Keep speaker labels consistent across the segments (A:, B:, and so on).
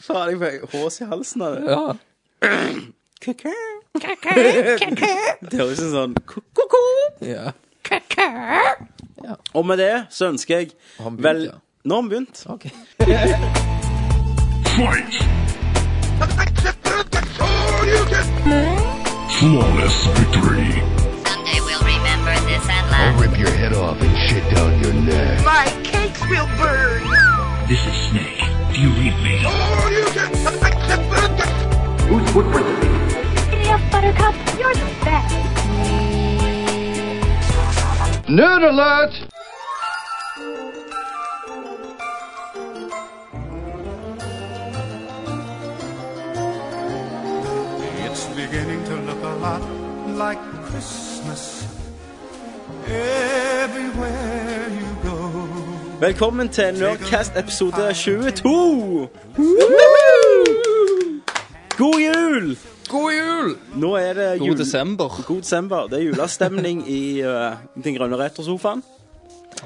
A: Faen, jeg fikk hås i halsen av det.
B: Ja.
A: Kukku. Det høres ut som sånn kukku.
B: ja.
A: Og med det så ønsker jeg
B: Har han begynt,
A: vel
B: ja?
A: Nå har vi begynt.
B: OK.
C: Fight! Flawless victory.
D: Someday we'll remember this and laugh.
E: Rip your head off and shit down your neck.
F: My cakes will burn.
C: This is Snake. Do you read me?
G: Yes, Buttercup, you're the best.
E: Nerd alert!
H: It's beginning to look a lot like Christmas everywhere you go.
A: Velkommen til Nerdcast episode 22. God jul!
B: God jul!
A: Nå er det jul...
B: God desember.
A: God desember. Det er julestemning i eh, den grønne retrosofaen.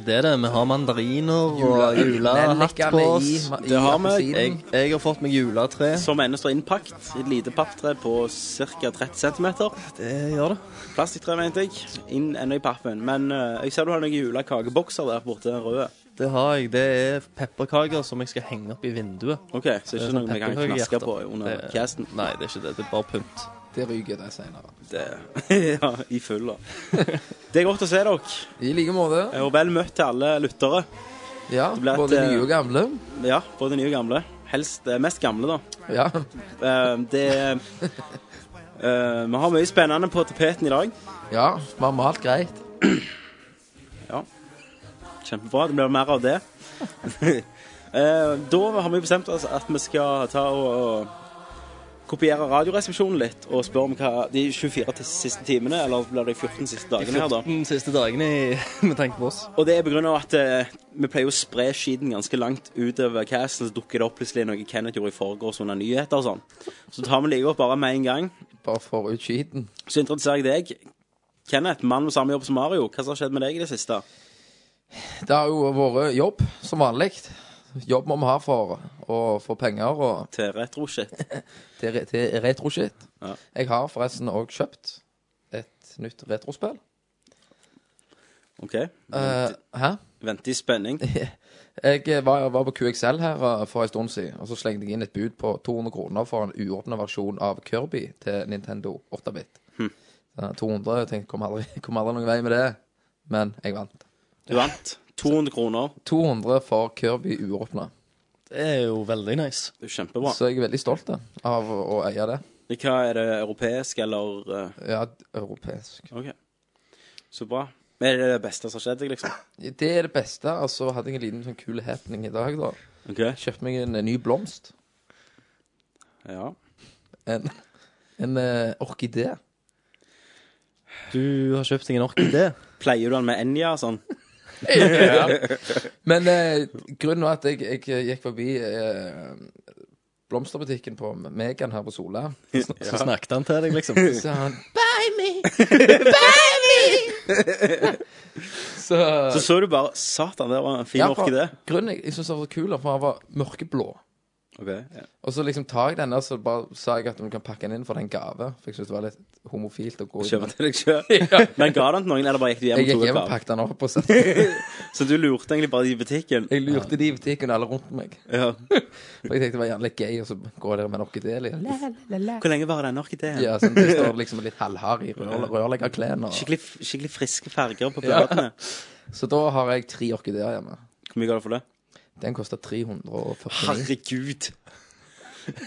B: Det er det. Vi har mandariner og julehatt
I: Nelliker
B: på
I: med
B: oss.
I: i-
A: Det har vi.
B: Jeg, jeg har fått meg juletre.
A: Som ennå står innpakt i et lite papptre på ca. 30 cm.
B: Det gjør det.
A: Plastikktre, mente jeg. Inn ennå i pappen. Men eh, jeg ser du har noen julekakebokser der borte, den røde.
B: Det har jeg. Det er pepperkaker som jeg skal henge opp i vinduet.
A: OK, så ikke noe vi kan knaske på under
B: sånn Det-
A: casten.
B: Nei, det er ikke det. Det er bare pynt.
I: Det ryker det senere.
A: Det, ja, i fylla. Det er godt å se dere,
I: I like måte.
A: og vel møtt til alle lyttere.
I: Ja,
A: ble et,
I: både
A: eh,
I: nye og gamle.
A: Ja, både nye og gamle. Helst eh, mest gamle, da.
I: Ja.
A: Eh, det eh, Vi har mye spennende på tapeten i dag.
I: ja, vi har malt greit.
A: Kjempebra. Det blir mer av det. Eh, da har vi bestemt oss at vi skal ta og kopiere Radioresepsjonen litt og spørre om hva de 24 til siste timene, eller blir det 14 siste dagene her, da.
B: Den siste dagene i- med tanke på oss.
A: Og det er på grunn av at eh, vi pleier å spre skiten ganske langt utover casten, så dukker det opp plutselig noe Kenneth gjorde i forgårs under nyheter og sånn. Så tar vi like godt bare med en gang.
I: Bare for ut skiten.
A: Så introduserer jeg deg. Kenneth, mann med samme jobb som Mario, hva som har skjedd med deg i det siste?
I: Det har jo vært jobb, som vanlig. Jobb må vi ha for å få penger og
A: Til retro-shit.
I: til, re- til retroshit.
A: Ja.
I: Jeg har forresten òg kjøpt et nytt retrospill.
A: OK?
I: Eh, hæ?
A: Venter i spenning.
I: Jeg var, var på QXL her eh, for en stund siden, og så slengte jeg inn et bud på 200 kroner for en uåpna versjon av Kirby til Nintendo 8-bit. Eh, 200, jeg tenkte, kom aldri, kom aldri noen vei med det, men jeg vant.
A: Du vant 200 kroner.
I: 200 for Kirby uåpna,
B: Det er jo veldig nice.
A: Det er jo kjempebra.
I: så jeg er veldig stolt da, av å å eie det.
A: Hva er det europeisk eller eh,
I: Ja, europeisk.
A: OK. Så bra. Er det det beste som har skjedd deg, liksom?
I: Det er det beste, og så hadde jeg en liten sånn kul happening i dag, da.
A: OK.
I: Kjøpte meg en eh, ny blomst.
A: Ja.
I: En, en eh, orkidé.
B: Du har kjøpt deg en orkidé.
A: Pleier du den med Enja og sånn?
I: Men eh, grunnen var at jeg, jeg gikk forbi eh, blomsterbutikken på Megan her på Sola.
B: Så snakket han til deg, liksom.
I: Så sa han Buy me! Buy me! så
A: Så så du bare Satan, det var en fin
I: ja, for-
A: orkidé.
I: Grunnen jeg, jeg syntes det var så kul, for han var mørkeblå.
A: OK. Ja.
I: Og så liksom tar jeg den der, så bare sa jeg at du kan pakke den inn for den gave. For jeg syntes det var litt homofilt å gå ut
A: Kjøper
I: med den.
A: til deg sjøl. Men ga den til noen, eller bare gikk du hjem
I: Jeg
A: og
I: gikk
A: tok et
I: hjem og
A: par?
I: pakket den opp og satt Jeg
A: Så du lurte egentlig bare i butikken?
I: lurte de i butikken alle rundt meg.
A: Ja.
I: For jeg tenkte det var gjerne litt gøy, og så går jeg der med en orkidé. litt.
A: Hvor lenge var den orkideen?
I: Ja, sånn, det står liksom litt halvhard i rør, rørleggerklærne. og-
A: Skikkelig, skikkelig friske farger på bladene.
I: Så da har jeg tre orkideer hjemme.
A: Hvor mye ga du for det?
I: Den koster 349.
A: Herregud!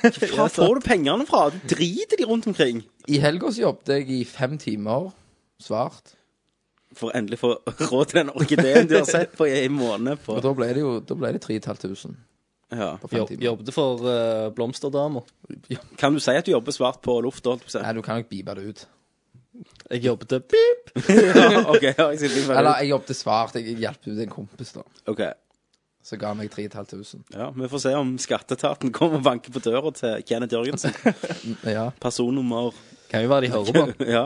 A: Hva får du pengene fra? Du driter de rundt omkring.
I: I helga så jobbet jeg i fem timer svart.
A: For å endelig få råd til den orkideen du har sett på i en måned. På.
I: Og da ble det jo da ble det 3500
A: Ja.
I: på fem
B: Jobb,
I: timer.
B: jobbet for uh, blomsterdama.
A: Kan du si at du jobber svart på luft? holdt jeg på å si?
I: Nei, du kan jo ikke bipe det ut.
B: Jeg jobbet pip.
A: Ja, ok, ja, jeg sitter litt ferdig.
I: Eller jeg jobbet svart. Jeg hjalp ut en kompis, da.
A: Ok,
I: Som ga meg 3500.
A: ja, Vi får se om skatteetaten kommer og banker på døra til Kenneth Jørgensen.
I: Ja.
A: Personnummer
B: Kan jo være de hører på.
A: Ja.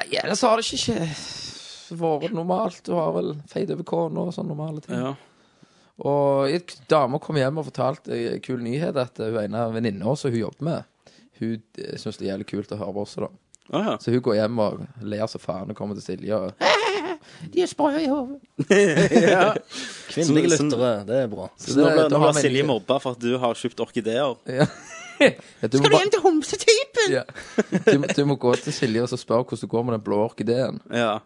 I: Nei, Ellers har det ikke, ikke vært normalt. Du har vel feid over kona og sånne normale ting.
A: ja.
I: Og en dame kom hjem og fortalte en kul nyhet at eh, hun ene venninna som hun jobber med, hun eh, syns det er jævlig kult å høre på også, da.
A: Å ja.
I: Så hun går hjem og ler så faen og kommer til Silje og De er sprø i hodet.
B: Kvinnelige
A: Så- så-
B: lyttere, det er bra.
A: Så nå ble,
I: da
A: nå ble
I: har vi en
A: Silje
I: ny-
A: mobba for at du har kjøpt orkideer.
I: Ja, du Skal du hjem til homsetypen? Ja. Du, må- du må gå til Silje og så spørre hvordan det går med den blå orkideen.
A: Ja.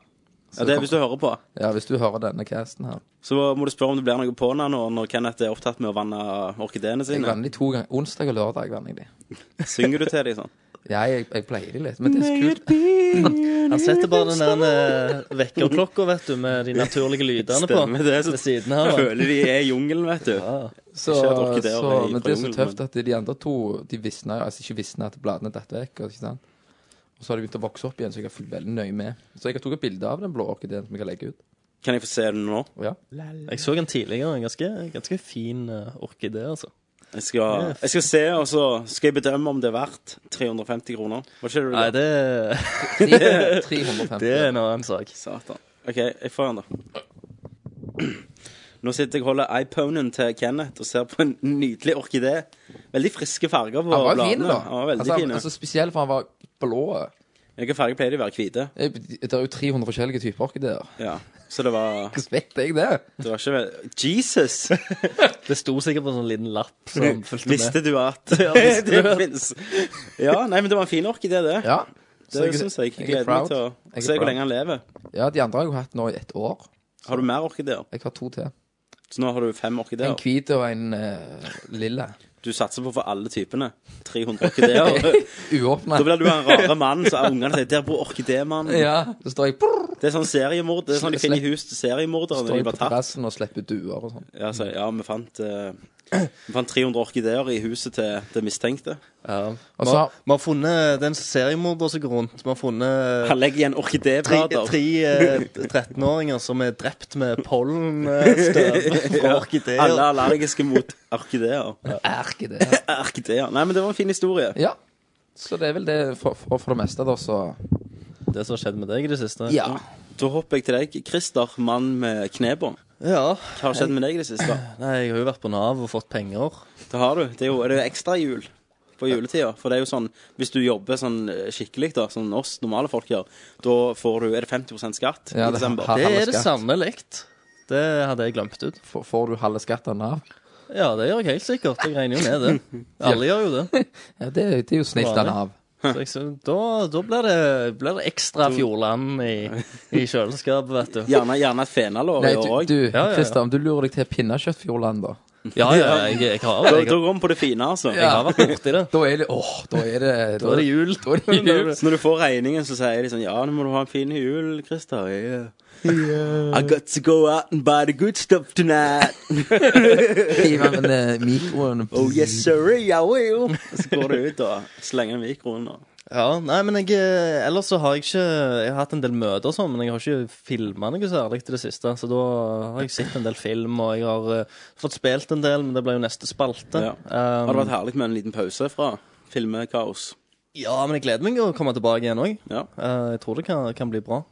A: ja, det er hvis du hører på.
I: Ja, hvis du hører denne casten her.
A: Så må du spørre om det blir noe på den nå når Kenneth er opptatt med å vanne orkideene
I: Jeg
A: sine.
I: vanner de to ganger. Onsdag og lørdag vanner jeg de.
A: Synger du til dem sånn?
I: Ja, jeg, jeg pleier de litt, men det er så kult.
B: Han setter bare den der eh, vekkerklokka, vet du, med de naturlige lydene på.
A: Stemmer det. Så
B: Ved siden av.
A: føler de er i jungelen, vet du.
I: Så,
A: Ikke at orkideer
I: så,
A: er i
I: men det er så
A: jungelen,
I: tøft
A: men-
I: at de andre to De visner, altså ikke visner at bladene detter vekk. altså, Ikke sant? Og så har de begynt å vokse opp igjen, så jeg har fulgt veldig nøye med. Så jeg har tatt et bilde av den blå orkideen som jeg kan legge ut.
A: Kan jeg få se den nå?
I: Ja.
B: Jeg så en tidligere, en ganske, ganske fin eh, orkidé, altså.
A: Jeg skal, jeg skal se, og så skal jeg bedømme om det er verdt 350 kroner. Var ikke det du
B: Nei,
A: la?
B: det,
I: 350.
B: det er en annen sak.
A: Satan. OK, jeg får den, da. Nå sitter jeg og holder iPonen til Kenneth og ser på en nydelig orkidé. Veldig friske farger på
I: Han var jo
A: bladene.
I: fin, da.
A: Han var veldig
I: altså,
A: fin.
I: altså, spesielt for han var blå.
A: Hvilke farger pleier de å være? Hvite?
I: Eh, Det er jo 300 forskjellige typer orkideer.
A: Ja. Så det var,
I: Hvordan vet jeg det?
A: det var ikke vel- Jesus!
B: Det sto sikkert på en sånn liten lapp som fulgte med.
A: Visste du at
B: Ja, visste du
A: det
B: at-
A: fins? Ja, nei, men det var en fin orkidé, det.
I: Ja. Så
A: Det syns jeg. Jeg
I: er
A: gleder meg
I: proud.
A: til å
I: Jeg er
A: se hvor
I: proud.
A: lenge han lever.
I: Ja, de andre har jeg jo hatt nå i ett år.
A: Har du mer orkideer?
I: Jeg har to til.
A: Så nå har du fem orkideer.
I: En hvit og en eh, lilla.
A: Du satser på å få alle typene. 300 orkideer.
I: Uåpna.
A: Da blir du en rare mann, så ungene sier 'der bor orkidémannen'.
I: Ja, så står jeg brrr,
A: Det er sånn seriemord. Det er sånn de finner i hus til seriemordere
I: står
A: når de
I: jeg på
A: blir tatt.
I: terrassen og slipper duer og sånn.
A: Ja, så, ja vi, fant, eh, vi fant 300 orkideer i huset til det mistenkte.
B: Ja.
I: Og
B: Vi
I: så-
B: har, vi har funnet den seriemorder som går rundt. Vi har funnet
A: Han legger igjen
B: tre,
A: orkidéblader.
B: tre eh, 13-åringer som er drept med eh, pollenstøv fra
A: Alle
B: orkideer.
A: er allergiske mot orkideer.
I: Erke det.
A: Orkideer. Nei, men det var en fin historie.
I: Ja. Så det er vel det for, for, for det meste, da, så
B: Det som har skjedd med deg i det siste.
I: Ja.
A: Da hopper jeg til deg. Christer, mann med knebånd.
B: Ja.
A: Hva har skjedd med deg i det siste?
B: Nei, jeg har jo vært på Nav og fått penger.
A: Det har du. Det er jo, er det jo ekstra jul på juletida. For det er jo sånn, hvis du jobber sånn eh, skikkelig, da, som oss normale folk gjør, da får du Er det 50 skatt i
I: Ja, det-
A: desember?
I: ha-
B: Det
I: halve
B: er det
I: skatt.
B: sannelig. Det hadde jeg glemt ut.
I: Får- Får du halve skatten av?
B: Ja, det gjør jeg helt sikkert. Jeg regner jo med det. Alle gjør jo det.
I: Ja, det, det er jo snilt av Nav.
B: Så jeg, synes- da da blir, det, blir det ekstra Fjordland i, i kjøleskapet, vet du.
A: Gjerne, gjerne et fenalår i
I: Nei, du,
A: år òg.
I: du
B: Ja, ja, ja.
I: Christer, om du lurer deg til pinnekjøttfjordland, da
B: Ja, ja, jeg, jeg har
A: Da,
B: jeg,
A: da
B: har-
A: går vi på det fine, altså.
B: jeg har vært borti det.
I: Da er det åh, da er det
B: Da er det jul.
I: Da er det jul.
A: Så når du får regningen, så sier de sånn Ja, nå må du ha en fin jul, Christer. Yeah. I got to go out and buy the good stuff tonight.
I: Hiver med eh, mikroen
A: Oh yes, sorry, I will. Så går du ut og slenger mikroen og
B: Ja, nei, men jeg, eh, ellers så har jeg ikke Jeg har hatt en del møter og sånn, men jeg har ikke filma noe særlig til det siste. Så da har jeg sett en del film, og jeg har eh, fått spilt en del, men det ble jo neste spalte.
A: ja.
B: Um,
A: Har det vært herlig med en liten pause fra filmekaos?
B: ja, men jeg gleder meg å komme tilbake igjen òg.
A: Ja.
B: Eh, jeg tror det kan, kan bli bra.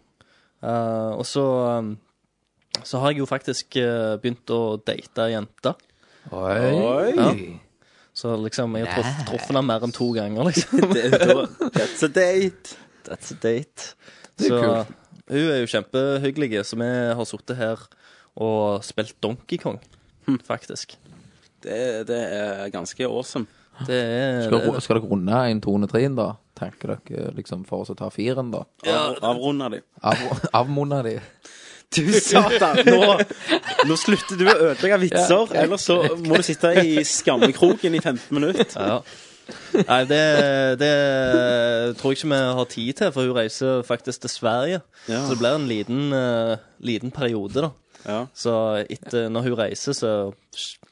B: Eh, og så um, så har jeg jo faktisk eh, begynt å date ei jente.
I: Oi.
A: Ja.
B: Så liksom, jeg har truff, truffet henne mer enn to ganger, liksom.
A: Det, da, that's a date.
B: That's a date.
I: Det er
B: så
I: kult.
B: hun er jo kjempehyggelig, så vi har sittet her og spilt Donkey Kong, Hm. faktisk.
A: Det, det er ganske awesome.
B: Det er,
I: Skal,
B: det
I: dere- skal dere runde en tone trinn, da? Tenker dere liksom for oss å ta firen, da?
A: Av, Avrunda de.
I: Av, avmonna de?
A: Du satan! Nå, nå slutter du å ødelegge vitser, ellers så må du sitte i skammekroken i 15 minutter.
B: ja. Nei, det, det tror jeg ikke vi har tid til, for hun reiser faktisk til Sverige.
A: Ja.
B: Så det blir en liten, eh, liten periode, da.
A: Ja.
B: Så etter, når hun reiser, så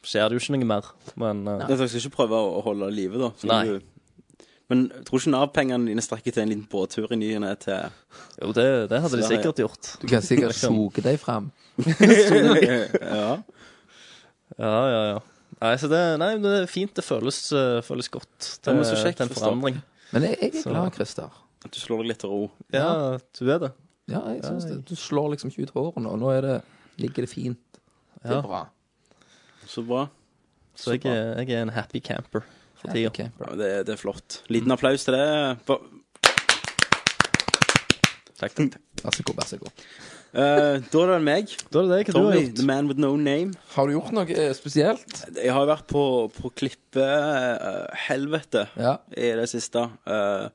B: skjer det jo ikke noe mer. Men eh,
A: Dere skal ikke prøve å holde det i live, da? Skal
B: Nei.
A: du- Men tror ikke Nav-pengene dine strekker til en liten båttur i ny og ne til
B: jo, det, det hadde de
A: Sverige.
B: sikkert gjort.
I: Du kan sikkert suge deg fram.
A: Ja.
B: Ja, ja, ja. Nei, så det, nei, det er fint. Det føles, eh, føles godt. Det
A: Ja, men så kjekt,
B: til en
A: forstår.
B: forandring.
I: Men jeg, jeg er
B: Så-
I: glad, Christer.
A: At du slår deg litt til ro.
B: Ja, du er det.
I: Ja, jeg synes det. Du slår liksom ikke ut hårene, og nå er det, ligger det fint. Det
B: Ja.
I: er bra.
A: Så bra.
B: Så jeg, er- jeg er en happy camper for
I: Happy
B: tida.
A: Ja,
I: camper.
A: men det, det er flott. Liten applaus til eh, det. For,
B: Takk, takk, takk.
I: Vær så god, vær så god.
A: eh, da er det vel meg.
B: Da er det det. Hva du har
A: Tommy,
B: gjort?
A: the man with no name.
I: Har du gjort noe eh, spesielt?
A: Jeg har jo vært på, på eh, klippehelvete
I: Ja.
A: i det siste. Eh,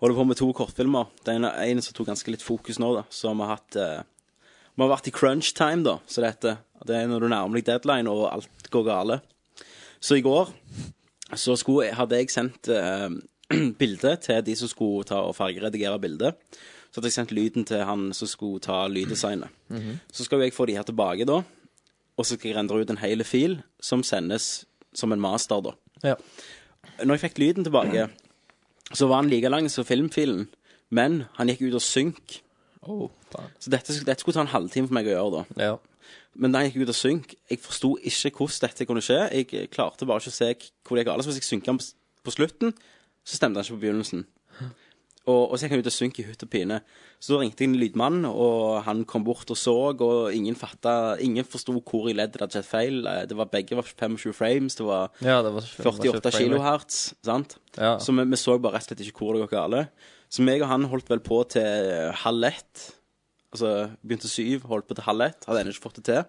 A: holder på med to kortfilmer. Den ene en som tok ganske litt fokus nå, da. Så vi har hatt eh, Vi har vært i crunch time, da, så det heter. Det er når du nærmer deg deadline og alt går gale. Så i går så skulle, hadde jeg sendt uh, bilde til de som skulle ta og fargeredigere bildet. Så hadde jeg sendt lyden til han som skulle ta lyddesignet. Så skal jo jeg få de her tilbake, da. Og så skal jeg rendre ut en hel fil som sendes som en master, da
B: Ja.
A: når jeg fikk lyden tilbake, så var han like lang som filmfilen, men han gikk ut og synk.
I: Oh, faen.
A: Så dette, dette skulle ta en halvtime for meg å gjøre, da.
B: ja.
A: Men da han gikk ut og synk, jeg forsto ikke hvordan dette kunne skje. Jeg eh, klarte bare ikke å se hvor det gikk galt. Så hvis jeg synka han på s- på slutten, så stemte han ikke på begynnelsen. Og, og så gikk han ut og synk i hutt og pine. Så da ringte jeg en lydmann, og han kom bort og så, og ingen fatta Ingen forsto hvor i leddet det hadde skjedd feil. Eh, Det var begge var 25 frames, det var
B: ja, det var det var ikke
A: 48
B: frame rate.
A: kilohertz, sant?
B: Ja.
A: Så vi, vi så bare rett og slett ikke hvor det går gale. Så meg og han holdt vel på til halv ett. Altså begynte syv, holdt på til halv ett. Hadde ennå ikke fått det til.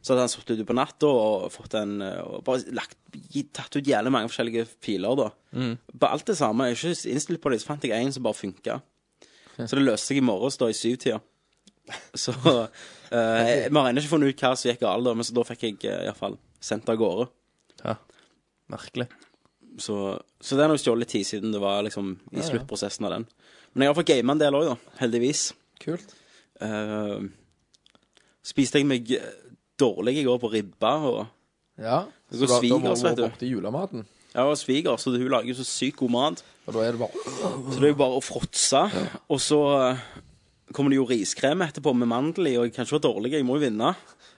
A: Så hadde han sittet ute på natta og fått en eh, og bare lagt, gi- tatt ut jævlig mange forskjellige filer, da. På alt det samme. Jeg er ikke innstilt på det, så fant jeg en som bare funka. Så det løste seg i morges, da, i syvtida. Så eh, Vi har ennå ikke funnet ut hva som gikk galt, da, men så da fikk jeg eh, i hvert fall sendt det av gårde.
B: Ja. Merkelig.
A: Så, så det er nok stjålet litt tid siden det var liksom i sluttprosessen av den. Men jeg har fått game en del òg, da. Heldigvis.
I: Kult.
A: Eh, spiste jeg meg eh, dårlig i går på ribba, og
I: Ja.
A: går
I: da- da må
A: svigers, vet
I: du.
A: du.
I: opp til julematen.
A: jeg har svigers, så hun lager jo så sykt god mat.
I: Og da er det bare
A: Så det er jo bare å fråtse. Og så eh, kommer det jo riskrem etterpå med mandel i, og jeg kan ikke være dårlig, jeg må jo vinne.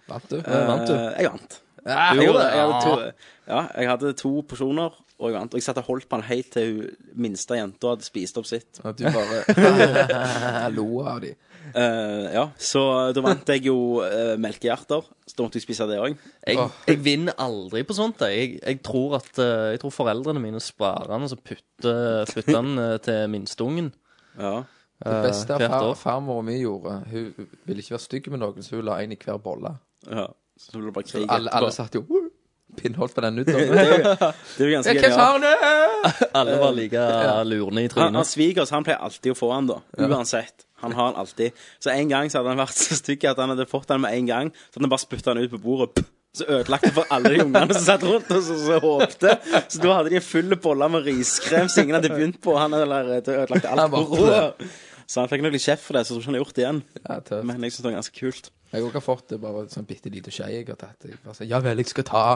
I: Vant du?
B: Men vant du?
A: Eh, jeg vant.
I: Ja,
A: Jeg, gjorde det. jeg,
I: Ja.
A: hadde to, ja, jeg hadde to porsjoner, og jeg vant. Og jeg satt og holdt på den helt til hun minste jenta hadde spist opp sitt.
I: At du bare lo av de.
A: Eh, ja, så da vant jeg jo eh, melkehjerter. Så da måtte jeg spise det òg.
B: Jeg, jeg vinner aldri på sånt. jeg. Jeg, jeg, tror at, eh, jeg tror foreldrene mine sparer den og så putter, putter den eh, til minsteungen.
A: Ja.
I: Det beste
B: hvert
I: far,
B: år.
I: farmor mi gjorde Hun ville ikke være stygg med noen, så hun la en i hver bolle.
A: ja. Så ble det bare krig.
I: Alle, alle satt jo «Woo!» pinnholdt på den utover.
A: Det er jo ganske
I: Hvem
A: genialt.
I: tar den?
B: Alle var like lurne i
A: Han, han
B: trynet.
A: svigers han pleier alltid å få han da. Uansett. Han har han alltid. Så en gang så hadde han vært så stygg at han hadde fått den med en gang. Så hadde han bare spytta den ut på bordet. Pff. Så ødelagte det for alle de ungene som satt rundt og så, så håpte. Så da hadde de en full bolle med riskrem som ingen hadde begynt på. Han eller, det ødelagte
I: Han
A: alt
I: bare-
A: på bordet. Så han fikk nok litt kjeft for det, så jeg tror ikke han har gjort det igjen.
I: Ja, tøft.
A: Men jeg syns det var ganske kult.
I: Jeg også har fått det bare sånn bitte lite skje jeg har tatt. Jeg bare sa, ja vel, jeg skal ta.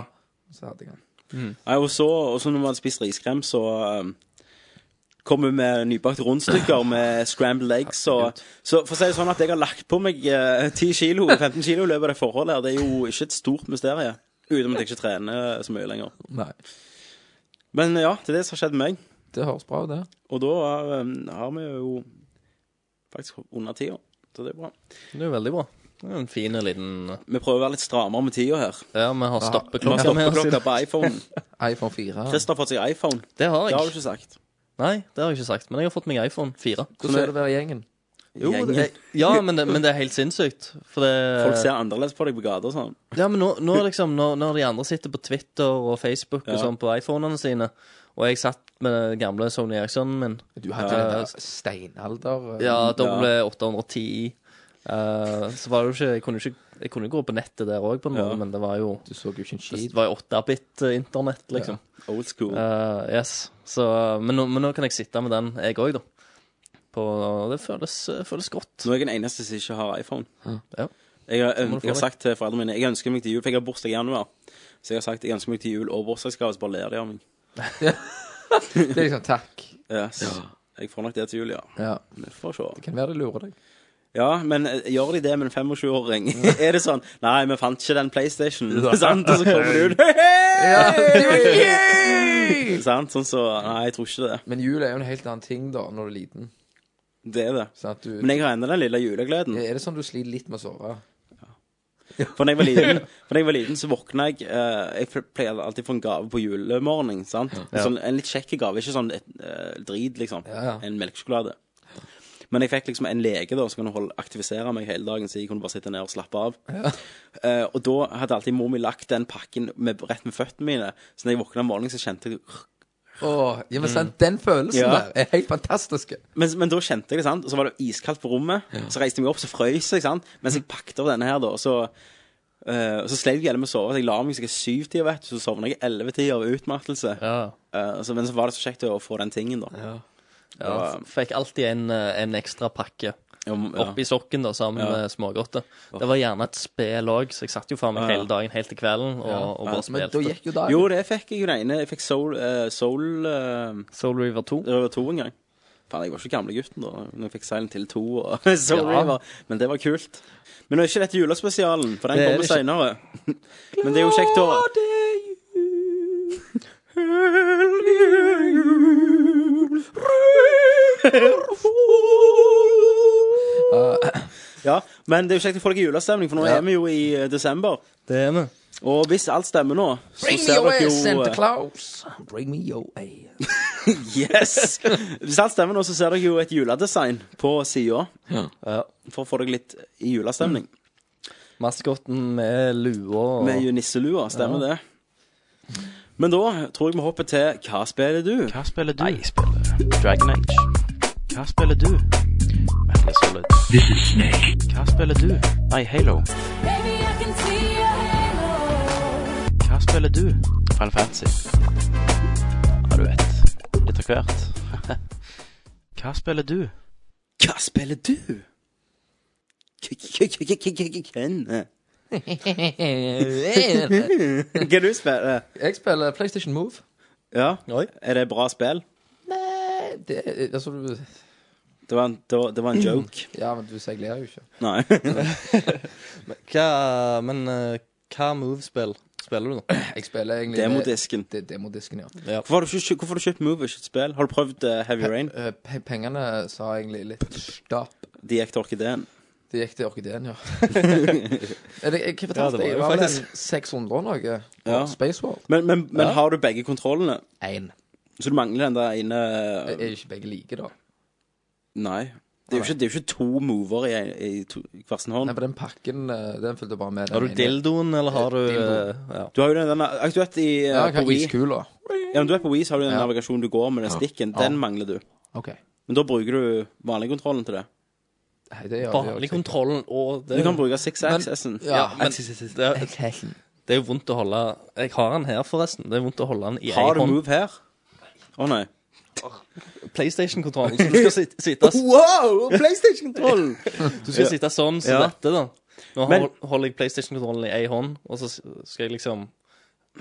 I: Så hadde jeg den.
A: Nei, og så, og så når vi hadde spist riskrem, så um, kom vi med nybakt rundstykker med scrambled eggs. Og, så for å si det sånn at jeg har lagt på meg eh, 10 kilo, 15 kilo i løpet av det forholdet her, det er jo ikke et stort mysterium. Utenom at jeg ikke trener så mye lenger.
I: Nei.
A: Men ja, det er det som har skjedd med meg.
I: Det høres bra ut, det.
A: Og da um, har vi jo faktisk under tida, så det er bra.
B: Det er jo veldig bra. Det er jo En fin liten
A: Vi prøver å være litt strammere med tida her.
B: Ja, vi har
A: Vi har
B: stoppeklokka med oss. i
A: stoppeklokka
B: dag.
A: på iPhone.
I: iPhone 4.
A: Christer har fått seg iPhone.
B: Det har
A: Det har du
B: jeg.
A: ikke sagt.
B: Nei, det har jeg ikke sagt. Men jeg har fått meg iPhone 4.
I: Hvordan er det å være i gjengen?
B: Jo, det er,
A: Gjengen.
B: ja, men det, men det er helt sinnssykt. For det
A: Folk ser annerledes på deg på gata og sånn.
B: Ja, men nå, nå liksom, når, når de andre sitter på Twitter og Facebook og
A: Ja.
B: sånn på iPhonene sine, og jeg satt med den gamle Sony Erikssonen min,
I: Du hadde
B: Ja,
I: den
B: ja.
I: der steinalder eh,
B: Mm, ja, W810 eh, Så var det jo ikke Jeg kunne jo ikke, jeg kunne jo gå på nettet der òg, på en måte,
A: Ja.
B: men det var jo
I: Du så jo ikke en
B: det
I: skit.
B: var jo 8-bit-internett, liksom.
A: Old school.
B: Eh, yes. Så, men, nå, men nå kan jeg sitte med den, jeg òg, da. På, det føles, eh, føles godt.
A: Nå er jeg den eneste som ikke har iPhone.
B: Ja.
A: Jeg har,
B: må du
A: jeg
B: få
A: har
B: det.
A: sagt til foreldrene mine Jeg ønsker meg til jul, for jeg har bursdag i januar. Så jeg har sagt jeg ønsker meg til jul og bursdagsgave, så bare ler de av meg.
I: Det er liksom takk.
A: Yes. Jeg får nok det til jul, ja.
I: Ja.
A: Vi får se.
I: Kan være det lurer deg.
A: Ja, men eh, gjør de det med en 25-åring? er det sånn Nei, vi fant ikke den PlayStation. Sant? Og så kommer det ut «Hei, hei!» Sant? Sånn så Nei, jeg tror ikke det.
I: Men jul er jo en helt annen ting da, når du er liten.
A: Det er det.
I: Sånn at du,
A: Men jeg har ennå den lille julegleden.
I: er det sånn du sliter litt med å sove?
A: For da jeg var liten, for da jeg var liten så våkna jeg eh, Jeg pleier alltid å få en gave på julemorgen. Sant? Sånn, en litt kjekk gave, ikke sånn et, eh, drit, liksom.
I: Ja, ja.
A: En melkesjokolade. Men jeg fikk liksom en lege da som kunne holde, aktivisere meg hele dagen, så jeg kunne bare sitte ned og slappe av. Eh, og da hadde alltid mor mi lagt den pakken med, rett med føttene mine. Så når jeg våkna om morgenen, så kjente jeg
I: Åh, ja, men sant, Den følelsen
A: Ja.
I: der er helt fantastisk.
A: Men, men da kjente jeg det, sant? og så var det iskaldt på rommet. Så reiste jeg meg opp, så frøys jeg, sant? mens jeg pakket over denne her, da. Og så, eh, og så sleit jeg gjerne med å sove. Så jeg la meg sikkert syvtida, vet du. Så sovna jeg ellevetider av utmattelse.
B: Ja.
A: Eh, så, men så var det så kjekt å få den tingen, da.
B: ja. Fikk alltid en, eh, en ekstra pakke.
A: Ja, men- ja.
B: Oppi sokken da, sammen
A: Ja.
B: med smågodter. Det var gjerne et spill òg, så jeg satt jo faen meg
A: Ja, ja.
B: hele dagen helt til kvelden og, og bare
I: Men da
B: spilte.
I: gikk jo dagen.
A: Jo, det fikk jeg jo den ene. Jeg fikk Soul, eh, soul eh,
B: Soul River 2.
A: River 2 en gang. Faen, jeg var ikke gamle gutten da Når jeg fikk Silent Hill 2 og Soul River. Men det var kult. Men nå er ikke dette julespesialen, for den
B: Det er
A: kommer
B: det ikke.
A: seinere. Men det er jo kjekt å
I: Ah.
A: Ja, men det er jo kjekt å få deg i julestemning, for nå er vi jo i eh, desember.
B: Det er vi.
A: Og hvis alt stemmer nå, så
I: Bring me
A: ser
I: your
A: dere jo
I: ass, Santa
A: eh,
I: Claus. Bring me your ass.
A: Yes! Hvis alt stemmer nå, så ser dere jo et juledesign på sida.
B: Ja.
A: For å få dere litt i julestemning.
J: Mm.
B: Maskotten med lua og
A: Med nisselua, stemmer det. Men da tror jeg vi hopper til Hva spiller du?
J: Hva spiller du? Nei, jeg spiller Dragon Age. Hva spiller du? Metal Gear Solid.
C: This is Snake.
J: Hva spiller du? Nei, Halo. Hva spiller du? Final Fantasy. Ja, du vet. Litt av hvert. Hva spiller du?
A: Hva spiller du? Hvem? Hva du spiller?
I: Jeg spiller PlayStation Move.
A: Ja,
B: Oi.
A: er det bra spill?
I: Nei, det er- altså, du-
A: Det var en, det var, det var en joke.
I: Ja, men du sier jeg ler jo ikke.
A: Nei.
B: Hva, men eh, hva movespill spiller du nå?
I: Jeg spiller egentlig
A: Demodisken.
I: Det, demodisken, ja.
A: Hvorfor har du ikke, hvorfor har du kjøpt Move, ikke et spill? Har du prøvd eh, Heavy Rain?
I: Eh, pe- pengene sa egentlig litt stopp.
A: De gikk til orkideen.
I: Det gikk til orkideen, ja. Er det, jeg, hva
B: det
I: fortalte
B: var jo
I: jeg? Det var vel
B: faktisk-
I: en 600 og noe?
A: Ja.
I: Ja. Space World?
A: Men, men, men har du begge kontrollene?
I: Én.
A: Så du mangler den der ene
I: Er er ikke begge like, da?
A: Nei. Det er jo ikke, det er jo ikke to mover i, en- i to, i hver sin hånd.
I: Nei, for den pakken, eh, den fulgte bare med den
B: Har du eh,
I: ene.
B: dildoen, eller har du
I: Dildo.
B: eh, ja.
A: Du har jo den denne Du vet i, eh,
I: Ja, jeg
A: på
I: har
A: Wii
I: iskula.
A: ja, men du vet på Wii så har du den
I: Ja.
A: navigasjonen du går med, den stikken.
I: Ja.
A: Den mangler du.
I: Ok.
A: Men da bruker du vanligkontrollen til det.
I: Nei, det gjør
B: Vanlig kontrollen og det
A: Du kan bruke 6-axessen.
I: Eh, Ja,
B: Ja, men det, er- det er jo vondt å holde Jeg har den her, forresten. Det er vondt å holde den i ei
A: Har du
B: hånd.
A: move her? Å nei.
B: PlayStation-kontrollen. så Du skal sit- sitte
A: Wow! PlayStation-kontrollen!
B: Du skal sitte sånn som
A: Ja.
B: dette, da. Nå
A: Men-
B: hol- holder jeg PlayStation-kontrollen i ei hånd, og så s- skal jeg liksom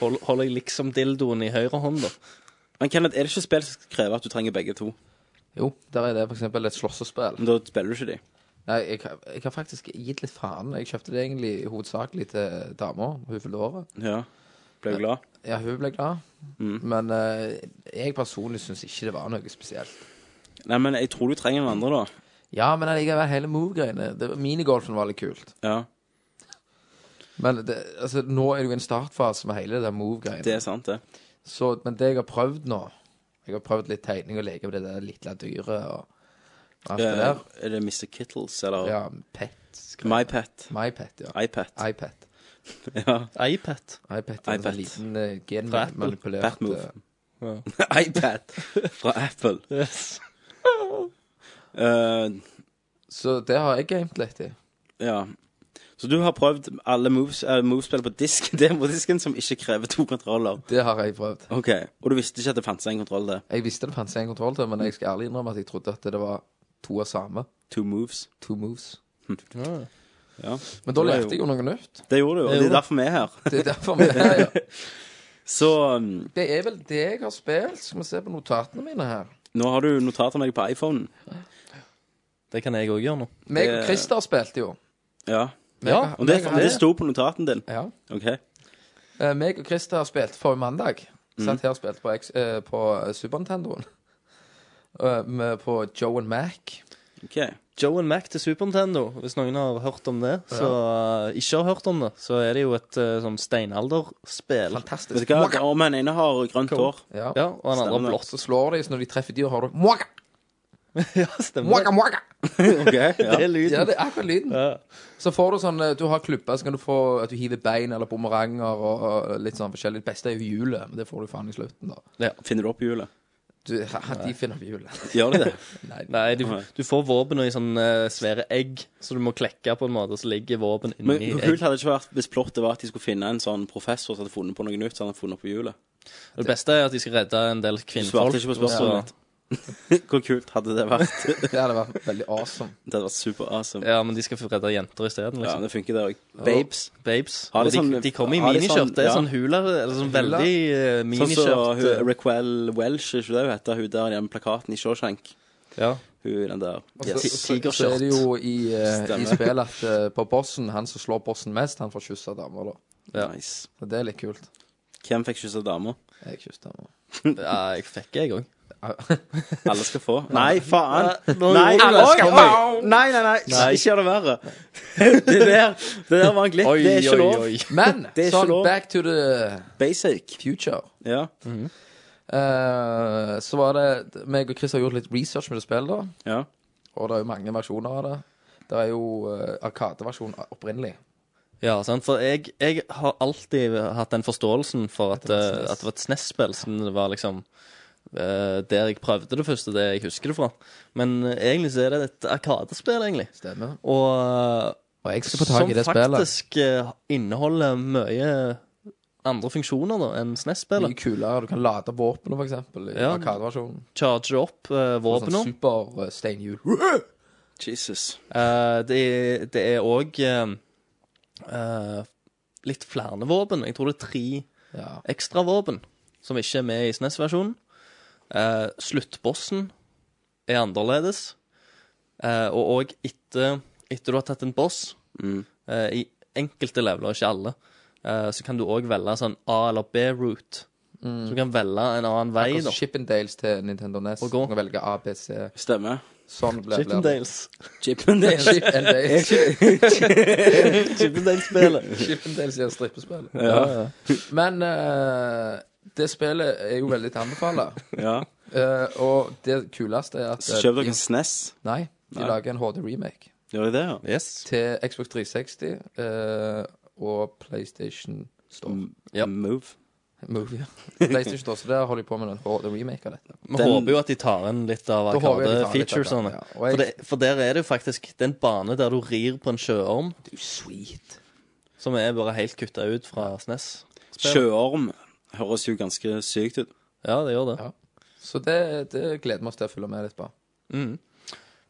B: hold- Holder jeg liksom dildoen i høyre hånd, da.
A: Men Kenneth, er det ikke spill som krever at du trenger begge to?
I: Jo, der er det for eksempel et slåssespill.
A: Men da spiller du ikke de.
I: Nei, jeg, har- jeg har faktisk gitt litt faen. Jeg kjøpte det egentlig hovedsakelig til dama. Hun fylte året.
A: Ja. Ble du glad?
I: Ja, hun ble glad.
B: Mm.
I: Men eh, jeg personlig syns ikke det var noe spesielt.
A: Nei, men jeg tror du trenger den andre, da.
I: Ja, men allikevel, hele move-greiene det- Minigolfen var litt kult.
A: Ja,
I: Men det, altså, nå er det jo en startfase med hele det der move-greiene.
A: det er sant, det.
I: Så, men det jeg har prøvd nå Jeg har prøvd litt tegning og leke med det der lille dyret og alt det
A: Eh,
I: der.
A: er det Mr. Kittles, eller
I: Ja, pet.
A: MyPet?
I: MyPet, ja.
A: iPad.
I: iPad.
A: Ja.
B: iPad.
I: iPad er en
A: iPad.
I: sånn liten eh,
B: Fra Apple.
I: genmanipulert
A: Batmove.
I: eh,
A: iPad fra Apple. Eh,
I: Så det har jeg gamet litt i.
A: ja. Så du har prøvd alle moves, eh, movespill på disk, demodisken som ikke krever to kontroller?
I: Det har jeg prøvd.
A: Ok, Og du visste ikke at det fantes en kontroll der?
I: Jeg visste det fantes en kontroll til, men jeg skal ærlig innrømme at jeg trodde at det var to av samme.
A: Two moves.
I: Two moves.
A: Hm. Ja.
I: Men da
A: Det var
I: lærte jeg jo noe nytt.
A: Det gjorde du, og det er derfor vi er her.
I: Det er derfor vi er her.
A: Så um,
I: Det er vel det jeg har spilt. Skal vi se på notatene mine her.
A: nå har du notater med deg på iPhonen.
B: Det kan jeg òg gjøre nå.
I: Meg og
A: Det-
I: Christer spilte jo.
A: Ja.
I: Ja,
A: Og det, det sto på notaten din.
I: Ja.
A: Ok.
I: Eh, Meg og Christer spilte forrige mandag.
A: Mm.
I: Satt her og spilte på, X- eh, på Super Nintendoen. Eh, med- På Joe and Mac.
A: ok
B: Joe and Mac til Super Nintendo, hvis noen har hørt om det. Så eh, ikke har hørt om det, så er det jo et eh, sånn steinalderspill.
A: Vet
I: Fantastisk.
A: du hva?
I: Mwaka!
A: Om den ene har grønt hår.
I: Ja.
B: Ja, og han andre
A: Stemmer det.
B: blått.
I: Så slår de, så når de treffer dyr, har du Mwaka!
B: ja, stemmer.
I: Mwaka, mwaka!
A: Ok, ja.
B: Det er lyden.
I: Ja, det er akkurat lyden.
B: Ja.
I: Så får du sånn eh, Du har klubber, så kan du få at du hiver bein eller bumeranger og, og litt sånn forskjellig. Det beste er jo hjulet, men det får du faen i slutten, da.
A: Finner du opp hjulet?
I: Du, de finner på hjulet.
A: Gjør de det?
I: Nei,
B: Nei, du, du får våpenet i sånne eh, svære egg, så du må klekke på en måte, så ligger våpenet
A: Men
B: inni
A: hvor
B: egg.
A: kult hadde det ikke vært hvis plottet var at de skulle finne en sånn professor som hadde funnet på noe nytt, så han hadde funnet på hjulet?
B: Det beste er at de skal redde en del
A: Du svarte
B: kvinnfolk.
A: ikke på spørsmålet mitt. Hvor kult hadde det vært?
I: det hadde vært veldig awesome.
A: Det hadde vært super awesome.
B: Ja, men de skal få redde jenter isteden,
A: Ja,
B: liksom.
A: det funker, det òg. Babes.
B: Babes.
A: Har de
B: Og de,
A: sånn-
B: de kommer i
A: har de
B: miniskjørt.
A: sånn-
B: Det er
A: ja.
B: sånn hula, eller sånn
I: Hula?
B: veldig uh,
A: Sånn som
B: miniskjørt. eh,
A: hun- Raquel Welsh, er ikke det hun heter? Hun der i den plakaten i Shawshank.
B: ja.
A: Hun den der.
I: Så-
A: Yes.
I: Altså, så- Så er det jo i, eh, i
A: Stemmer.
I: spillet at eh, på bossen, han som slår bossen mest, han får kyssa damer, da.
B: ja.
A: Nice.
I: Så det er litt kult.
A: Hvem fikk kyssa dama?
I: Jeg kysser damer.
B: ja, jeg fikk jeg òg.
A: Alle skal få. Nei, faen!
B: Nei, nå
A: Nei,
B: gjorde du det.
A: oi,
B: Skal
A: oi. nei, nei, nei.
B: Nei.
A: Ikke gjør det verre. Det der, det der var en glipp. Det er ikke lov.
I: Men
A: Det er ikke
I: sånn
A: lov.
I: back to the
A: Basic.
I: future.
A: Ja.
I: Eh, så var det meg og Chris har gjort litt research med det spillet, da.
A: ja.
I: Og det er jo mange versjoner av det. Det er jo uh, Arkade-versjonen opprinnelig.
B: Ja, sant? for jeg, jeg har alltid hatt den forståelsen for at, eh, at det var et SNES-spill, siden det var liksom eh, der jeg prøvde det første, det jeg husker det fra. Men eh, egentlig så er det et arkadespill, egentlig.
I: Stemmer.
B: Og,
I: Og jeg skal få
B: som
I: tak i det spillet.
B: faktisk eh, inneholder mye andre funksjoner da, enn
I: Mye
B: SNES-spillet.
I: kulere. Du kan lade våpenet, for eksempel, i
B: Ja.
I: Arkade-versjonen.
B: Charger opp uh,
I: Sånn
B: våpenet.
I: super eh, steinhjul.
A: Jesus.
B: Eh, det, det er òg litt flere våpen. Jeg tror det er tre
I: Ja.
B: ekstravåpen som ikke er med i SNES-versjonen. Eh, sluttbossen er annerledes. Eh, og òg etter, etter du har tatt en boss,
I: Mm.
B: eh, i enkelte leveler, ikke alle, eh, så kan du òg velge sånn A- eller B-route.
I: Mm.
B: Så du kan velge en annen vei, da.
I: Også Chippendales til Nintendo NES.
B: Og gå.
I: Du kan velge A, B, C.
A: Stemmer.
I: Sånn ble ble det.
B: Chippendales.
A: Chippendales.
I: Chippendales.
B: Chippendales-spillet.
I: Chippendales er et strippespill. Men eh, det spillet er jo veldig til å anbefale.
A: Ja.
I: Eh, og det kuleste er at eh,
A: Så kjøper dere en SNES.
I: Nei, de
A: Nei.
I: lager en HD-remake
A: Gjør dere det, ja?
B: Yes.
I: til Xbox 360 eh, og PlayStation Store.
A: Mm.
B: Ja.
A: Move.
I: Movie. PlayStation Store, så der holder de på med en HD-remake av dette.
B: Vi
A: Den-
B: håper jo at de tar inn litt av
I: Da håper jeg de tar litt av det,
B: Arkade-featuresene.
I: ja. Og jeg-
B: sånn. For, det- for der er det jo faktisk Det er en bane der du rir på en sjøorm,
I: Sweet.
B: som er bare helt kutta ut fra E SNES.
A: Sjøorm høres jo ganske sykt ut.
B: Ja, det gjør det.
I: Ja. Så det, det gleder vi oss til å følge med litt på.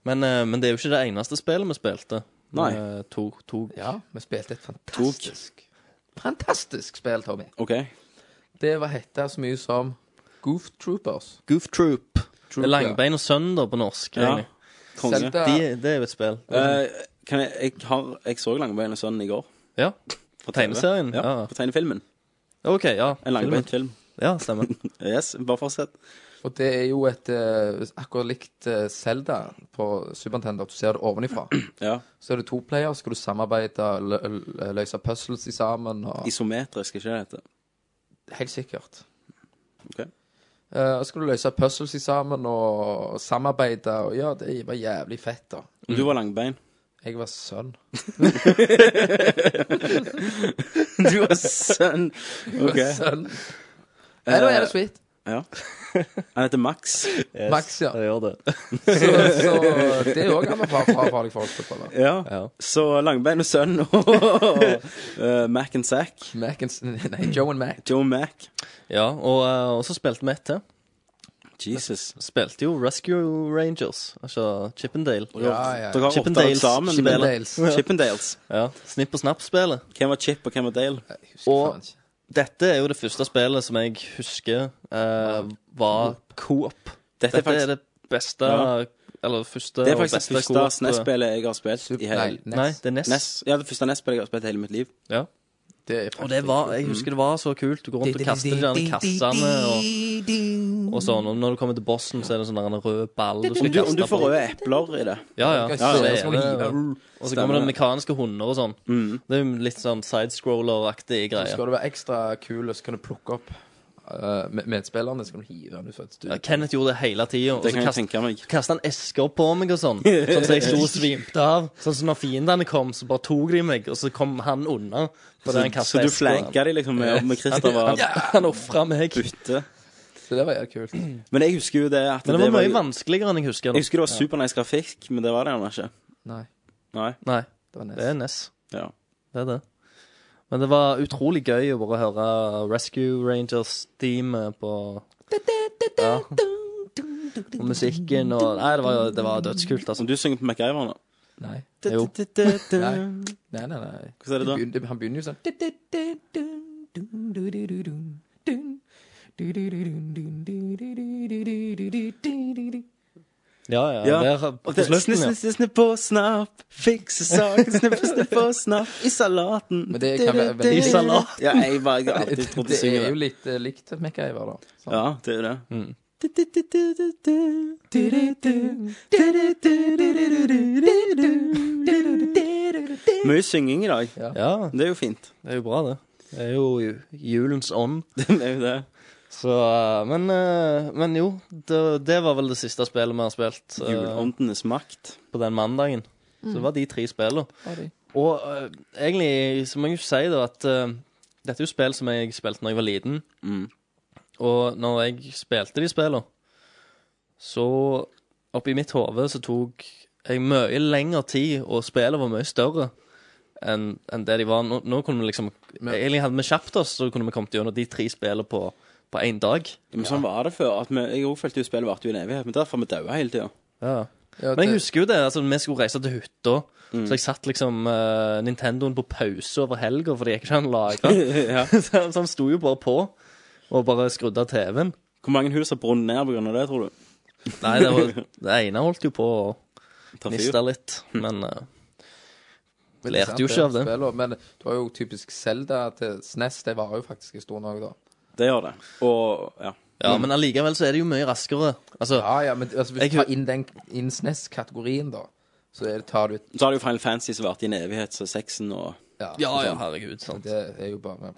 B: Men, eh, men det er jo ikke det eneste spillet vi spilte.
A: Nei.
B: Eh, To, to.
I: Ja, vi spilte et fantastisk Fantastisk spill, Tommy.
A: OK?
I: Det var hette så mye som Goof Troopers.
B: Goof Troop.
I: Troop,
B: Det er Langbein og Sønn da, på norsk.
A: Ja.
B: egentlig.
A: Konge.
I: Zelda-
B: De, det er jo et spill.
A: Eh, kan jeg, jeg, har, jeg så Langbein og Sønnen i går.
B: ja.
A: På
B: Tegneserien?
A: Ja,
B: Ja.
A: På tegnefilmen.
B: OK, ja.
A: En langbeint film.
B: Ja, stemmer.
A: Yes, bare fortsett.
I: Og det er jo et eh, akkurat likt eh, Zelda på Super Nintendo. at Du ser det ovenifra.
A: Ja.
I: Så er det to player, så skal du samarbeide, lø lø- løse puzzles i sammen. Og...
A: Isometrisk, ikke det heter.
I: Helt sikkert.
A: Ok.
I: Eh, og skal du løse puzzles i sammen og samarbeide, og ja, det var jævlig fett, da.
A: Du var langbein.
I: Jeg var sønn.
A: Du var sønn. OK. Eh,
I: Sønn. Nei, da er det sweet.
A: Ja. Han heter Max.
B: Yes,
I: Max, ja.
B: Det gjør det.
I: Så, så det òg kan være farlig for folk til å prøve.
A: Ja.
B: Ja.
A: Så Langbein og Sønn og eh, Mac and Zack.
I: Mac and, nei, Joe and Mac.
A: Joe Mac.
B: ja og, eh, og så spilte vi et til.
A: Jesus.
B: Spilte jo Rescue Rangers, altså Chippendale.
I: Ja, ja.
A: Dere har rotta dere
B: Chippendales.
A: sammen.
B: Chippendales.
A: Chippendales.
B: Ja, Snipp og snapp-spillet.
A: Hvem var Chip, og hvem var Dale?
B: Og dette er jo det første spillet som jeg husker eh, var coop.
A: Dette
B: Dette
A: er faktisk
B: er det beste
A: Ja.
B: Eller første
A: det er
B: og
A: faktisk
B: beste
A: det første
B: coop- eh,
A: SNES-spillet jeg har spilt i hele
B: Nei, det er Ness.
A: NES. Ja, det første NES-spillet jeg har spilt i hele mitt liv.
B: Ja.
I: Det er
A: Mm.
B: Og det var, jeg husker det var så kult. Du går rundt og kaster de der kassene og Og sånn, og når du kommer til bossen, så er det en sånn der en rød ball du
A: Om
B: skal
A: du, om du
B: kaste
A: får
B: på.
A: røde epler i det.
B: Ja, ja.
I: Skal
B: Så
I: jeg se,
B: er
I: skal
B: det-
I: jeg sånn hive?
B: Og så kommer
A: Stemmer Mm.
B: det
A: det.
B: mekaniske hunder og sånn. Det er jo litt sånn sidescroller-aktig
I: Så
B: greie.
I: skal du være ekstra kul, og så kan du plukke opp eh, med- medspillerne. Så kan du hive den ut fra et
B: Ja,
I: studie.
B: Kenneth gjorde det hele tida. Og
A: Det
B: så
A: kan jeg
B: kast,
A: tenke meg.
B: kasta han esker på meg og sånn. Sånn som jeg sto og svimte av. Sånn som når fiendene kom, så bare tok de meg, og så kom han unna. På det han
A: Så, så
B: kastet
A: du
B: esker på
A: flanka de liksom med, med Christer
B: han.
A: var
B: Han, han ofra meg.
A: bytte.
I: Så det var jævlig kult.
A: Men jeg husker jo det at
B: Men det var mye
A: jo-
B: vanskeligere enn jeg husker.
A: Jeg
B: det.
A: husker det var supernice grafikk, men det var det gjerne ikke.
I: Nei,
A: Nei.
B: Nei,
I: det var
B: det
I: nesten
B: er Ness.
A: Ja.
B: Det er det. Men det var utrolig gøy å bare høre Rescue Rangers-teamet på ja. Og musikken og Nei, det var, det var dødskult, altså.
A: Som du synger på MacGyver nå.
I: Nei.
B: Jo.
I: Nei. Nei, nei, nei.
A: Hvordan er det da?
I: Det begynner- han begynner jo sånn
B: Ja, ja.
A: Ja.
B: Der, på
A: Og det-
B: slutten,
A: Snipp,
B: ja.
A: snipp, snipp, snipp på snapp. Fikse saken, snipp, snipp på snapp. I salaten.
I: Men det kan være veldig-
B: I salat.
A: Ja, jeg bare jeg har alltid trodd de
I: Det
A: synger
I: er jo
A: det.
I: litt sånn. eh, likt MacGyver, da. Så-
A: Ja, det er jo det. Mye synging i dag.
B: Ja,
A: Det er jo fint.
B: det er jo bra, det. Det er jo ju- julens ånd.
A: Det er jo det.
B: Så eh, Men, eh, men jo, det, det var vel det siste spillet vi har spilt eh,
A: Juleåndenes makt.
B: på den mandagen. Så det var de tre spillene. Og eh, egentlig så må jeg jo si da at eh, dette er jo spill som jeg spilte når jeg var liten.
A: Mm.
B: Og når jeg spilte de spillene, så oppi mitt hode så tok jeg mye lengre tid, og spillene var mye større enn enn det de var. Nå, nå kunne vi liksom Egentlig hadde vi kjapt oss, så kunne vi kommet gjennom de tre spillene på på én dag.
A: Men sånn var det før. At vi, jeg òg følte jo spillet varte jo en evighet, men derfor vi daua hele tida.
B: Ja. Men
I: Ja,
B: jeg
I: det- Mm.
B: husker jo det. altså Vi skulle reise til hytta. Så jeg satt liksom eh, Nintendoen på pause over helga fordi jeg ikke hadde lagra. så, så han sto jo bare på og bare skrudde av TV-en.
A: Hvor mange hus har brunnet ned pga. det, tror du?
B: Nei, det, var, det ene holdt jo på å
A: Ta fyr.
B: miste litt, men eh,
I: Men
B: Lærte
I: sant,
B: jo ikke av det.
I: spiller, Men du har jo typisk Zelda til SNES. Det varer jo faktisk en stund òg, da.
A: Det gjør det. Og ja.
B: Ja, men allikevel så er det jo mye raskere. Altså,
I: Mm. Ja, ja, men altså, hvis
B: Jeg
I: du
B: hø-
I: tar inn den inn SNES-kategorien, da, så er det, tar du et
A: Så har du jo Final Fantasy som varte i en evighet, så sexen og
B: ja, ja, herregud. Sant.
I: Det er jo bare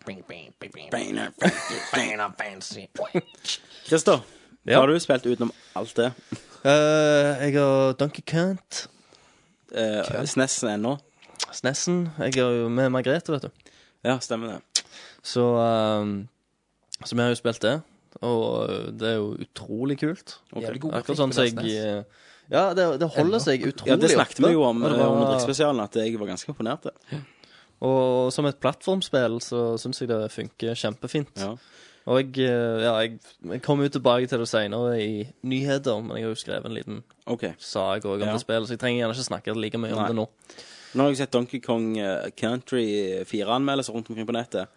A: Christer,
B: Ja.
A: har du spilt utenom alt det?
B: Eh, jeg har Donkey Kant,
A: Eh, SNES ennå?
B: Snessen Jeg er jo med Margrethe, vet du.
A: Ja, stemmer det.
B: Så, ehm, så vi har jo spilt det, og eh, det er jo utrolig kult.
I: Jævlig god
B: Akkurat
I: grafikk
B: sånn
I: på
B: som jeg
I: SNES.
B: eh, Ja, det, det holder seg utrolig
A: Ja, Det snakket vi jo om
B: og,
A: eh,
B: det var-
A: under drikkspesialen, at jeg var ganske imponert. det.
B: og som et plattformspill så syns jeg det funker kjempefint.
A: Ja.
B: Og jeg, eh, ja, jeg, jeg kommer jo tilbake til det seinere i nyheter, men jeg har jo skrevet en liten
A: OK.
B: sag også om
A: Ja.
B: det spillet, så jeg trenger gjerne ikke snakke like mye om
A: Nei.
B: det nå.
A: Nå har jeg sett Donkey Kong eh, Country 4-anmeldelser rundt omkring på nettet.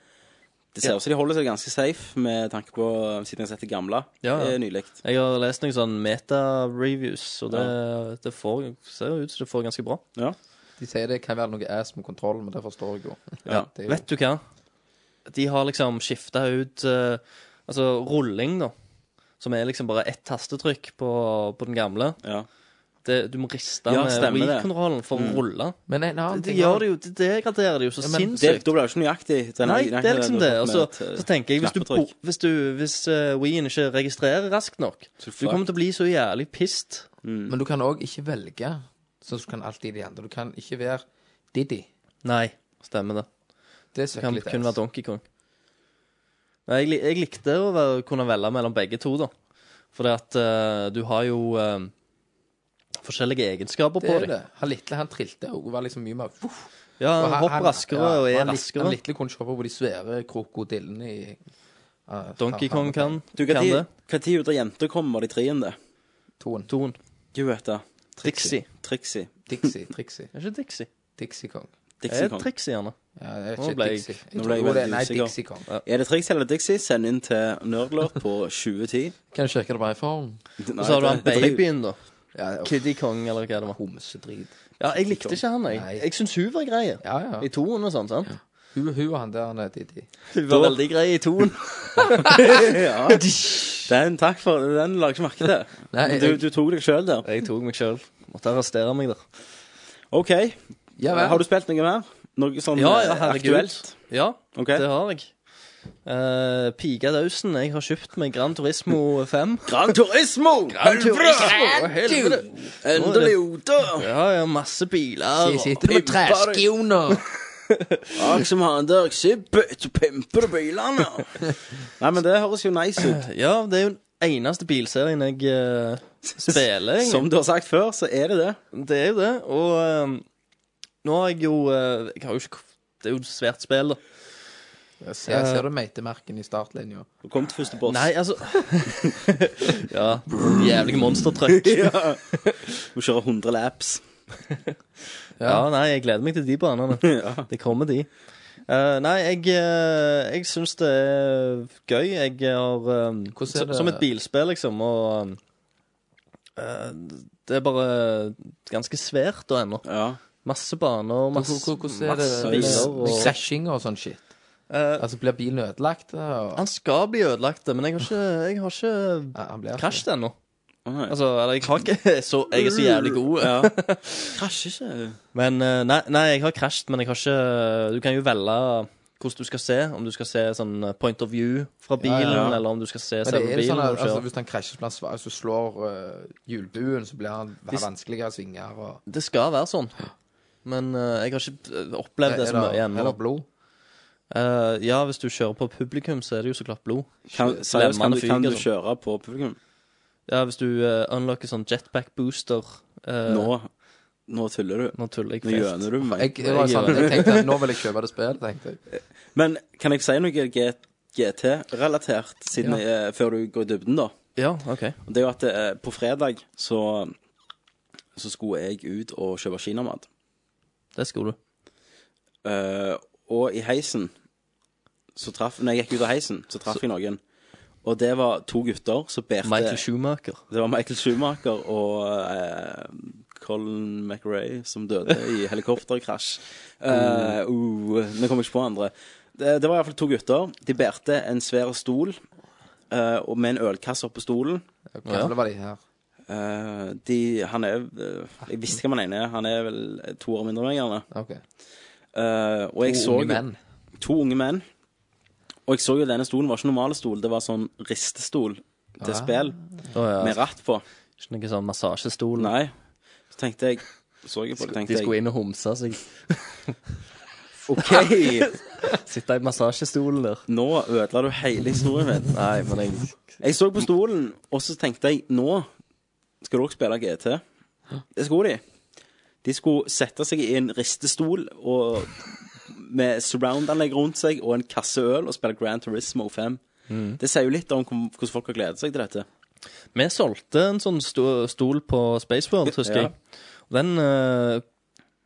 A: Det ser ut som de holder seg ganske safe, med tanke på eh, siden jeg har sett det gamle
B: Ja, ja.
A: eh, nylig.
B: Jeg har lest noen sånn meta-reviews, og det, det får, ser ut som det får ganske bra.
A: Ja.
I: De sier det kan være noe ass med kontroll, men det forstår jeg jo.
A: Ja.
I: Det er jo
B: Vet du hva? De har liksom skifta ut eh, Altså rulling, da. Som er liksom bare ett tastetrykk på, på den gamle.
A: Ja.
B: Det, du må riste
A: Ja,
B: med
A: stemmer det. Mm.
B: Wii-kontrollen for å rulle.
I: Men en annen
B: Det,
I: ting
B: gjør det jo, det degraderer det jo så
A: Det,
B: sinnssykt.
A: da ble det ikke nøyaktig. den-
B: Nei,
A: den-
B: det er
A: den-
B: liksom det.
A: den-
B: Og
A: med
B: så,
A: et, eh,
B: så tenker jeg, hvis du, bo-
A: knappetrykk.
B: hvis, du, hvis eh, Wii-en ikke registrerer raskt nok, du
A: fuck.
B: kommer til å bli så jævlig pissed.
I: Men du kan òg ikke velge, sånn som du kan alltid de andre. Du kan ikke være Diddy.
B: Nei, stemmer det.
I: Det
B: Det
I: søker
B: kan
I: litt
B: kun være
I: ass.
B: Donkey Kong. Nei, jeg, li- jeg likte å være, kunne velge mellom begge to, da. Fordi at eh, du har jo eh, forskjellige egenskaper
I: Det
B: på
I: er
B: dem.
I: det. Han lille, han trilte og var liksom mye mer voff.
B: Ja,
I: Og
B: han hopper raskere
I: ja,
B: og er
I: han, raskere. Han
B: raskere.
I: lille kunne ikke hoppe på de svære krokodillene i eh,
B: Donkey
I: Har-
B: Kong kan,
A: Du,
B: kan det.
A: Når tid ut av jenter kommer de treende?
I: Toen.
B: Toen.
A: Du vet det.
B: Trixie.
A: Trixie.
I: Dixie. Trixie.
B: Er ikke Dixie?
I: Dixie Kong.
A: Dixie
B: Er
A: Kong.
B: Trixie, gjerne.
I: Ja, jeg vet
B: Nå
I: ikke.
B: ble jeg-
I: Dixie.
A: nå
I: Jeg
A: ble jeg
I: tror det,
A: veldig
I: nei,
A: usikker.
I: Dixie Kong.
A: Er det Trixie eller Dixie, send inn til Nerdlurt på 2010.
I: Kan du sjekke det på iPhone?
B: Og så har du han babyen, da.
I: Ja, det
B: Kiddy Kong, eller hva det var.
I: Homsedrit.
B: Ja, jeg likte ikke han,
I: Nei.
B: jeg. Jeg syns hun var grei.
I: Ja, ja.
B: I toen og sånn, sant?
I: Hun, hun og han der han er Didi.
B: Hun var veldig grei i toen.
A: Den, takk for Den la jeg ikke merke til.
I: Nei,
A: Du,
I: jeg,
A: du tok deg sjøl der.
B: Jeg tok meg sjøl. Måtte arrestere meg der.
A: OK.
I: ja, vel.
A: Har du spilt noe mer? Noe sånn
B: Ja, ja,
A: eh,
B: herregud.
A: aktuelt?
B: Ja,
A: OK.
B: det har jeg. Uh, Pika dausen. Jeg har kjøpt meg Gran Turismo 5.
A: Gran Turismo!
B: Gran Turismo,
A: Helvete! Endelig ute!
B: Ja, ja, masse biler.
I: jeg sitter med træskioner.
A: Jeg som har en der sibbet, pimper bilene. Nei, men det høres jo nice ut.
B: Ja, det er jo den eneste bilserien jeg eh, spiller. egentlig.
A: Som du har sagt før, så er det det.
B: Det er jo det. Og eh, nå har jeg jo eh, Jeg har jo ikke Det er jo et svært spill, da.
I: Jeg ser, ser du meitemerken i startlinja?
A: Du kom til første boss.
B: Nei, altså Ja. Jævlige monstertruck.
A: Ja. Må kjøre 100 laps.
B: Ja, nei, jeg gleder meg til de banene.
A: Ja.
B: Det kommer de. Eh, nei, jeg, uh, jeg syns det er gøy. Jeg har eh,
I: Hvordan er
B: s-
I: det-
B: Som et bilspill, liksom, og eh, Det er bare ganske svært og ennå.
A: Ja.
B: Masse baner,
I: Hvor-
B: masse,
I: hvor- Hvordan er
B: masse
I: det
B: biler.
A: Biler
B: Og...
I: krasjing og sånn shit?
B: Eh,
I: Altså, blir bilen ødelagt? eh, Og...
B: han skal bli ødelagt, men jeg har ikke, jeg har ikke
I: Ja, han blir
B: krasjet ennå.
A: Å, nei.
B: Altså, eller jeg har ikke så, Jeg er så jævlig god.
A: Ja. Krasjer ikke.
B: Men eh, nei, nei, jeg har krasjet, men jeg har ikke eh, Du kan jo velge hvordan du skal se. Om du skal se sånn eh, point of view fra bilen,
A: ja.
B: eller om du skal se
I: Men det
B: selve
I: er det
B: bilen.
I: sånn
B: når
I: at
B: du kjører.
I: altså, Hvis han krasjer, så blir han svær, hvis du slår eh, hjulbuen, så blir han har
B: Hvis-
I: vanskeligere svinger. Og...
B: Det skal være sånn. Men eh, jeg har ikke eh,
I: Er,
B: opplevd det
I: er,
B: så mye
I: det, er
B: ennå.
I: det blod?
B: Eh, ja, hvis du kjører på publikum, så er det jo så klart blod.
A: Kan, seriøst, kan,
B: Lemmene
A: du, kan
B: fyker
A: du
B: sånn.
A: kjøre på publikum?
B: Ja, hvis du eh, unlocker sånn jetpack booster eh,
A: Nå, nå tuller du.
B: Nå tuller jeg
A: Nå
B: fest.
A: gjøner du med
I: Jeg,
A: meg.
I: det var
B: Jeg
I: sånn,
B: gjør
I: jeg tenkte at nå vil jeg kjøpe det spillet, tenkte jeg.
A: Men kan jeg si noe GT-relatert siden eh, før du går i dybden, da?
B: Ja, OK.
A: Og Det er jo at eh, på fredag så, så skulle jeg ut og kjøpe kinamat.
B: Det skulle du.
A: Eh, og i heisen så traff Når jeg gikk ut av heisen, så traff jeg noen. Og det var to gutter som bærte
B: Michael Schumacher.
A: Det var Michael Schumacher og eh, Colin McRae som døde i helikopterkrasj.
I: Mm.
A: Eh, uh, nå kommer jeg ikke på andre. Det, det var iallfall to gutter. De bærte en svær stol eh, og med en ølkasse oppå stolen.
I: Hvor gamle var de her?
A: Eh, de, han er eh, Jeg visste hva man ene er. Han er vel to år mindre enn meg, gjerne.
I: Ok.
A: Eh, og jeg
I: To
A: så
I: unge
A: jo-
I: menn.
A: To unge menn. Og jeg så jo denne stolen var ikke normal stol, det var sånn ristestol til
I: Ah.
A: spill
B: Å ja.
A: med ratt på.
B: Ikke noe sånn massasjestol.
A: Nei. Så tenkte jeg Så jeg på det, tenkte
B: De skulle
A: jeg
B: inn og homse seg.
A: OK,
B: Sitte i massasjestolen der.
A: nå ødela du hele historien min.
B: Nei, men jeg
A: Jeg så på stolen, og så tenkte jeg Nå skal dere spille GT. Det skulle de. De skulle sette seg i en ristestol og med surround-anlegg rundt seg og en kasse øl og spille Grand Turismo 5.
B: Mm.
A: Det sier jo litt om hvor- hvordan folk har gledet seg til dette.
B: Vi solgte en sånn sto- stol på Spaceworld, husker
A: Ja.
B: jeg. Og Den, eh,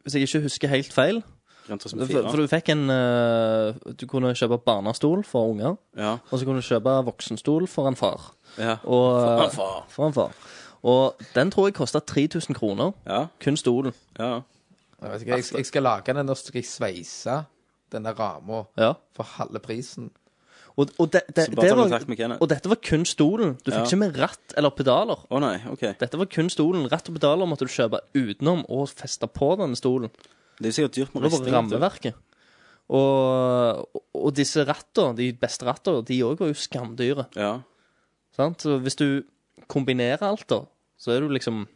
B: hvis jeg ikke husker helt feil
A: Grand Turismo
B: For,
A: 4.
B: for du fikk en eh, Du kunne kjøpe barnestol for unger,
A: Ja.
B: og så kunne du kjøpe voksenstol for en far.
A: Ja.
B: Og, eh,
A: For en far.
B: For en far. Og den tror jeg kosta 3000 kroner.
A: Ja.
B: Kun stolen.
A: ja.
I: Jeg, vet ikke, jeg, jeg skal lage den, og så skal jeg sveise den der rama
B: Ja.
I: for halve prisen.
B: Og, og, det- det-
A: Så bare
B: det
A: ta
B: var-
A: kontakt med Kenneth.
B: og dette var kun stolen. Du
A: Ja.
B: fikk ikke med ratt eller pedaler.
A: Å nei, OK.
B: Dette var kun stolen. Ratt og pedaler måtte du kjøpe utenom og feste på denne stolen.
A: Det er jo sikkert dyrt med
B: Det var bare
A: risting. vet du.
B: rammeverket. Og, og disse rattene, de beste rattene, de òg var jo skamdyre.
A: Ja.
B: Sant? Så hvis du kombinerer alt, da, så er du liksom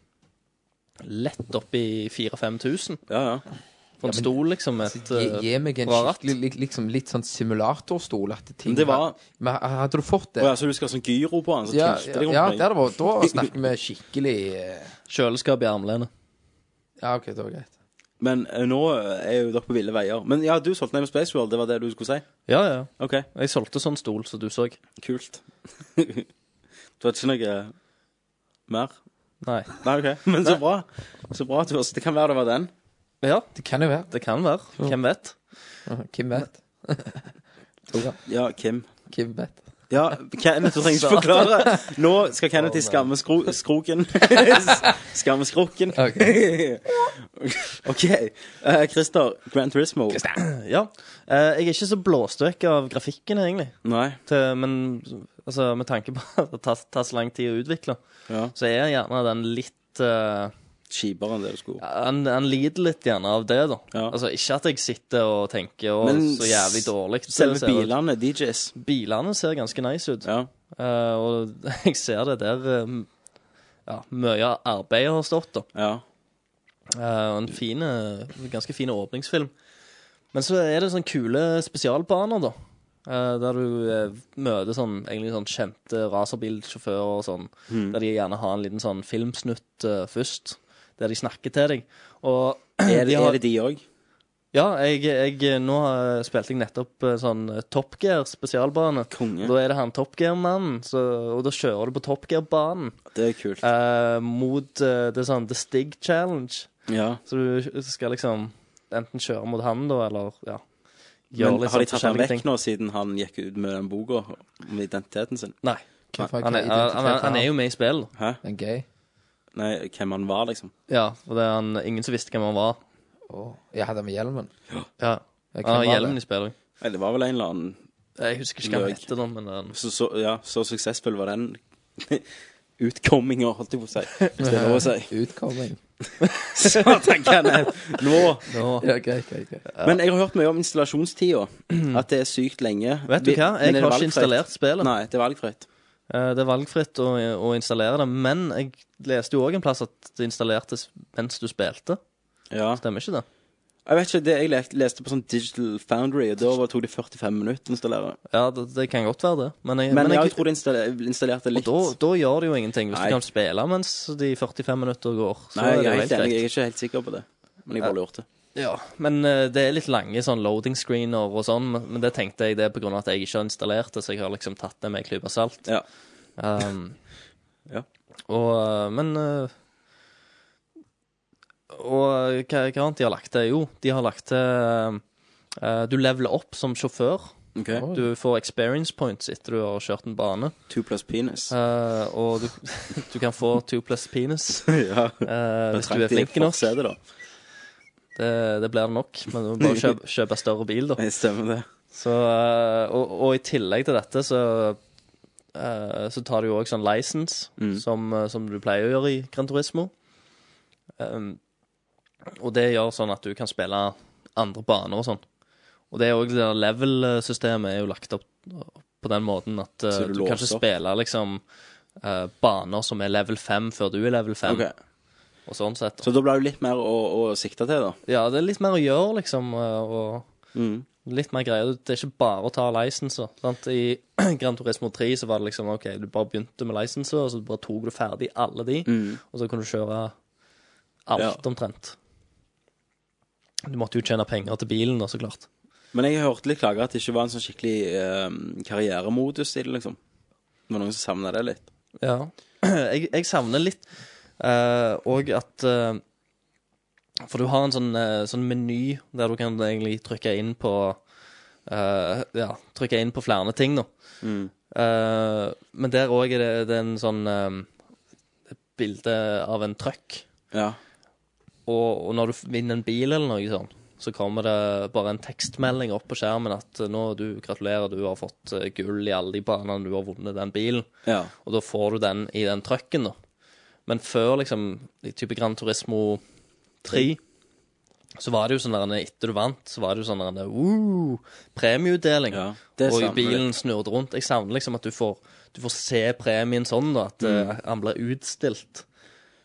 B: lett oppi 4000-5000
A: Ja, ja.
B: for en stol, liksom. Et
I: altså,
B: eh,
I: Gi, gi meg en
B: bra ratt.
I: skikkelig li- liksom, litt sånn simulatorstol. At ting,
A: Men det var-
I: Men Hadde du
A: Å
I: fått det?
A: ja, så du skal ha sånn gyro på den? Så
I: Ja,
A: tilte
I: ja,
A: de rundt
I: ja
A: meg.
I: det hadde vært Da snakker vi skikkelig eh,
B: kjøleskap i armlenet.
I: Ja, OK, det var greit.
A: Men eh, nå er jo dere på ville veier. Men ja, du solgte ned med Space World, det var det du skulle si?
B: Ja, ja.
A: OK,
B: Jeg solgte sånn stol som du så.
A: kult. du hadde ikke noe eh, mer?
B: Nei.
A: Nei, OK. Men så bra. Så bra at du også Det kan være det var den.
B: Ja,
I: Det kan jo være.
B: det kan være. Hvem vet?
I: Hvem vet? Tora.
A: Ja, Kim.
I: Hvem vet?
A: Ja, Kenneth du trenger ikke forklare. Nå skal Kenneth i skammeskroken. Skammeskroken.
I: Ok.
A: OK. Eh, Christer, Grand Turismo.
B: Ja. Eh, jeg er ikke så blåst vekk av grafikken, egentlig.
A: Nei.
B: Til, eh, men altså, med tanke på at det tar, tar så lang tid å utvikle,
A: Ja.
B: så er gjerne den litt eh,
A: Kjipere enn det du skulle.
B: han, han lider litt gjerne av det, da.
A: Ja.
B: Altså, ikke at jeg sitter og tenker å,
A: Men
B: så jævlig dårlig. det
A: Selve
B: ser ut».
A: bilene, DJs.
B: Bilene ser ganske nice ut.
A: Ja.
B: Eh, og jeg ser det der eh, ja, mye av arbeidet har stått, da.
A: ja.
B: Eh, og en fin, eh, ganske fin åpningsfilm. Men så er det sånne kule spesialbaner, da. eh, der du eh, møter sånn, egentlig sånn kjente racerbilsjåfører og sånn.
A: Mm.
B: Der de gjerne har en liten sånn filmsnutt eh, først, der de snakker til deg. Og
A: Er, det,
B: de har-
A: er det Eh, de òg?
B: Ja, jeg, jeg, nå eh, spilte jeg nettopp eh, sånn eh, Top Gear spesialbane.
A: Konge.
B: Da er det han Top Gear-mannen, så- og da kjører du på Top Gear-banen
A: Det er kult.
B: eh, mot eh, det er sånn The Stig Challenge.
A: Ja.
B: Så du skal liksom enten kjøre mot han, da, eller ja.
A: Men har de tatt han
B: liksom forskjellige
A: vekk nå, siden han gikk ut med den boka om identiteten sin?
B: Nei.
I: Hva for en
B: Han er,
I: identitet
B: han, han, han
I: har
B: er jo med i spillet.
A: Hæ?
I: En gay.
A: Nei, hvem han var, liksom.
B: Ja, for det er han, ingen som visste hvem han var.
I: Åh, Jeg hadde med hjelmen.
B: Ja.
I: Ja, hvem
B: Han har
I: var
B: hjelmen
I: det?
B: i spillet.
A: Nei, det var vel en eller annen
B: Jeg husker ikke hva han
A: Løk.
B: heter, da, men eh, han-
A: Så, så, ja, så suksessfull var den utkomminga, holdt jeg på å si. Hvis det er lov å si.
I: Utkomming.
A: Satan, Kenneth. Nå.
I: Ja, greit, greit, greit.
A: Men jeg har hørt mye om installasjonstida. At det er sykt lenge.
B: Vet du
A: Vi-
B: hva? Jeg
A: men er det
B: har ikke
A: valgfritt?
B: installert spillet.
A: Nei, det er valgfritt.
B: Eh, Det er valgfritt å, å installere det, men jeg leste jo òg en plass at det installertes mens du spilte.
A: Ja.
B: Stemmer ikke det?
A: Jeg vet ikke, det jeg le- leste på sånn Digital Foundry, og da var- tok det 45 minutter å installere.
B: Ja, det, det kan godt være det. Men jeg,
A: Men,
B: men
A: ja,
B: jeg,
A: jeg tror det installer- installerte
B: og
A: litt.
B: da, da gjør det jo ingenting hvis
A: Nei.
B: du kan spille mens de 45 minutter går. Så
A: Nei,
B: er
A: jeg
B: det
A: er helt
B: jo helt
A: enig. Jeg er
B: greit.
A: ikke helt sikker på det. Men jeg bare lurte.
B: Ja, men eh, det er litt lange sånn loading screener og sånn, men men det tenkte jeg det er på grunn av at jeg ikke har installert det, så jeg har liksom tatt det med en klype salt.
A: Ja.
B: Um,
A: Ja.
B: Og, eh, men eh, Og eh, hva, hva annet de har lagt til? Jo, de har lagt til eh, Du leveler opp som sjåfør.
A: OK.
B: Du får experience points etter du har kjørt en bane.
A: Two plus penis.
B: Eh, og du, du kan få two plus penis
A: ja.
B: eh, hvis du er
A: Traktig
B: flink nok.
A: fortsette, da.
B: Det, det blir det nok, men du må bare kjøpe, kjøpe større bil, da.
A: Det stemmer, det.
B: Så, eh, og, og i tillegg til dette så eh, Så tar du jo òg sånn license,
A: Mm.
B: som, eh, som du pleier å gjøre i Gran Turismo. Um, og det gjør sånn at du kan spille andre baner og sånn. Og det er òg det der level-systemet er jo lagt opp på den måten at eh,
A: Så du
B: du, kan ikke
A: låser opp?
B: spille liksom eh, baner som er level 5 før du er level 5,
A: Ok.
B: og sånn sett.
A: Så da ble det litt mer å, å sikte til, da.
B: Ja, det er litt mer å gjøre, liksom. eh, og
A: Mm.
B: litt mer greier. Det er ikke bare å ta lisenser. Sant? I Gran Turismo 3 så var det liksom OK, du bare begynte med lisenser, og så bare tok du ferdig alle de,
A: Mm.
B: og så kunne du kjøre alt
A: Ja.
B: omtrent. Du måtte jo tjene penger til bilen, da, så klart.
A: Men jeg hørte litt klager at det ikke var en sånn skikkelig eh, karrieremodus i det, liksom. Det var noen som savna det litt.
B: Ja. Jeg, jeg savner litt eh, og at eh, For du har en sånn, eh, sånn meny der du kan egentlig trykke inn på eh, Ja, trykke inn på flere ting, da. Eh, men der òg er det, det er en sånn eh, et bilde av en trøkk.
A: Ja.
B: Og, og når du vinner en bil eller noe sånn, så kommer det bare en tekstmelding opp på skjermen at eh, nå, du, gratulerer, du har fått eh, gull i alle de banene, du har vunnet den bilen.
A: ja.
B: Og da får du den i den trøkken, da. Men før, liksom, i type Gran Turismo 3, så var det jo sånn der, etter du vant, så var det jo sånn der, woo, premieutdeling.
A: Ja, det
B: og
A: savner
B: bilen snurret rundt. Jeg savner liksom at du får, du får se premien sånn, da, at eh, han blir utstilt. eh,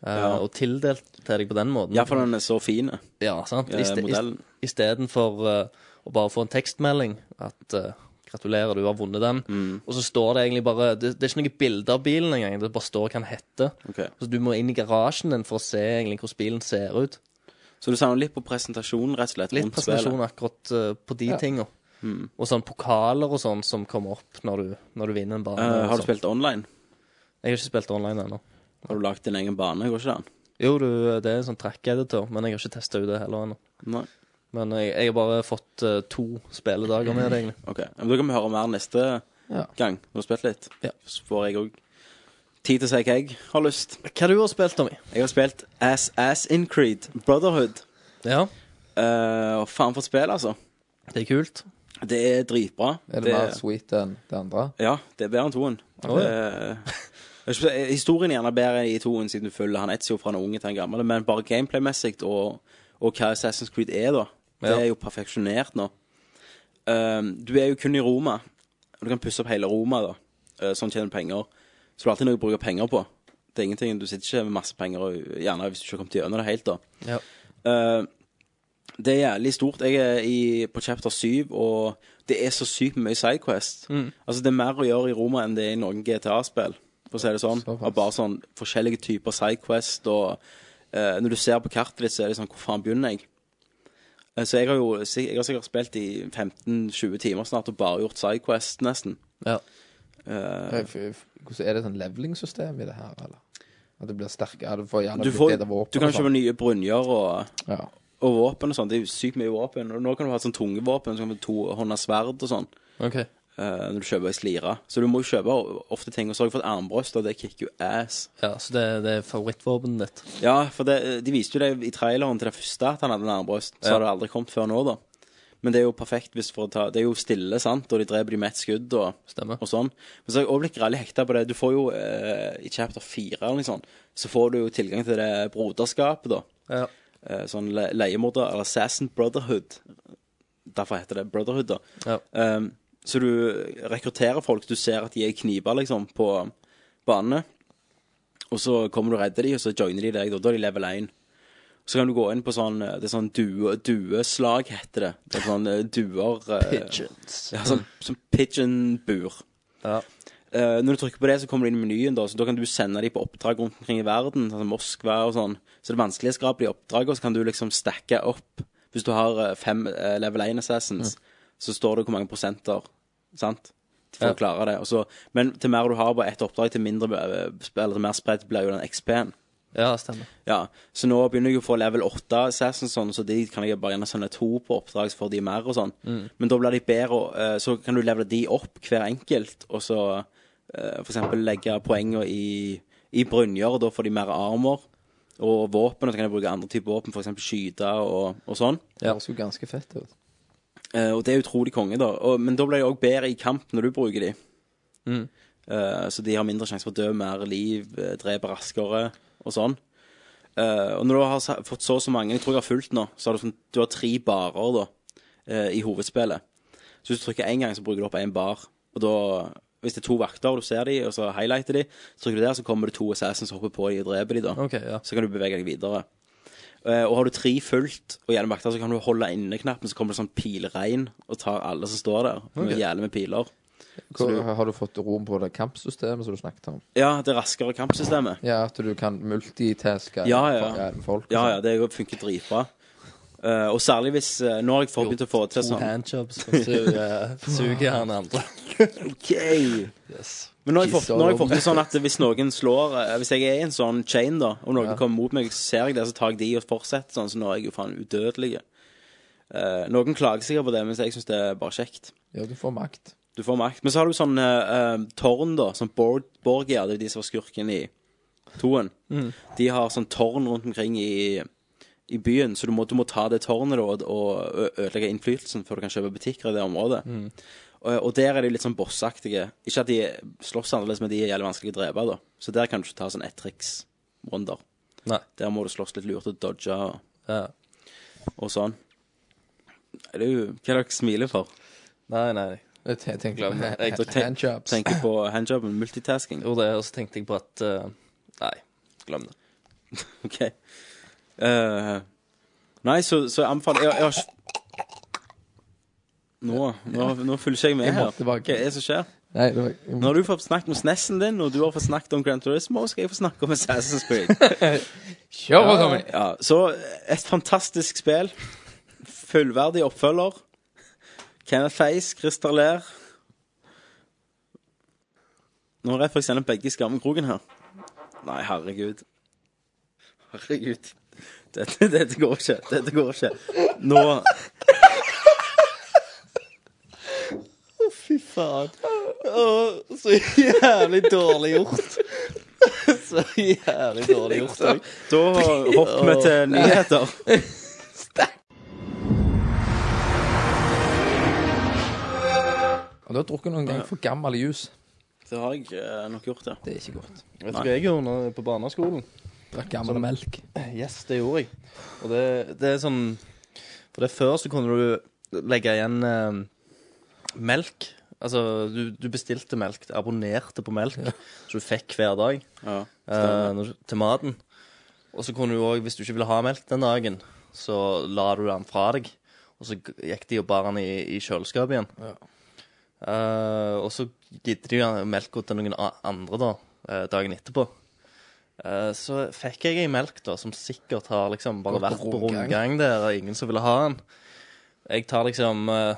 A: Mm. Ja.
B: Og tildelt til deg på den måten.
A: Iallfall den er så fin.
B: Ja, sant?
A: eh, modellen.
B: Istedenfor uh, å bare få en tekstmelding at eh, gratulerer, du har vunnet den. Og så står det egentlig bare det, det er ikke noe bilde av bilen engang. Det bare står hva den heter.
A: Ok.
B: Så du må inn i garasjen din for å se egentlig hvordan bilen ser ut.
A: Så du savner litt på presentasjonen, rett og slett.
B: Litt
A: rundt
B: presentasjon
A: spillet.
B: akkurat eh, på de tinga. Og sånn pokaler og sånn som kommer opp når du, når du vinner en bane.
A: Eh, har
B: og
A: du
B: sånn.
A: spilt online?
B: Jeg har ikke spilt online ennå.
A: Har du lagd din egen bane? Går ikke det an?
B: Jo, du, det er en sånn track editor, men jeg har ikke testa ut det heller ennå.
A: Nei.
B: Men jeg, jeg har bare fått eh, to spilledager med det, egentlig.
A: OK. Men da kan vi høre mer neste
I: Ja.
A: gang du har spilt litt.
B: Ja.
A: Så får jeg òg tid til å si hva jeg har lyst.
B: Hva du har spilt, Tommy?
A: Jeg har spilt Ass Ass in Creed Brotherhood.
B: Ja,
A: Eh, og faen for et spill, altså.
B: det er kult.
A: Det er dritbra.
I: Er det, mer sweet enn det andre?
A: Ja, det er bedre enn toen.
B: Å, ja.
A: Eh, jeg skal si, Historien er gjerne bedre i toen, siden du følger han Etzio fra han er unge til han gamle, men bare gameplay-messig og, og hva Assassin's Creed er, da. Det
B: Ja.
A: er jo perfeksjonert nå. Um, du er jo kun i Roma, og du kan pusse opp hele Roma, da. Eh, sånn tjener du penger. Så det er alltid noe å bruke penger på. Det er ingenting, Du sitter ikke med masse penger, og gjerne hvis du ikke har kommet gjennom det helt, da.
B: Ja.
A: Eh, det er jævlig stort. Jeg er i, på chapter 7, og det er så sykt mye Sidequest. Altså, det er mer å gjøre i Roma enn det er i noen GTA-spill, for å si det sånn.
I: Såpass.
A: Og bare sånn forskjellige typer Sidequest, og eh, når du ser på kartet ditt, så er det sånn Hvor faen begynner jeg? Eh, Så jeg har jo si- jeg har sikkert spilt i 15-20 timer snart og bare gjort Sidequest, nesten.
B: Ja.
A: Eh,
I: F- f- Hvordan er det sånn levelingsystem i det her, eller? At du blir sterkere? Du får gjerne
A: du,
I: litt
A: får,
I: bedre våpen
A: du kan
I: og sånn.
A: kjøpe nye brynjer og,
I: Ja.
A: og våpen og sånn. Det er jo sykt mye våpen. Og nå kan du ha sånn tunge våpen, så kan du ha tohånda sverd og sånn.
B: OK.
A: eh, når du kjøper ei slire. Så du må jo kjøpe ofte ting og sørge for et armbrøst, og det kicker jo ass.
B: Ja, Så det, det er favorittvåpenet ditt?
A: Ja, for det, de viste jo det i traileren til det første at han hadde en armbrøst. Så
B: Ja.
A: hadde det aldri kommet før nå, da. Men det er jo perfekt hvis for å ta Det er jo stille, sant, og de dreper de med ett skudd og,
B: Stemmer.
A: og sånn. Men så har jeg òg blitt grælig hekta på det. Du får jo eh, i chapter fire eller noe sånt, så får du jo tilgang til det broderskapet, da.
B: Ja.
A: Eh, sånn le leiemorder, eller Assassin Brotherhood. Derfor heter det Brotherhood, da.
B: Ja.
A: Ehm, så du rekrutterer folk. Du ser at de er kniver, liksom, på banene. Og så kommer du og redder de, og så joiner de deg. Da, da er de level 1. Så kan du gå inn på sånn eh, Det er sånn due, dueslag, heter det. Det er sånn eh, duer eh, Ja, sånn, sånn pigeon-bur.
B: Ja.
A: Eh, når du trykker på det, så kommer du inn i menyen, da, så da kan du sende de på oppdrag rundt omkring i verden, sånn som Moskva og sånn. Så det er vanskelig å skrape de oppdragene, og så kan du liksom stacke opp. Hvis du har eh, fem eh, level 1 assassins, så står det hvor mange prosenter, sant? For
B: Ja.
A: å klare det. Og så- men til mer du har på ett oppdrag, til mindre eh, eller til mer spredt blir jo den XP-en.
B: ja, stemmer.
A: Ja, så nå begynner jeg å få level 8 assassins sånn, så de kan jeg bare gjerne sende to på oppdrag, så får de mer og sånn. Men da blir de bedre, og eh, så kan du levele de opp hver enkelt, og så eh, for eksempel legge poenger i, i brynjer, og da får de mer armor og våpen, og så kan jeg bruke andre typer våpen, for eksempel skyte og, og sånn.
I: Det høres jo ganske fett ut.
A: Eh, og det er utrolig konge, da. Og, men da blir de òg bedre i kamp når du bruker de.
B: Mm.
A: Eh, så de har mindre sjanse for å dø, mer liv, eh, drepe raskere og sånn. Eh, og når du har sa- fått så og så mange, jeg tror jeg har fulgt nå, så har du, sånn, du har tre barer da eh, i hovedspillet. Så hvis du trykker én gang, så bruker du opp én bar. Og da, hvis det er to vakter, og du ser de, og så highlighter de, så trykker du der, så kommer det to assassins som hopper på de og dreper de da.
B: OK, ja.
A: Så kan du bevege deg videre. Eh, Og har du tre fullt og gjennom vakta, så kan du holde inne knappen, så kommer det sånn pilregn og tar alle som står der. Med
B: Ok.
A: jævlig med piler.
I: Hvor, har du fått rom på det kampsystemet som du snakket om?
A: Ja, det raskere kampsystemet.
I: Ja, at du kan multitaske
A: Ja, ja.
I: med folk. og
A: Ja, ja,
I: sånn.
A: det funker dritbra. Eh, og særlig hvis eh, Nå har jeg fått begynt å få til
B: To
A: sånn
B: handjobs og suger, suger han andre.
A: Ok.
B: Yes.
A: Men nå har jeg fått, nå har jeg fått til sånn at hvis noen slår eh, Hvis jeg er i en sånn chain, da, og noen kommer mot meg, så ser jeg det, så tar jeg de og fortsetter sånn, så nå er jeg jo faen udødelig. Eh, noen klager sikkert på det, men jeg syns det er bare kjekt.
I: ja, du får makt.
A: Du får makt. Men så har du sånn eh, eh, tårn, da. Sånn Borg, Borgia, det er de som var skurken i toen.
B: Mm.
A: De har sånn tårn rundt omkring i, i byen, så du må, du må ta det tårnet da, og, og ø- ødelegge innflytelsen før du kan kjøpe butikker i det området.
B: Mm.
A: Og, og der er de litt sånn bossaktige. Ikke at de slåss annerledes, men de er jævlig vanskelig å drepe, da. Så der kan du ikke ta sånn ett triks wonder.
B: Nei.
A: Der må du slåss litt lurt og dodge og,
B: Ja.
A: og sånn. Er det jo, hva er det dere smiler for?
B: Nei, nei. nei.
I: Jeg ten- tenker
B: Glem
I: på
B: det. Jeg
I: hand- handjobs.
A: Tenker på handjobben, multitasking.
B: Jo, det, og så tenkte jeg på at eh, Nei, glem det.
A: Ok. Eh, nei, så, så jeg anbefaler jeg, jeg har ikke nå, nå, nå følger ikke jeg med
I: Jeg
A: her.
I: måtte bare-
A: Hva er det som skjer?
I: Nei, det var,
A: Nå har du fått snakket om SNES-en din, og du har fått snakket om Grand Turismo, og skal jeg få snakke om Assassin's Creed.
I: Kjør på, Tommy!
A: Ja, så et fantastisk spill. Fullverdig oppfølger. Kenneth Feis, Christer Ler. Nå er jeg for eksempel begge i skammekroken her. Nei, herregud. Herregud. Dette, dette går ikke. Dette går ikke. Nå Å, fy
B: faen. Å, så jævlig dårlig gjort. Så jævlig dårlig gjort. også.
A: Da hopper vi til nyheter.
I: Og du har drukket noen gang for gammel jus.
A: Det har jeg eh, nok gjort, ja.
I: Det er ikke godt.
B: Vet du hva jeg gjorde når- på barneskolen?
I: Drakk gammel melk.
B: Yes, det gjorde jeg. Og det, det er sånn For det før så kunne du legge igjen eh, melk. Altså, du, du bestilte melk, du abonnerte på melk, så du fikk hver dag
A: ja.
B: eh, når- til maten. Og så kunne du òg, hvis du ikke ville ha melk den dagen, så la du den fra deg. Og så g- gikk de og bar den i, i kjøleskapet igjen. Eh, og så gidde de jo melka til noen a- andre da, eh, dagen etterpå. Eh, så fikk jeg ei melk da, som sikkert har liksom bare
I: Gått
B: vært
I: på
B: på
I: rundgang.
B: rundgang der, og ingen som ville ha den. Jeg tar liksom eh,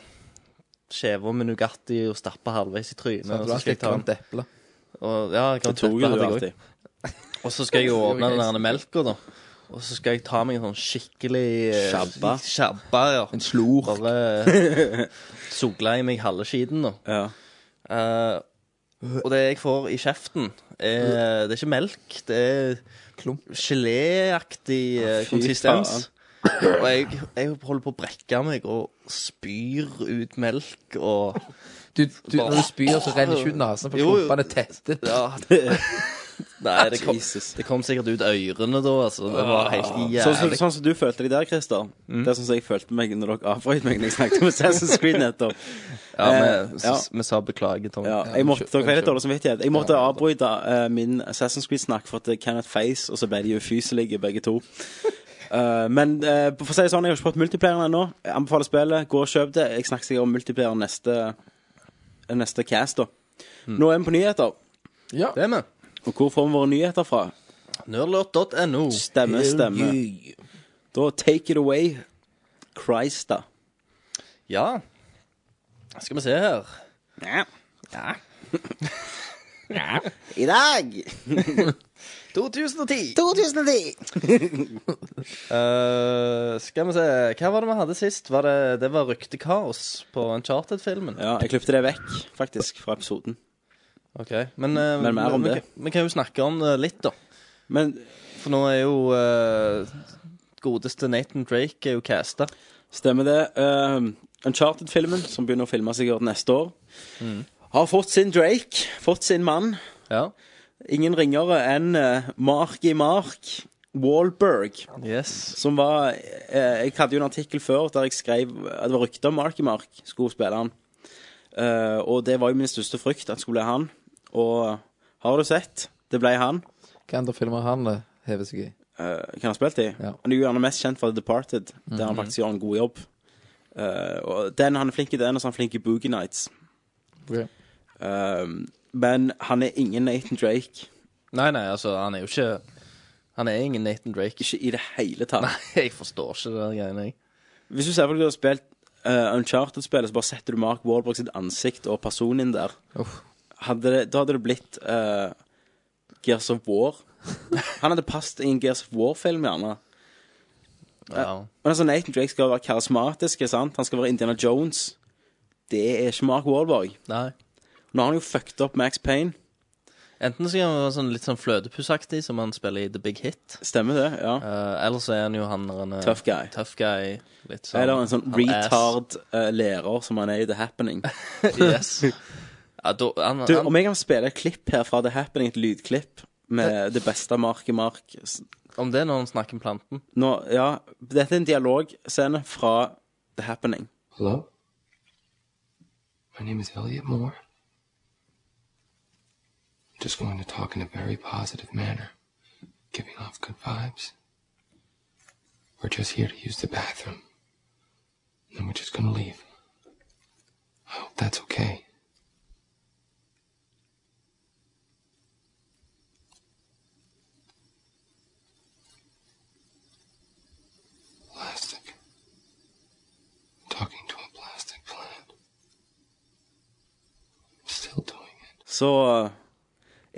B: skiva med Nugatti og stapper halvveis i trynet.
I: Så
B: og
I: Sånn du
B: så
I: har
B: skal jeg
I: et
B: ta den.
I: grønt eple.
B: Og, ja,
A: Det
B: grønt
A: tok
B: eple
A: jo du
B: hadde jeg også.
A: alltid.
B: Og så skal jeg jo
I: Det
B: åpne
I: er jo
B: den der melka, da. Og så skal jeg ta meg en sånn skikkelig eh,
A: Shabba.
B: Shabba, ja.
I: En slor.
B: Bare sogle i meg halve skiten, da.
A: Ja.
B: Eh, og det jeg får i kjeften, er, det er ikke melk. Det er
I: Klump.
B: geléaktig eh,
A: Fy
B: konsistens. Og jeg, jeg holder på å brekke meg og spyr ut melk og
I: Du, du, når du spyr, så renner ikke ut nesen, for
B: Jo, jo.
I: klumpene tetter.
B: Ja, det, Nei, det kom,
A: Jesus.
B: det kom sikkert ut ørene da, altså. Det var helt
A: Sånn som
B: jævlig.
A: sånn som du følte deg der, Christer. Det er sånn som jeg følte meg når dere avbrøt meg når jeg snakket om Assassin's Creed nettopp.
B: Ja,
A: Eh,
B: vi, s-
A: ja.
B: vi sa beklage, Tom.
A: Ja,
I: Ja,
A: jeg måtte,
I: unnskyld,
A: dere har litt
I: unnskyld.
A: dårlig samvittighet. Jeg måtte avbryte eh, min Assassin's Creed-snakk for at eh, Kenneth feis, og så ble de ufyselige begge to. Eh, men eh, for å si det sånn, jeg har ikke prøvd multiplayeren ennå. Jeg anbefaler spillet. Gå og kjøp det. Jeg snakker sikkert om multiplayer neste, eh, neste cast, da. Nå er vi på nyheter.
I: Ja.
B: Det er vi.
A: Og hvor får vi våre nyheter fra?
B: Nerdlort.no.
A: Stemme, stemme. Da take it away, Christa.
B: Ja. Skal vi se her.
A: Ja. I dag
B: 2010.
A: 2010.
B: Eh, skal vi se Hva var det vi hadde sist? Var det, det var ryktekaos på Uncharted-filmen.
A: Ja, jeg klippte det vekk, faktisk, fra episoden.
B: Ok, Men, eh,
A: Men mer om
B: vi, vi,
A: det.
B: vi kan jo snakke om det litt, da.
A: Men
B: For nå er jo eh, godeste Nathan Drake er jo casta.
A: Stemmer det. Ehm, Uncharted-filmen, som begynner å filme sikkert neste år, har fått sin Drake, fått sin mann.
B: Ja.
A: Ingen ringere enn eh, Mark i Mark. Wahlberg,
B: Yes.
A: som var eh, Jeg hadde jo en artikkel før der jeg skrev at det var rykter om Mark i Mark skulle spille han. Eh, og det var jo min største frykt, at det skulle bli han. Og har du sett? Det ble han.
I: Hva andre filmer han eh, hever seg i?
A: eh, kan ha spilt i.
I: Ja. Mhm.
A: Han er jo gjerne mest kjent for The Departed, der han faktisk gjør en god jobb. Eh, og den han er flink i den, og så er han flink i Boogie Nights.
I: Ok.
A: Ehm, men han er ingen Nathan Drake.
B: Nei, nei, altså, han er jo ikke Han er ingen Nathan Drake.
A: Ikke i det hele tatt.
B: Nei, jeg forstår ikke det greiene, jeg.
A: Hvis du ser for deg at du har spilt eh, Uncharted-spillet, så bare setter du Mark Wahlberg sitt ansikt og person inn der.
I: Uff.
A: Hadde det, da hadde det blitt eh, Gears of War. Han hadde passet i en Gears of War-film, gjerne.
B: Ja.
A: Men altså, Nathan Drake skal være karismatisk, sant? han skal være Indiana Jones. Det er ikke Mark Wahlberg.
B: Nei.
A: Nå har han jo fucked opp Max Payne.
B: Enten så kan han være sånn, litt sånn flødepussaktig, som han spiller i The Big Hit.
A: Stemmer det? ja.
B: Uh, eller så er han jo han der en eh,
A: Tough guy.
B: tough guy litt sånn
A: Eller en sånn
B: han
A: retard eh, lærer som han er i The Happening.
B: ass. yes. ja, da, han,
A: Du,
B: han,
A: Om jeg kan spille et klipp her fra The Happening, et lydklipp med det beste Mark i Mark s-
B: om det er når han snakker om planten
A: Nå, ja, Dette er en dialogscene fra The Happening.
K: Hello? My name is Elliot Moore. I'm just going to talk in a very positive manner, giving off good vibes. We're just here to use the bathroom. Then we're just gonna leave. I hope that's okay. Plastic talking to a plastic plant. I'm still doing it.
A: Så eh,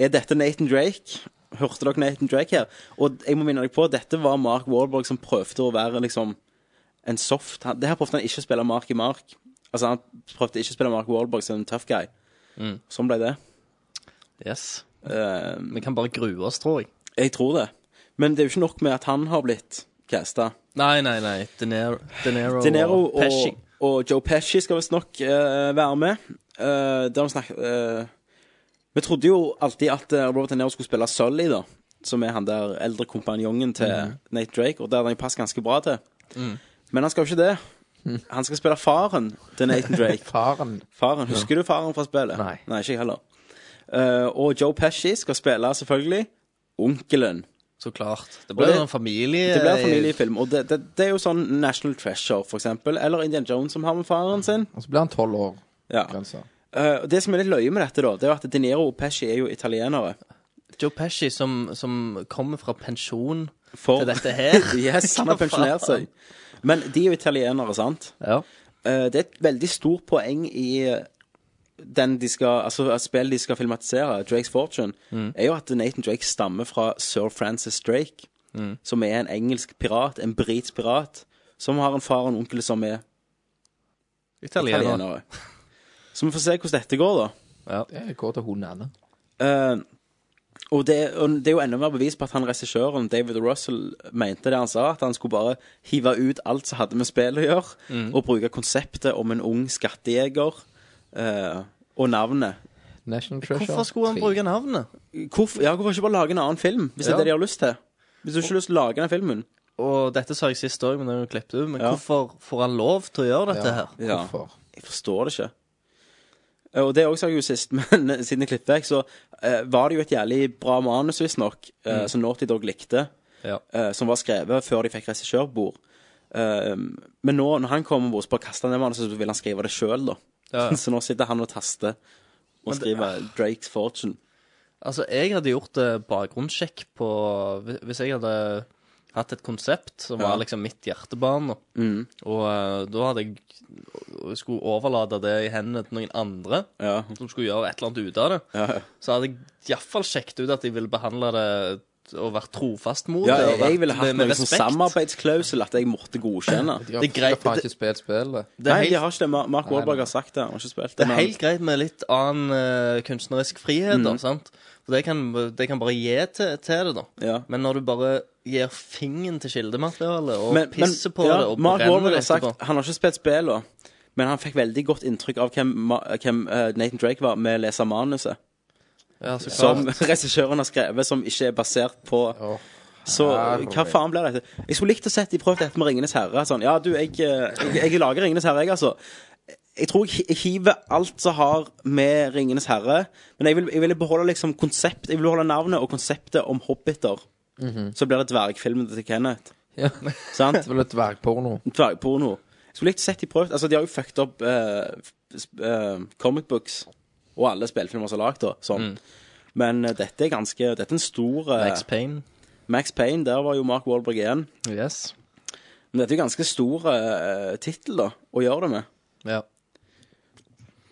A: er dette Nathan Drake. Hørte dere Nathan Drake her? Og jeg må minne deg på, dette var Mark Wahlberg som prøvde å være liksom en soft han, Det her prøvde han ikke å spille Mark i Mark. Altså, han prøvde ikke å spille Mark Wahlberg som en tough guy.
B: Mm.
A: Sånn ble det.
B: Yes.
A: Eh,
B: Vi kan bare grue oss, tror jeg.
A: jeg tror det. Men det er jo ikke nok med at han har blitt casta.
B: Nei, nei, nei. De Niro, De Niro,
A: De Niro
B: og
A: og,
B: Pesci.
A: og Joe Pesci skal visstnok uh, være med. Eh, der vi snakket eh, Vi trodde jo alltid at eh, Robert De Niro skulle spille Sully, da. Som er han der eldre kompanjongen til
B: Mm.
A: Nate Drake, og der den passer ganske bra til. Men han skal jo ikke det. Han skal spille faren til Nathan Drake.
I: Faren
A: Faren, Husker du faren fra spillet?
I: Nei.
A: Nei, ikke jeg heller. Eh, og Joe Pesci skal spille, selvfølgelig, onkelen.
B: Så klart. Det
A: Og
B: ble
A: det-
B: jo en familie.
A: Det blir en familiefilm, og det, det, det er jo sånn National Treasure, for eksempel. Eller Indian Jones, som har med faren sin.
I: Og så blir han tolv år. Altså,
A: Ja.
I: Grensa.
A: Eh, og det som er litt løye med dette, da, det er jo at De Niro og Pesci er jo italienere.
B: Joe Pesci som, som kommer fra pensjon
A: For
B: til dette her.
A: Yes, han har
B: Hva
A: pensjonert
B: faen?
A: seg. Men de er jo italienere, sant?
B: Ja.
A: Eh, det er et veldig stort poeng i eh, den de skal, altså spillet de skal filmatisere, Drakes Fortune,
B: Mm.
A: er jo at Nathan Drake stammer fra sir Francis Drake,
B: Mm.
A: som er en engelsk pirat, en britisk pirat, som har en far og en onkel som er
B: Italiener.
A: italienere. Så vi får se hvordan dette går, da.
B: Ja.
I: Det går til hundene.
A: Eh, og, det, og det er jo enda mer bevis på at han regissøren, David Russell, mente det han sa, at han skulle bare hive ut alt som hadde med spill å gjøre, og bruke konseptet om en ung skattejeger eh, og navnet.
I: National Treasure.
B: Hvorfor skulle han
I: 3.
B: bruke navnet?
A: Hvorfor, ja, hvorfor ikke bare lage en annen film, hvis det
B: Ja.
A: er det de har lyst til? Hvis du ikke har lyst til å lage den filmen.
B: Og dette sa jeg sist òg, men det er jo klippet ut. Men
A: Ja.
B: hvorfor får han lov til å gjøre dette
I: Ja.
B: her?
A: Ja.
I: Hvorfor?
A: Jeg forstår det ikke. Eh, Og det også sa jeg jo sist, men eh, siden jeg klippet vekk, så eh, var det jo et jævlig bra manus, visstnok, eh, som Naughty Dog likte,
B: Ja.
A: eh, som var skrevet før de fikk regissørbord. Eh, men nå, når han kom ombord, så bare kastet han det manuset, så vil han skrive det sjøl, da.
B: Ja, ja.
A: så nå sitter han og taster og skriver Drake's Fortune.
B: Altså, jeg hadde gjort eh, bakgrunnssjekk på hvi- Hvis jeg hadde hatt et konsept som
A: Ja. Mm.
B: var liksom mitt hjertebane, og eh, da hadde jeg og skulle overlate det i hendene til noen andre
A: Ja.
B: som skulle gjøre et eller annet ut av det,
A: Ja, ja.
B: så hadde jeg iallfall sjekket ut at de ville behandle det og vært trofast mot
A: Ja,
B: det.
A: jeg,
B: og vært
A: jeg ville hatt
B: med- med
A: noen sånn
B: respekt.
A: samarbeidsklausul at jeg måtte godkjenne.
I: De har
B: Det er greit-
I: for faen ikke spilt spillet.
B: Det er
A: Nei, de
B: helt
A: har ikke det. Mar- Mark Wahlberg har sagt det. Han har ikke spilt det.
B: Det er
A: men-
B: helt greit med litt annen eh, kunstnerisk frihet,
A: Mm.
B: da, sant? For det kan, det kan bare gi til, til det, da.
A: Ja.
B: Men når du bare gir fingeren til kildematerialet og
A: Men- men-
B: pisser på
A: ja,
B: det og
A: Mark Wahlberg har
B: brenner det
A: sagt,
B: etterpå
A: Han har ikke spilt spillene, men han fikk veldig godt inntrykk av hvem, Ma- hvem eh, Nathan Drake var med å lese manuset.
B: ja, så
A: Som
B: klart.
A: regissøren har skrevet, som ikke er basert på
I: Åh.
A: Så
I: herregud.
A: hva faen blir dette? Jeg skulle likt å sett de prøvde dette med Ringenes herre. Sånn, ja, du, jeg, eh, jeg, jeg lager Ringenes herre, jeg, altså. Jeg tror jeg hi- hiver alt som har med Ringenes herre Men jeg vil, jeg vil beholde liksom konsept Jeg vil beholde navnet og konseptet om hobbiter. Så blir det dvergfilmen til Kenneth.
I: Ja.
A: Sant?
I: Det var litt dvergporno.
A: Dvergporno. Jeg skulle likt sett de prøvd Altså, de har jo fucked opp eh, sp- eh, comic books og alle spillfilmer som er lagd, da. Sånn. Men eh, dette er ganske Dette er en stor eh,
B: Mm. Max Payne.
A: Max Payne, der var jo Mark Wahlberg igjen.
B: Yes.
A: Men dette er jo ganske stor eh, tittel, da, å gjøre det med.
B: Ja.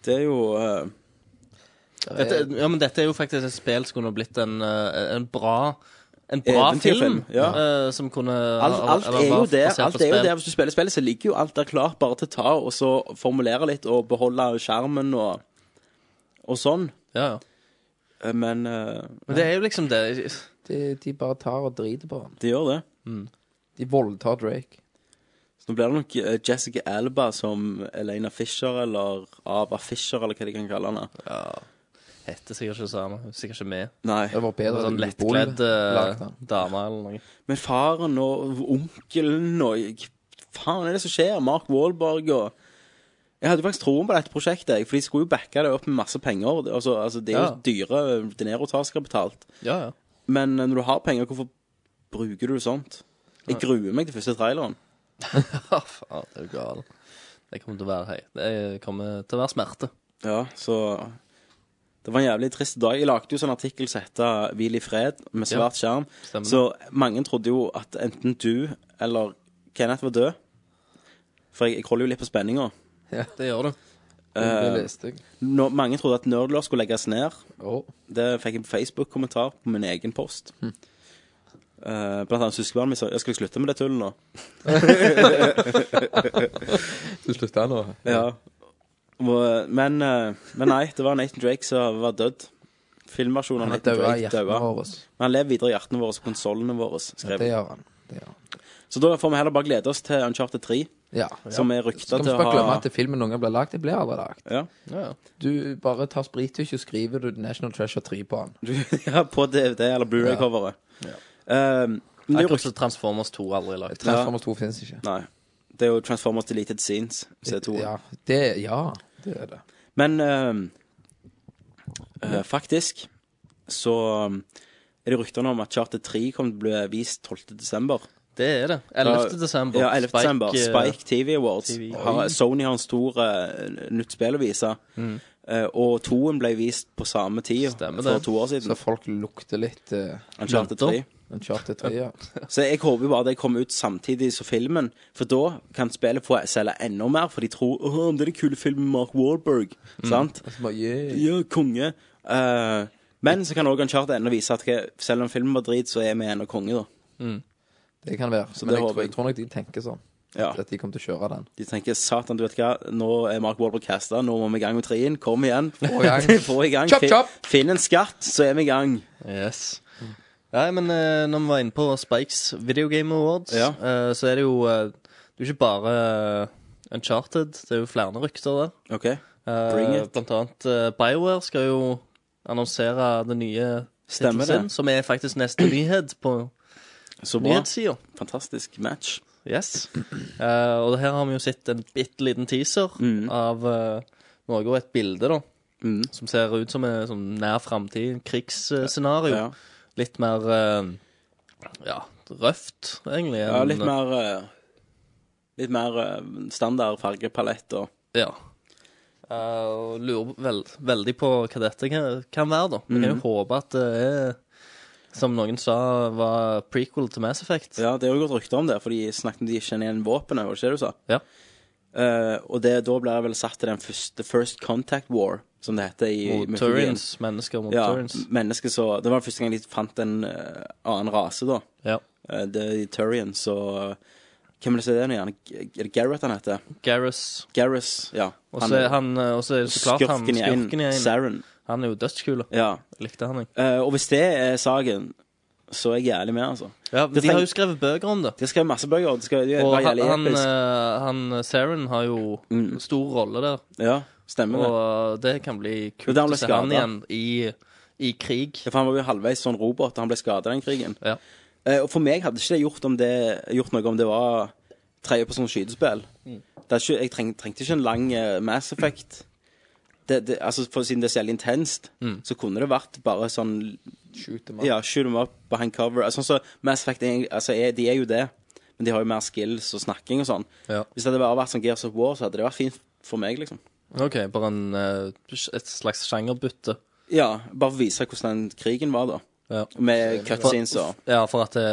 A: Det er jo eh,
B: Dette, ja, men dette er jo faktisk et spill som kunne blitt en, eh, en bra en bra film
A: Eventyrfilm, ja.
B: eh, som kunne
A: Alt, alt
B: eller
A: er jo
B: var
A: der.
B: basert
A: Alt
B: på
A: er jo
B: spill.
A: der. Hvis du spiller spillet, så ligger jo alt der klart bare til å ta og så formulere litt og beholde skjermen og, og sånn.
B: Ja, ja.
A: Eh, Men eh,
B: Men det er jo liksom det
I: De, de bare tar og driter på ham.
A: det gjør det.
I: De voldtar Drake.
A: Så nå blir det nok eh, Jessica Alba som Elena Fisher, eller Ava Fisher, eller hva de kan kalle henne.
B: Heter sikkert ikke det samme. Hun er Sikkert ikke med.
I: Det
A: Nei.
I: var bedre
B: Sånn
I: at Boll
B: lettkledd
I: lagde
B: eh,
I: den.
B: dame eller noe.
A: Men faren og onkelen og Faen, er det som skjer? Mark Wahlberg og Jeg hadde faktisk troen på dette prosjektet, jeg, for de skulle jo backe det opp med masse penger. Altså, altså Det er jo
B: Ja.
A: dyre Denero tar skal betalt.
B: Ja, ja.
A: Men eh, når du har penger, hvorfor bruker du sånt? Jeg gruer meg til første traileren.
B: Ja, Ah, faen, det er jo gal. Det kommer til å være hei. Det er- kommer til å være smerte.
A: Ja, så Det var en jævlig trist dag. Jeg lagde jo sånn artikkel som heter 'Hvil i fred', med
B: Ja.
A: svart skjerm.
B: Stemmer.
A: Så mange trodde jo at enten du eller Kenneth var død. For jeg, jeg holder jo litt på spenninga.
B: det gjør du.
I: Det
A: Eh.
I: leste jeg.
A: Nå- Mange trodde at Nerdler skulle legges ned.
I: Åh.
A: Det fikk jeg på Facebook-kommentar på min egen post.
I: Hm.
A: Eh, blant annet søskenbarnet mitt sa «Ja, 'Skal jeg slutte med det tullet nå?'
I: Du slutta nå?
A: Ja. Må- Men, eh, men nei, det var Nathan Drake som var død. Filmversjonen av
I: Han er
A: Nathan
I: død i
A: Drake
I: hjertene
A: døde.
I: våre.
A: Men han lever videre i hjertene våre og konsollene våre.
I: Ja,
A: skrev
I: det
A: jeg.
I: gjør han. Det gjør han.
A: Så da får vi heller bare glede oss til Uncharted 3,
I: Ja.
A: som er rykta
I: Så kan vi
A: til
I: ikke
A: å
I: bare glemme
A: ha
I: at filmen noen gang blir lagd. Det blir aldri lagd.
A: ja.
I: Du bare tar sprittusj og skriver du National Treasure 3 på han.
A: ja, på DVD eller Blu-ray-coveret. Eh, men det er jo
B: Akkurat
A: rykt-
B: som Transformers 2 aldri lagd.
I: Transformers 2 finnes ikke.
A: Nei. Det er jo Transformers Deleted Scenes, C2.
I: Ja, det, ja, det er det.
A: Men ehm, eh, faktisk så ehm, er det ryktene om at Charter 3 kommer til å bli vist 12. desember.
B: Det er det. 11. desember.
A: Ja, 11. desember.
B: eh,
A: Spike TV Awards.
B: TV.
A: Har, Sony har en stor eh, nytt spill å vise. Eh, og toen ble vist på samme tid
B: Stemmer
A: for
B: det.
A: to år
I: Så
A: siden.
I: folk lukter litt uh,
A: Uncharted 3.
I: Uncharted 3, ja.
A: Så jeg håper jo bare det kommer ut samtidig som filmen, for da kan spillet få selge enda mer, for de tror Åh, om det er den kule filmen med Mark Warburg.
I: Mm.
A: Sant?
I: Så bare, yeah.
A: Ja, konge. Eh, men så kan også Uncharted ennå vise at hva- selv om filmen var drit, så er vi ennå konge, da.
I: Det kan være.
A: det
I: Men jeg,
A: håper
I: tror-
A: jeg.
I: jeg tror nok de tenker sånn.
A: Ja.
I: At de kommer til å kjøre den.
A: De tenker satan, du vet hva, nå er Mark Wahlberg casta, nå må vi i gang med trien. Kom igjen.
I: i gang.
A: Få i gang.
I: Chop,
A: Fin-
I: chop.
A: Finn en skatt, så er vi i gang.
B: Yes. Nei, men eh, når vi var inne på Spikes Video Game Awards,
A: Ja.
B: eh, så er det jo eh, Det er jo ikke bare eh, Uncharted. Det er jo flere rykter der.
A: OK.
B: Eh,
A: Bring it.
B: Blant annet eh, BioWare skal jo annonsere det nye
A: Stemmer
B: tittelen
A: det.
B: sin, som er faktisk neste nyhet på
A: Så bra.
B: nyhetssida.
A: Fantastisk match.
B: Yes. Eh, og her har vi jo sett en bitte liten teaser av eh, noe og et bilde, da.
A: Mm.
B: Som ser ut som en sånn nær framtid, krigsscenario.
A: Ja.
B: Litt mer eh, ja, røft, egentlig.
A: ja
B: enn-
A: litt mer eh, Litt mer eh, standard fargepalett og
B: Ja. Eh, og lurer vel, veldig på hva dette kan, kan være, da. Vi
A: Mhm.
B: kan jo håpe at det er, som noen sa, var prequel til Mass Effect.
A: Ja, det er jo gått rykter om det, for de snakket om de kjenner igjen våpenet, var det ikke det du sa?
B: Ja.
A: Eh, og det, da blir det vel satt til den første First Contact War, som det heter i
B: Mot
A: mytologien.
B: Turians. Mennesker mot
A: Ja,
B: Turians.
A: mennesker så Det var første gang de fant en eh, annen rase, da.
B: Ja.
A: Eh, det er de Turians, så eh, Hvem vil si det nå igjen? G- Er det Gareth han heter?
B: Garrus.
A: Gareth, ja.
B: Og så er han, eh, og så er det så klart han
A: skurken i en.
B: skurken i en.
A: Saren.
B: Han er jo dødskul.
A: Ja.
B: Likte han, jeg.
A: Eh, og hvis det er saken, så er jeg jævlig med, altså.
B: Ja, men
A: Det
B: de har
A: treng-
B: jo skrevet bøker om det.
A: De har skrevet masse bøker, og det skal det
B: Og
A: var
B: han,
A: jævlig
B: han,
A: episk.
B: eh, han Saren har jo
A: Mm.
B: stor rolle der,
A: ja, stemmer det.
B: eh, og det kan bli
A: Det er
B: kult
A: der han
B: å
A: ble
B: se han
A: skadet.
B: igjen i, i krig.
A: Ja, for han var jo halvveis sånn robot, og han ble skada den krigen.
B: Ja.
A: Eh, og for meg hadde ikke det gjort, om det, gjort noe om det var tredjepersons skytespill.
B: Mm.
A: Det er ikke, jeg treng, trengte ikke en lang eh, Mass Effect. Det, det, altså, for Siden det er så jævlig intenst,
B: Mm.
A: så kunne det vært bare sånn
I: Shoot them up.
A: Ja, shoot them up behind cover. Altså, sånn så Mass Effect er, altså, er, de er jo det, men de har jo mer skills og snakking og sånn.
B: Ja.
A: Hvis det hadde bare vært sånn Gears of War, så hadde det vært fint for meg, liksom.
B: OK, bare en, eh, et slags sjangerbytte.
A: Ja, bare for å vise hvordan den krigen var, da.
B: Ja.
A: Med cutscenes og
B: ja, for at det,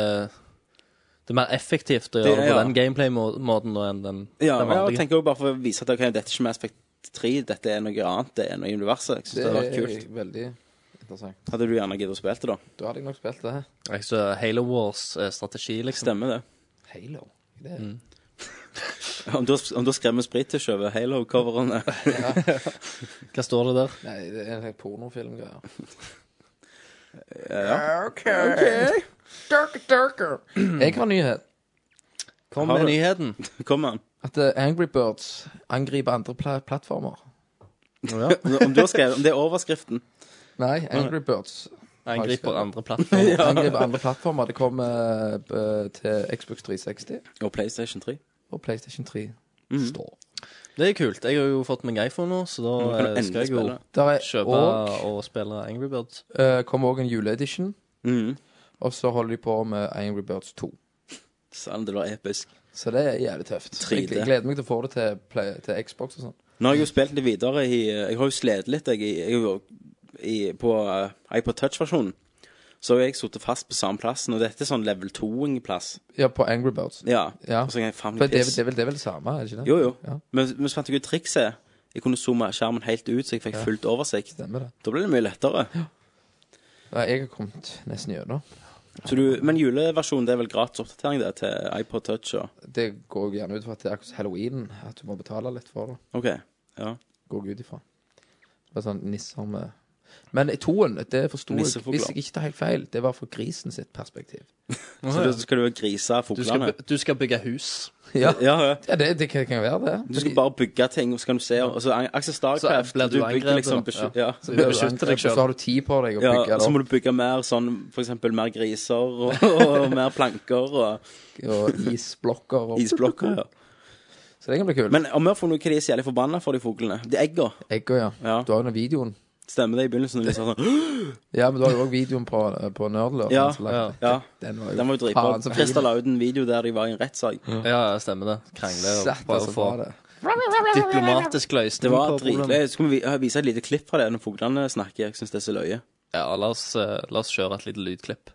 B: det er mer effektivt å gjøre det
A: ja.
B: på den gameplay-måten nå enn den,
A: Ja,
B: den
A: jeg
B: vanlige.
A: tenker også bare for å vise at ok, dette er ikke Mass Effect 3, dette er noe annet, det er noe i universet. Jeg synes det,
I: Det
A: hadde vært
I: er
A: kult.
I: veldig interessant.
A: Hadde du gjerne giddet å spille det, da?
I: Da hadde jeg nok spilt eh, det.
B: Jeg så Halo Wars-strategi, liksom.
A: Stemmer det.
I: Halo. Det,
A: Mm. Om du, har- om du har skrevet sprittusj over Halo-coverne
B: Hva står det der?
I: Nei, det er en helt pornofilmgreie.
A: ja.
I: Darker, darker. Jeg har en nyhet.
B: Kom
A: Har
B: med
A: du-
B: nyheten.
A: Kom an.
I: At eh, Angry Birds angriper andre pla plattformer.
A: Om, du har skrevet, om det er overskriften.
I: Nei, Angry Birds
B: Angriper
I: skrevet.
B: andre plattformer.
I: angriper andre plattformer. Det kommer eh, til Xbox 360
A: Og PlayStation 3.
I: og PlayStation 3.
A: Mm.
I: Store.
B: Det er kult. Jeg har jo fått meg iPhone nå, så da
A: Nå Mm, kan du
B: eh,
A: endelig
B: skal jeg jo
A: spille.
I: Der er,
B: kjøpe
I: og
B: og spille Angry Birds.
I: eh, kommer også en juleedition,
A: Mm.
I: og så holder de på med Angry Birds 2.
A: Sand, det var episk.
I: Så det er jævlig tøft.
A: 3D.
I: Jeg jeg gleder meg til å få det til, play, til Xbox og sånn.
A: Nå har jeg jo spilt det videre i eh, Jeg har jo slitt litt, jeg. i- jeg er jo i, på eh, iPod Touch-versjonen. Så har jeg sittet fast på samme plassen, og dette er sånn level 2-plass.
I: Ja, på Angry Birds.
A: Ja.
I: Ja.
A: Og så kan jeg faen
I: For
A: meg
I: det, er
A: piss.
I: vel- det, er vel- det er vel det samme, er det ikke det?
A: Jo, jo.
I: Ja.
A: Men, men så fant jeg ut trikset. Jeg kunne zoome skjermen helt ut, så jeg fikk fullt oversikt.
I: Stemmer det.
A: Da ble det mye lettere.
I: Nei, jeg har kommet nesten gjennom.
A: Så du, men juleversjonen det er vel gratis oppdatering det til iPod Touch og
I: Det går jo gjerne ut fra at det er akkurat som halloween, at du må betale litt for det.
A: OK. Ja.
I: går jeg ut ifra. Bare sånn nisser med Men i toen, det forsto jeg,
A: Nissefugler.
I: hvis jeg ikke tar helt feil, det var fra grisen sitt perspektiv.
A: Så da skal du grise
B: Du skal,
A: fuglene.
B: by- du skal bygge hus.
I: Ja,
A: Ja, ja.
I: ja det, det kan kan jo være det.
A: Du skal bare bygge ting, og så kan du se og så Aksel Starcraft
B: Så blir du
A: bygger
B: angrepet,
A: liksom,
B: da.
A: besky- ja.
I: Så blir du
B: beskytte deg
I: angrepet,
B: selv.
I: Så har du tid på deg å
A: Ja,
I: bygge
A: og
I: det
A: så må
I: opp.
A: du bygge mer sånn For eksempel mer griser og, og mer planker og
I: Og isblokker og
A: isblokker. Ja.
I: Så det kan bli kult.
A: Men om vi har funnet ut hva de er så jævlig forbanna for, de fuglene De egga.
I: Egga, ja.
A: Ja.
I: Du har jo den videoen.
A: Stemmer det i begynnelsen? Når de sa sånn
I: Ja, men du har jo òg videoen på, eh, på Nerdlurven.
A: Ja,
I: som lagt-
B: ja.
A: Ja.
I: Den var jo,
A: Den var jo dritbra.
I: faen så fin.
A: Christer la ut en video der de var i en rettssak.
B: Ja, stemmer det. Krangle og
I: Satt,
B: prøve
I: altså,
B: å
I: bra
B: få
I: det.
B: diplomatisk løsning.
A: Det var
B: på problemet.
A: dritløye. Skulle vi vi- vise et lite klipp fra det når fuglene snakker? Jeg syns det er så løye.
B: Ja, la oss, eh, la oss kjøre et lite lydklipp.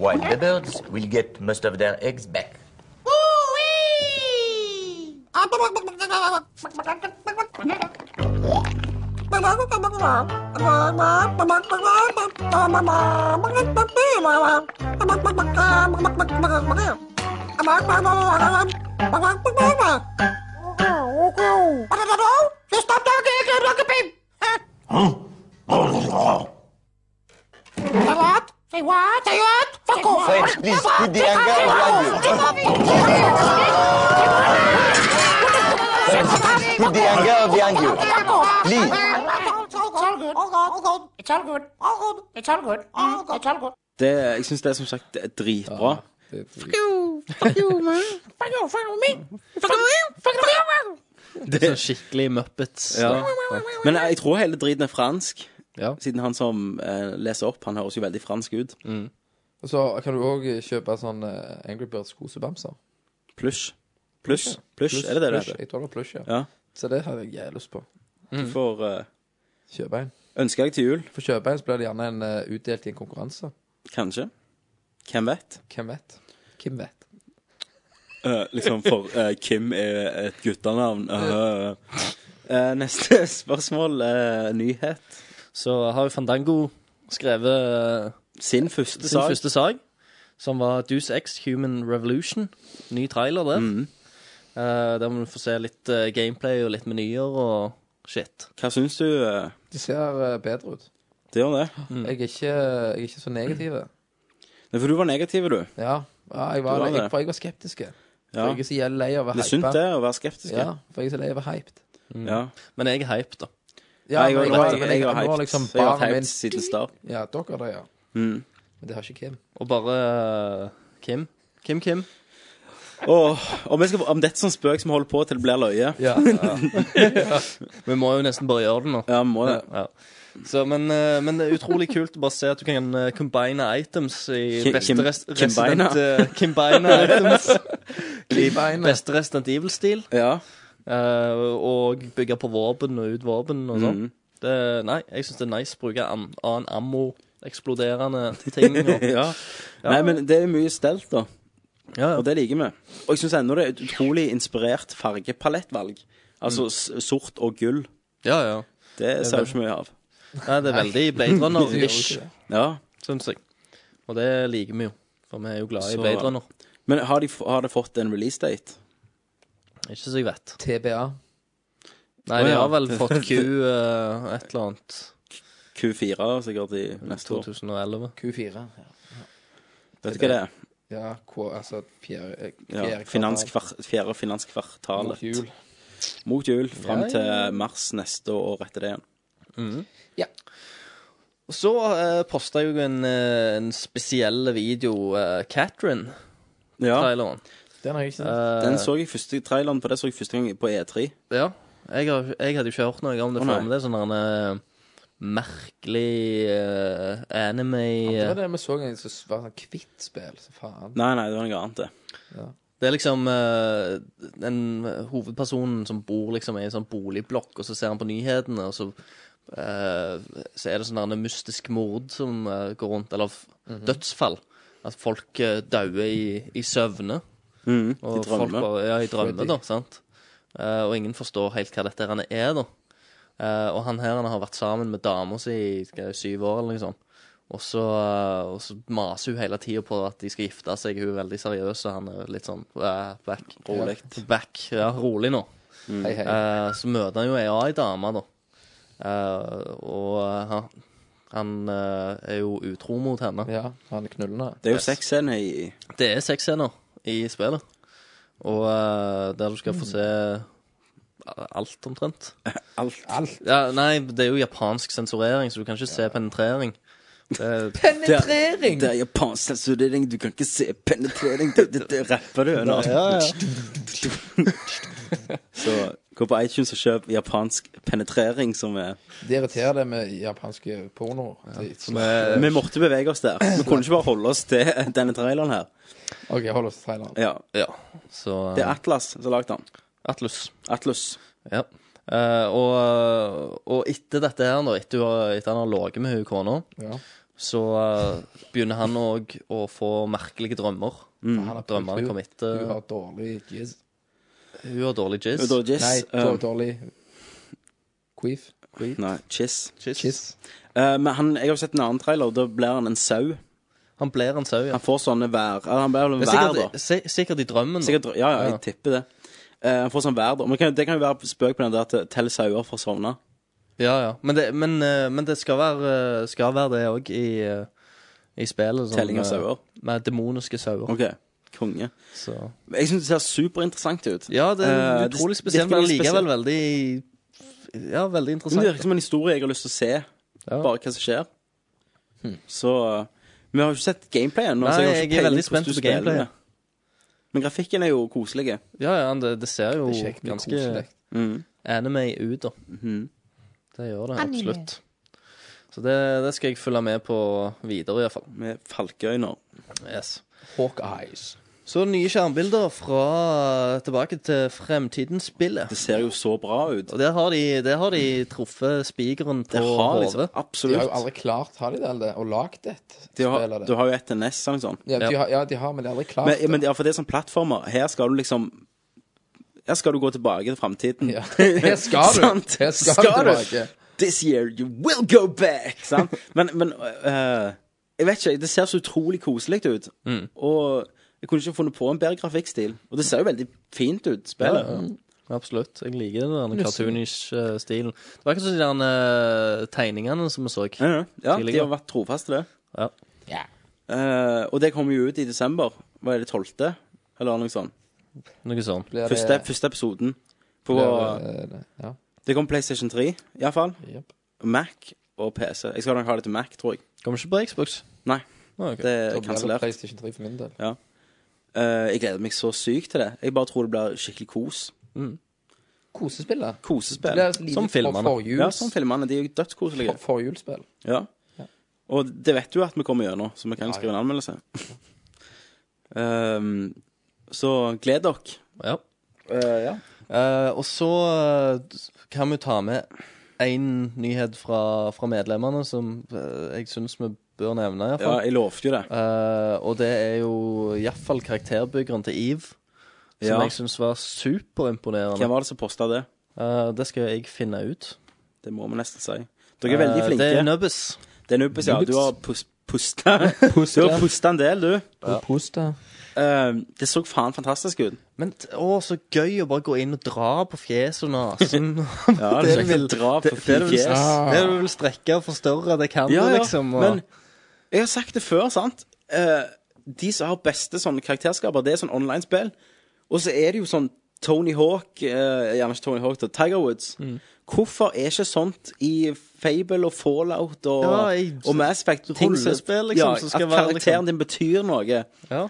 L: While the birds will get most of their eggs back.
F: Say what? Say what? Say what? Fuck off!
L: Friends, please put
F: ah,
L: the anger behind you. Friends, put the anger behind
F: ah,
L: you. Please.
F: It's all good. All good. It's all good. All good. It's all good.
A: Det, jeg syns det er som sagt det er dritbra.
I: Det er drit-
F: Fuck you, fuck me. Fuck you, fuck you.
B: Det er sånn skikkelig Muppets.
A: Ja.
B: Ja.
A: Men jeg tror hele driten er fransk.
B: Ja.
A: Siden han som eh, leser opp, han høres jo veldig fransk ut.
I: Og så kan du òg kjøpe sånn eh, Angry Birds kosebamser.
A: Plush. Plush. Plush, er det det det
I: plush.
A: heter?
I: Jeg tror det var plush, ja.
A: Ja.
I: Så det hadde jeg jævlig lyst på.
A: Du får eh,
I: Kjøpe en.
A: ønske deg til jul,
I: For kjøpe en så blir det gjerne en eh, utdelt i en konkurranse.
A: kanskje. Hvem vet?
I: Hvem vet? Hvem vet?
A: Eh, liksom for eh, Kim er et guttenavn. Eh, eh, neste spørsmål. eh, nyhet.
B: Så har jo Fandango skrevet eh,
A: Sin første
B: sin
A: sak.
B: første sag, som var Deuce X Human Revolution. Ny trailer der. Eh, der må du få se litt eh, gameplay og litt menyer og shit.
A: Hva syns du? eh,
I: De ser eh, bedre ut.
A: det gjør det?
I: Jeg, er ikke, eh, jeg er ikke så negativ.
A: Nei, for du var negativ, du.
I: Ja. ja jeg,
A: Du
I: var,
A: var
I: jeg,
A: det.
I: for jeg var skeptisk. For
A: Ja.
I: jeg er så jævlig lei av
A: Det
I: å være
A: er sunt
I: hypet.
A: det, å være skeptisk.
I: Ja, for jeg er så lei av å være hyped.
A: Mm. Ja.
B: Men jeg er hyped, da.
I: Ja,
A: jeg,
I: men
A: jeg,
I: var-
A: jeg,
I: men
A: jeg, har
I: nå har
A: hyped.
I: liksom
A: jeg har
I: barnet
A: hyped
I: min-
A: siden start.
I: Ja, dere det, ja.
A: Mm.
I: Men det har ikke Kim.
B: Og bare eh, Kim. Kim Kim.
A: Åh, om, jeg skal, om dette er sånn spøk som holder på til det blir løye
I: Ja,
B: Vi må jo nesten bare gjøre det nå.
A: Ja, må det.
B: Ja. Så, men, eh, men det er utrolig kult å bare se at du kan eh, combine items i
A: Kim-
B: beste
A: Kim-
B: rest,
A: Kimbina.
B: Resident, eh, combine items i
I: Kimbina.
B: beste Resident Evil-stil.
A: Ja.
B: eh, og bygge på våpen og ut våpen og
A: Mhm.
B: sånn. Det- Nei, jeg syns det er nice å bruke an, annen ammo, eksploderende ting. Og,
A: ja. Nei, men det er mye stelt, da.
B: ja, ja.
A: Og det liker vi. Og jeg syns ennå det er et utrolig inspirert fargepalettvalg. Altså s- sort og gull.
B: ja, ja.
A: Det ser jeg ikke mye av.
B: Nei, det er veldig Blade Runner-ish,
A: Ja.
B: syns jeg. Og det liker vi jo, for vi er jo glad i
A: Så-
B: Blade Runner.
A: Men har, de, f- har det fått en releasedate?
B: Ikke så jeg vet.
I: TBA.
B: Nei,
A: Å,
B: de
A: ja.
B: har vel fått Q eh, et eller annet
A: Q4 sikkert i neste år.
B: 2011.
I: Q4. Ja,
A: Vet du hva det er?
I: ja K, altså fjerde, eh,
A: Ja.
I: fjerde
A: Finanskvar- Fjerde
I: kvartal
A: finanskvartalet.
I: mot jul.
A: Mot jul. Fram til mars neste år etter det igjen.
B: Og så uh, posta jeg jo en, eh, en spesiell video, uh, Catherine-traileren.
A: Ja.
I: Den har jeg ikke sett.
B: Eh,
A: Den så jeg første traileren på det så jeg første gang på E E3.
B: Ja. Jeg, har, jeg hadde jo ikke hørt noe om det
A: Å,
B: før,
A: nei.
B: men det er sånn en merkelig eh, anime
I: det var
B: eh.
I: det vi så en som var sånn kvitt spill, så faen.
A: Nei, nei, det var noe annet, det.
B: Det er liksom eh, den hovedpersonen som bor liksom i en sånn boligblokk, og så ser han på nyhetene, og så eh, Så er det sånn en mystisk mord som eh, går rundt, eller f- dødsfall. At folk uh, dauer i, i søvne.
A: I
B: Og folk
A: drømme.
B: bare, ja, i drømme,
I: Freddy.
B: da. sant? Eh, og ingen forstår helt hva dette her er, da. Eh, og han her han har vært sammen med dama si i skal jeg, syv år, eller noe sånt. Og så, eh, og så maser hun hele tida på at de skal gifte seg. Hun er veldig seriøs, og han er litt sånn eh, back.
A: Rolig.
B: Back, ja, rolig nå.
I: Mm. Hei, hei.
B: Eh, så møter han jo ei ei dame, da. Eh, og eh, han, han eh, er jo utro mot henne.
I: Ja, han er knullende.
A: Det er jo sexscener i
B: Det er sexscener i spillet. Og eh, der du skal få se alt, omtrent.
A: Alt.
B: Ja, nei, det er jo japansk sensurering, så du kan ikke se penetrering. Det-
A: Penetrering! Det er japansk sensurering. Du kan ikke se penetrering. Det, det, det rapper du under.
B: Ja, ja.
A: Så gå på iTunes og kjøp japansk penetrering, som er
I: Det irriterer det med japanske porno. Det-
A: Vi måtte bevege oss der. Vi kunne ikke bare holde oss til denne traileren her.
I: OK, hold oss til traileren.
A: Ja.
B: Ja, så eh,
A: Det er Atlas som har lagd den.
B: Atlus.
A: Atlus.
B: Ja. Eh, og, eh, og etter dette her, da, etter, hun har- etter han har ligget med hun kona,
I: Ja.
B: så eh, begynner han òg å få merkelige Mm. drømmer.
I: Han er på
B: Drømmene
I: tur.
B: kommer etter.
I: Mm. Hun har dårlig jizz.
B: Hun har dårlig jizz.
A: Da, Jess,
I: Nei,
A: eh,
I: dår- dårlig queef.
A: nei, Chiss.
I: Kiss.
A: Eh, men han, jeg har sett en annen trailer, og da blir han en sau.
B: Han blir en sau, ja.
A: Han får sånne vær... eller Han blir vel en
B: Men
A: vær, da.
B: sikkert, si- sikkert i drømmen. da.
A: Sikkert, ja, ja,
B: Ja.
A: jeg tipper det. Eh, han får sånn vær, da. Men kan, det kan jo være spøk på den der at tell sauer for å sovne.
B: Ja, ja. Men det, men, eh, men det skal være, eh, skal være det òg i, eh, i spillet. sånn,
A: Telling av
B: eh,
A: sauer.
B: Med demoniske sauer.
A: OK. Konge.
B: Så.
A: Men Jeg syns det ser superinteressant ut.
B: Ja, det
A: Eh,
B: er
A: det-
B: utrolig
A: det virker
B: spesielt, men
A: veldig
B: likevel
A: spesielt.
B: veldig Ja, veldig
A: Men Det
B: interessant.
A: virker som en historie jeg har lyst til å se.
B: Ja. Hm.
A: Bare hva som skjer. Så eh, Vi har jo ikke sett gameplay ennå. så
B: Nei,
A: har ikke
B: jeg er
A: peiling
B: veldig
A: hvordan
B: spent
A: du
B: på
A: spiller
B: gameplayet.
A: det. Men grafikken er jo koselig.
B: Ja, ja, det, det ser jo
I: Det er kjekt, det er
B: ganske
I: koselig.
A: Mhm.
B: anime ut, da. Det gjør det
F: Anime.
B: absolutt. Så det, det skal jeg følge med på videre, iallfall.
A: Med falkeøyne.
B: Yes.
I: Hawkeyes.
B: Så nye skjermbilder fra tilbake til fremtidens spillet.
A: Det ser jo så bra ut.
B: Og der har de, der har de truffet spikeren på
A: Det har liksom
B: hodet.
I: De har jo
A: Absolutt.
I: aldri klart har de det, eller og lagd et
A: De
I: spill av
A: har,
I: det.
A: du har jo et til sånn. NES eller noe sånt.
I: Ja, de har, ja, de har, men de har aldri klart
A: Men, men
I: det.
A: ja, for det er sånn plattformer. Her skal du liksom Her skal du gå tilbake til framtiden.
I: Ja. Her skal du.
A: Sant?
I: Her skal du tilbake.
A: This year you will go back! Sant? Men, men øh, Jeg vet ikke. Det ser så utrolig koselig ut.
I: Mm.
A: Og jeg kunne ikke funnet på en bedre grafikkstil. Og det ser jo veldig fint ut, spillet.
B: Absolutt. Jeg liker den der cartoonish-stilen. Det var akkurat som de der eh, tegningene som vi så.
A: Ja, ja. ja de
B: Tidligere.
A: har vært trofaste til det.
B: Ja.
A: Eh, og det kommer jo ut i desember. Hva er det, 12.? Eller noe sånt.
B: Noe sånt.
I: Blir det-
A: Første, første episoden. På,
I: blir det- Ja.
A: det kommer PlayStation 3, iallfall.
I: Jep.
A: Mac og PC. Jeg skal nok ha det til Mac, tror jeg.
B: Kommer ikke på Xbox.
A: Nei,
B: Å, ok.
A: det er
I: Så blir det
A: Eh, kansellert.
I: PlayStation 3 for min del.
A: Eh, jeg gleder meg så sykt til det. Jeg bare tror det blir skikkelig kos.
I: Kosespillet.
A: Kosespill.
I: Det sånn blir
B: Som
I: lite
B: filmene.
I: forjuls-
A: Ja, sånn filmene. De er jo dødskoselige.
I: for- Forjulsspill.
A: Ja. Og det vet du at vi kommer gjennom, så vi kan jo skrive en anmeldelse. Ehm, så gled dere.
B: Ja.
A: ja.
B: Eh, og så eh, kan vi ta med én nyhet fra, fra medlemmene som eh, jeg syns vi bør nevne,
A: ja,
B: iallfall.
A: jeg lovte jo det.
B: Uh, og det er jo iallfall karakterbyggeren til Eve, som
A: Ja.
B: jeg syns var superimponerende.
A: Hvem var det som posta det?
B: Eh, det skal jeg finne ut.
A: Det må vi nesten si. Dere er veldig
B: Eh,
A: flinke.
B: Det er Nubbes.
A: Det er Nubbes, ja.
I: Nubbes.
A: Du har pus- pusta Du har pusta en del, du.
I: Ja.
A: Ehm, det så faen fantastisk ut.
B: Men t- å, så gøy å bare gå inn og dra på fjeset og nesen.
A: Ja, det er
B: du vil-
A: kjekt å dra på
B: det- det du vil-
A: fjes.
B: Det du vil strekke og forstørre, det kan
A: Ja,
B: du
A: ja,
B: liksom. Og...
A: men jeg har sagt det før, sant? Eh, de som har beste sånne karakterskaper, det er sånn online-spill. Og så er det jo sånn Tony Hawk, eh, gjerne ikke Tony Hawk, da, Tiger Woods.
B: Mm.
A: Hvorfor er ikke sånt i Fable og Fallout og,
B: Ja, i-
A: og Mass Effect? ting som-
B: rollespill, liksom,
A: ja,
B: som skal
A: at
B: være,
A: karakteren
B: liksom-
A: din betyr noe.
B: ja.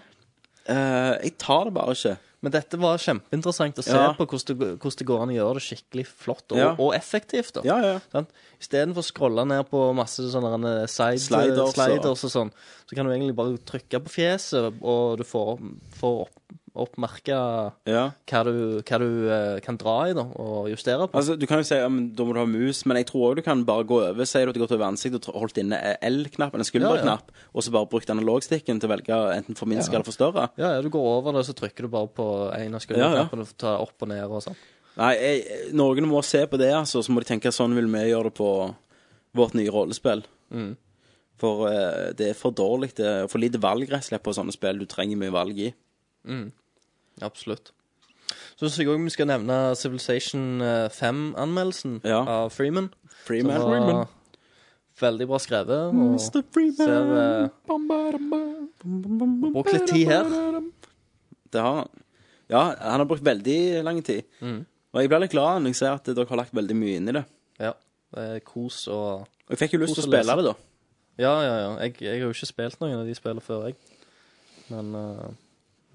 A: Eh, jeg tar det bare ikke.
B: Men dette var kjempeinteressant å se
A: Ja.
B: på hvordan det, hvordan det går an å gjøre det skikkelig flott og,
A: Ja.
B: og effektivt. da.
A: Ja, ja.
B: Sant? Istedenfor å scrolle ned på masse sånne derne side,
A: Sliders
B: sliders,
A: og-
B: og sånn, så kan du egentlig bare trykke på fjeset, og du får, får opp, oppmerka
A: Ja.
B: hva du, hva du eh, kan dra i da, og justere på.
A: Altså, Du kan jo si ja, men da må du ha mus, men jeg tror òg du kan bare gå over. Sier du at du har gått over ansiktet og tr- holdt inne L-knappen, en skulderknapp, og så bare brukt analogstikken til å velge enten forminske eller forstørre?
B: ja, ja, Du går over det, så trykker du bare på en av
A: Ja, ja.
B: skulderknappene og tar opp og ned og sånn.
A: Nei, jeg, noen må se på det, altså. Så må de tenke sånn vil vi gjøre det på vårt nye rollespill. For eh, det er for dårlig. Det er for lite valg rett og slett på sånne spill. Du trenger mye valg i.
B: Absolutt. Så syns jeg òg vi skal nevne Civilization 5-anmeldelsen av Freeman.
A: Freeman.
B: Som var
A: Freeman.
B: Veldig bra skrevet. Og
A: Mr. Freeman.
B: Ser, eh, brukt litt tid her.
A: Det har han. Ja, han har brukt veldig lang tid. Og jeg blir litt glad når jeg ser at dere har lagt veldig mye inn i det.
B: Ja, det er kos og
A: Og jeg fikk jo lyst
B: kos
A: til å
B: å
A: spille
B: lese.
A: det, da.
B: Ja, ja, ja. Jeg, jeg har jo ikke spilt noen av de spillene før, jeg. Men, eh,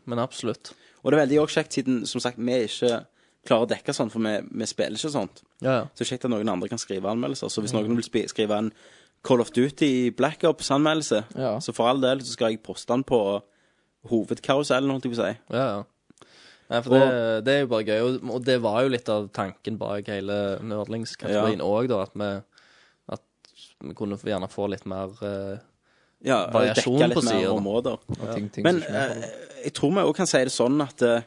B: men absolutt.
A: Og det er veldig også kjekt, siden som sagt, vi ikke klarer å dekke sånn, for vi, vi spiller ikke sånt.
B: Ja, ja.
A: Så det er kjekt at noen andre kan skrive anmeldelser. Så hvis noen vil spi- skrive en Call of Duty Black Ops-anmeldelse,
B: Ja.
A: så for all del så skal jeg poste den på hovedkarusellen, holdt jeg på å si.
B: Ja, ja. Nei, for det, det er jo bare gøy, og, og det var jo litt av tanken bak hele nerdlingskategorien
A: Ja.
B: òg, da, at vi, at vi kunne gjerne få litt mer eh,
A: Ja,
B: variasjon
A: dekke litt
B: på
A: mer
B: sida.
A: områder.
I: Og ting- ting
A: Men
I: som ikke
A: eh, jeg tror vi også kan si det sånn at eh,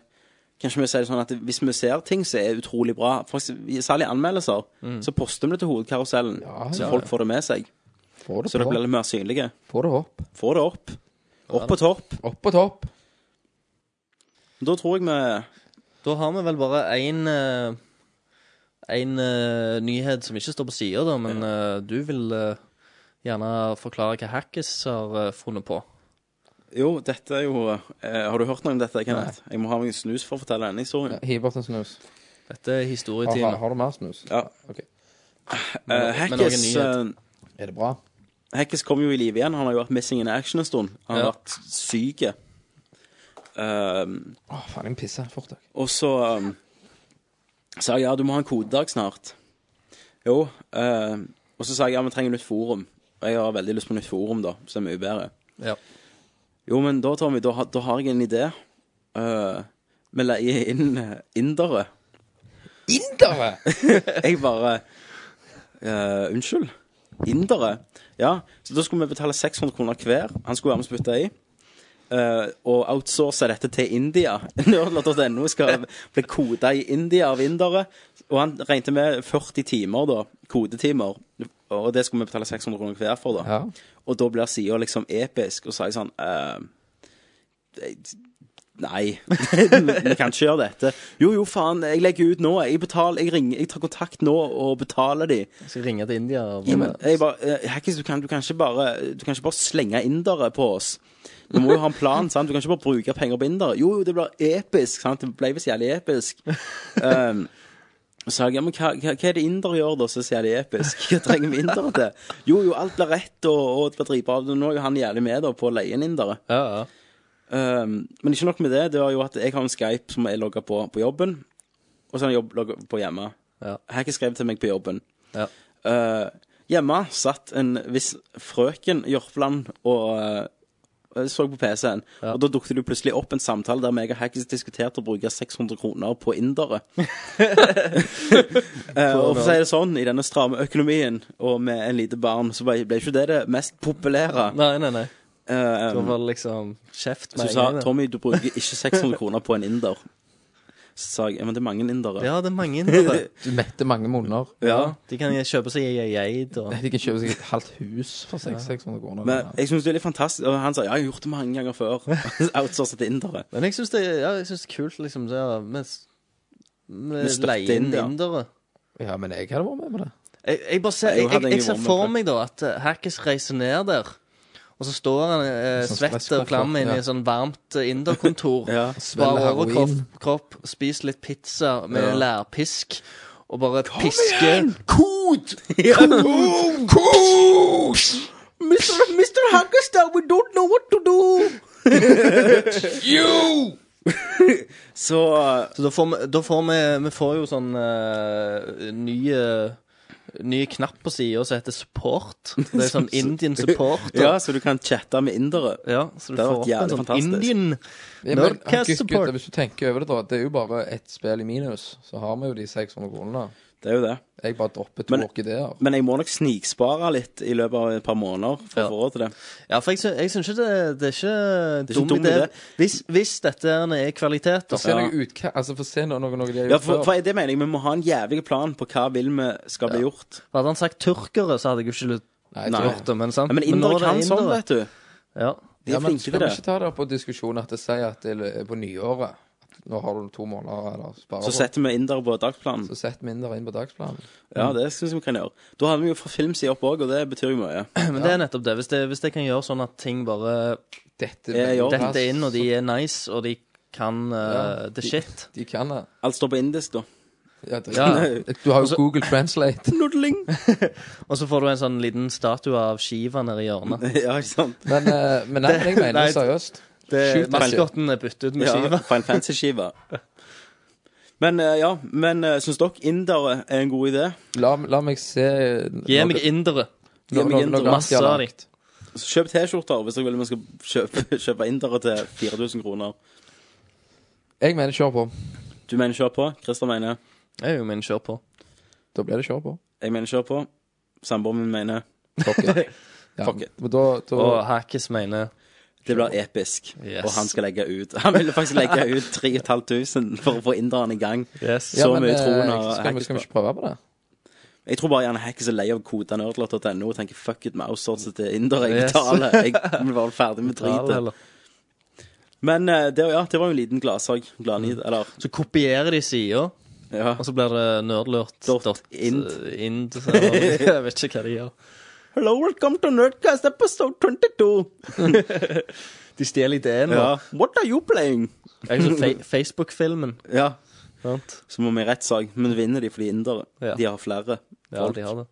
A: Kanskje vi sier det sånn at hvis vi ser ting som er utrolig bra, for eksempel- særlig anmeldelser, så poster vi det til hovedkarusellen, så
I: Mm. ja,
A: folk får det med seg.
I: Få det
A: Så dere
I: på.
A: blir litt mer synlige.
I: Få det opp.
A: Få det opp. Opp på topp.
I: Opp på topp.
A: Da tror jeg vi
B: Da har vi vel bare én En eh, nyhet som ikke står på sida, da, men eh, du vil eh, gjerne forklare hva Hackis har eh, funnet på.
A: Jo, dette er jo eh, Har du hørt noe om dette, Kenneth? Jeg må ha meg en snus for å fortelle denne historien.
I: Hiv oss en snus.
B: Dette er
I: Har, har,
B: historietimen.
I: har du mer snus?
A: Ja.
I: Ok.
A: Eh,
B: Men- men
A: Hackes,
B: noen nyhet.
A: eh,
I: Er det bra?
A: Hackes eh, kom jo i live igjen. Han har jo vært missing in action en stund. Han har
B: Ja.
A: vært syk. Um,
I: Å, faen, jeg må pisse fort. jeg.
A: og så um, sa jeg ja, du må ha en kodedag snart. Jo. eh, og så sa jeg ja, vi trenger nytt forum. Og jeg har veldig lyst på nytt forum, da, som er mye bedre.
B: Ja.
A: Jo, men da, Tommy, da, har- da har jeg en idé. Eh, vi leier inn eh, indere.
I: Indere!
A: Jeg bare eh, Unnskyld? Indere? Ja. Så da skulle vi betale 600 kroner hver. Han skulle være med og spytte i. Eh, og outsource dette til India. Nerdlot.no skal bli koda i India av indere. Og han regnet med 40 timer, da. Kodetimer. Og det skulle vi betale 600 kroner hver for, da.
I: Ja.
A: Og da blir sida liksom episk, og så er jeg sånn eh, jeg- Nei, vi kan ikke gjøre dette. Jo, jo, faen, jeg legger ut nå. Jeg betaler, jeg ringer, jeg tar kontakt nå og betaler de.
B: Jeg skal ringe til India. og
A: Ja,
B: bare-
A: men jeg bare, eh, Hackis, du kan, du, kan ikke bare, du kan ikke bare slenge indere på oss. Du må jo ha en plan, sant? Du kan ikke bare bruke penger på indere. Jo, jo, det blir episk, sant? Det ble visst jævlig episk. Um, så sa jeg, ja, men hva, hva, hva er det indere gjør da, så er det jævlig episk? Hva trenger vi indere til? Jo, jo, alt blir rett, og, og det blir dritbra. Nå er jo han jævlig med da på å leie inn indere.
B: ja, ja.
A: Um, men ikke nok med det, det var jo at jeg har en Skype som er logga på på jobben, og så er han jobb, logga på hjemme.
B: Ja.
A: Hacker skrev til meg på jobben.
B: Ja.
A: Uh, hjemme satt en viss frøken Jørpeland og uh, så på PC-en. Og da dukket det jo plutselig opp en samtale der meg og Hackis diskuterte å bruke 600 kroner på indere. Eh, og for å si det sånn, i denne stramme økonomien og med en lite barn, så ble, ble ikke det det mest populære.
B: Nei, nei, nei.
A: Eh,
B: Det var liksom kjeft
A: så
B: med
A: hun
B: en gang,
A: sa
B: det.
A: Tommy, du bruker ikke 600 kroner på en inder. Så sa jeg ja, men det er mange indere.
B: Ja, det er mange indere.
I: Du metter mange munner.
A: Ja.
B: De kan kjøpe seg ei geit og
I: De kan kjøpe seg et halvt hus for seks- 600 kroner.
A: Men jeg syns det er litt fantastisk. Og han sa ja, jeg har gjort det mange ganger før. Outsourcet til indere.
B: Men jeg syns det, ja, jeg synes det er kult, liksom. Det, ja, med, med
A: støtte
B: leie inn
A: India.
B: indere.
I: Ja, men jeg hadde vært med på det.
B: Jeg, jeg bare ser,
A: Jeg
B: jeg,
A: hadde
B: jeg, jeg
A: egentlig
B: ser
A: vært
B: for
A: med
B: meg da at eh, Hackis reiser ned der, og så står han eh,
I: Sånn
B: svett og
I: stresskoffert,
B: klam inne i
I: ja.
B: et sånn varmt eh, inderkontor.
A: Ja.
B: Bare
I: Svelger
B: overkropp,
I: heroin.
B: kropp, spiser litt pizza med
A: Ja.
B: lærpisk, og bare pisker
A: Kod! Kod! Kod! Mr. Mr. Huggerstad, we don't know what to do! you! Så
B: Så da får vi, da får vi, vi får jo sånn uh, nye Ny knapp på sida som heter support. Det er sånn Indian support. og-
A: Ja, så du kan chatte med indere.
B: ja, så du
A: det
B: får
A: har vært
B: opp
A: jævlig
B: en sånn
A: fantastisk.
B: Indian
I: Ja, men,
B: Nerdcast
I: gutt, gutt,
B: support.
I: hvis du tenker over det, da. Det er jo bare ett spill i minus. Så har vi jo de 600 kronene.
A: Det er jo det.
I: Jeg bare dropper to
A: Men-
I: orkideer.
A: Men jeg må nok snikspare litt i løpet av et par måneder for
B: Ja.
A: å få råd til det.
B: Ja, for jeg, sy jeg syns ikke det, det er ikke
A: ikke
B: dum
A: dum
B: idé.
A: idé.
B: Hvis, hvis dette her er kvalitet, da.
I: Få se noe utkast Altså, få se noe, noe, noe de har
A: Ja,
I: gjort
A: for,
I: før.
A: for det mener jeg, vi må ha en jævlig plan på hva vil vi skal bli gjort.
B: Hadde han sagt tyrkere, så hadde jeg jo ikke lyst
I: Nei,
A: Nei.
B: gjort det. Men, sant?
A: Ja, men indere
B: nå er det
A: kan sånn,
B: indere.
A: vet du.
B: Ja.
A: De er
I: men
A: flinke
I: skal
A: til
I: vi
A: det.
I: ikke ta det på diskusjon at det sier at det er på nyåret at nå har du to måneder eller sparer
A: Så setter vi Inder på dagsplanen.
I: Så setter vi Inder inn på dagsplanen.
A: Ja, det syns jeg vi kan gjøre. Da hadde vi jo fra filmsida opp òg, og det betyr jo mye.
B: Men det er nettopp det. Hvis det, hvis det kan gjøre sånn at ting bare
I: Dette,
A: Jeg gjør
B: detter
A: det.
B: inn, og de er nice, og de kan uh,
I: Ja,
B: the shit.
I: De kan det.
A: Alt står på indisk, da.
I: Ja, det
B: Ja.
I: Du har jo Google Translate.
A: Nudling.
B: Og så får du en sånn liten statue av Shiva nede i hjørnet.
A: ja, ikke sant?
I: Men, eh, men nei, men jeg mener
B: Nei,
I: det seriøst. Shoot that shit.
B: Maskotten er byttet ut med
A: Ja,
B: Shiva.
A: Final Fantasy-skiva. Men eh, ja, men uh, syns dere indere er en god idé?
I: La, la meg se
B: Gi meg indere.
I: Gi meg
A: indere.
B: Masse av de.
A: Så kjøp T-skjorter hvis dere vil vi skal kjøpe, kjøpe indere til 4000 kroner.
I: Jeg mener kjør på.
A: Du mener kjør på? Christer mener.
B: Jeg er jo min kjør på.
I: Da blir det kjør på.
A: Jeg mener kjør på. Samboeren min mener.
I: Fuck it. Ja,
A: Fuck it.
I: men da, da,
B: Og Hackis mener
A: Det blir episk.
B: Yes.
A: Og han skal legge ut Han ville faktisk legge ut 3500 for å få inderne i gang.
B: Yes.
A: Så
I: men,
A: mye
I: eh,
A: tror han har
I: skal, vi,
A: hacket
I: skal vi
A: på.
I: ikke prøve på det?
A: Jeg tror bare gjerne Hack er så lei av kodenerdlot.no og tenker fuck it, vi outsourcer til indere. Jeg
B: Yes.
A: betaler. Jeg vil være ferdig med dritet.
B: Eller-
A: Men eh, det, ja, det var jo en liten gladsak. Gladnid. Eller
B: Så kopierer de sida,
A: ja.
B: og så blir det nerdlurt.
A: Dot
B: dot,
A: ind.
B: eh, ind, eller- Jeg vet ikke hva de gjør.
A: Hello, welcome to Nerdcast episode 22.
B: De stjeler ideen
A: Ja.
B: vår.
A: What are you playing?
B: Det er jo sånn fe Facebook-filmen.
A: Ja,
B: sant?
A: så må vi i rettssak. Men vinner de fordi indere.
B: Ja.
A: De har flere.
B: Ja, de har det.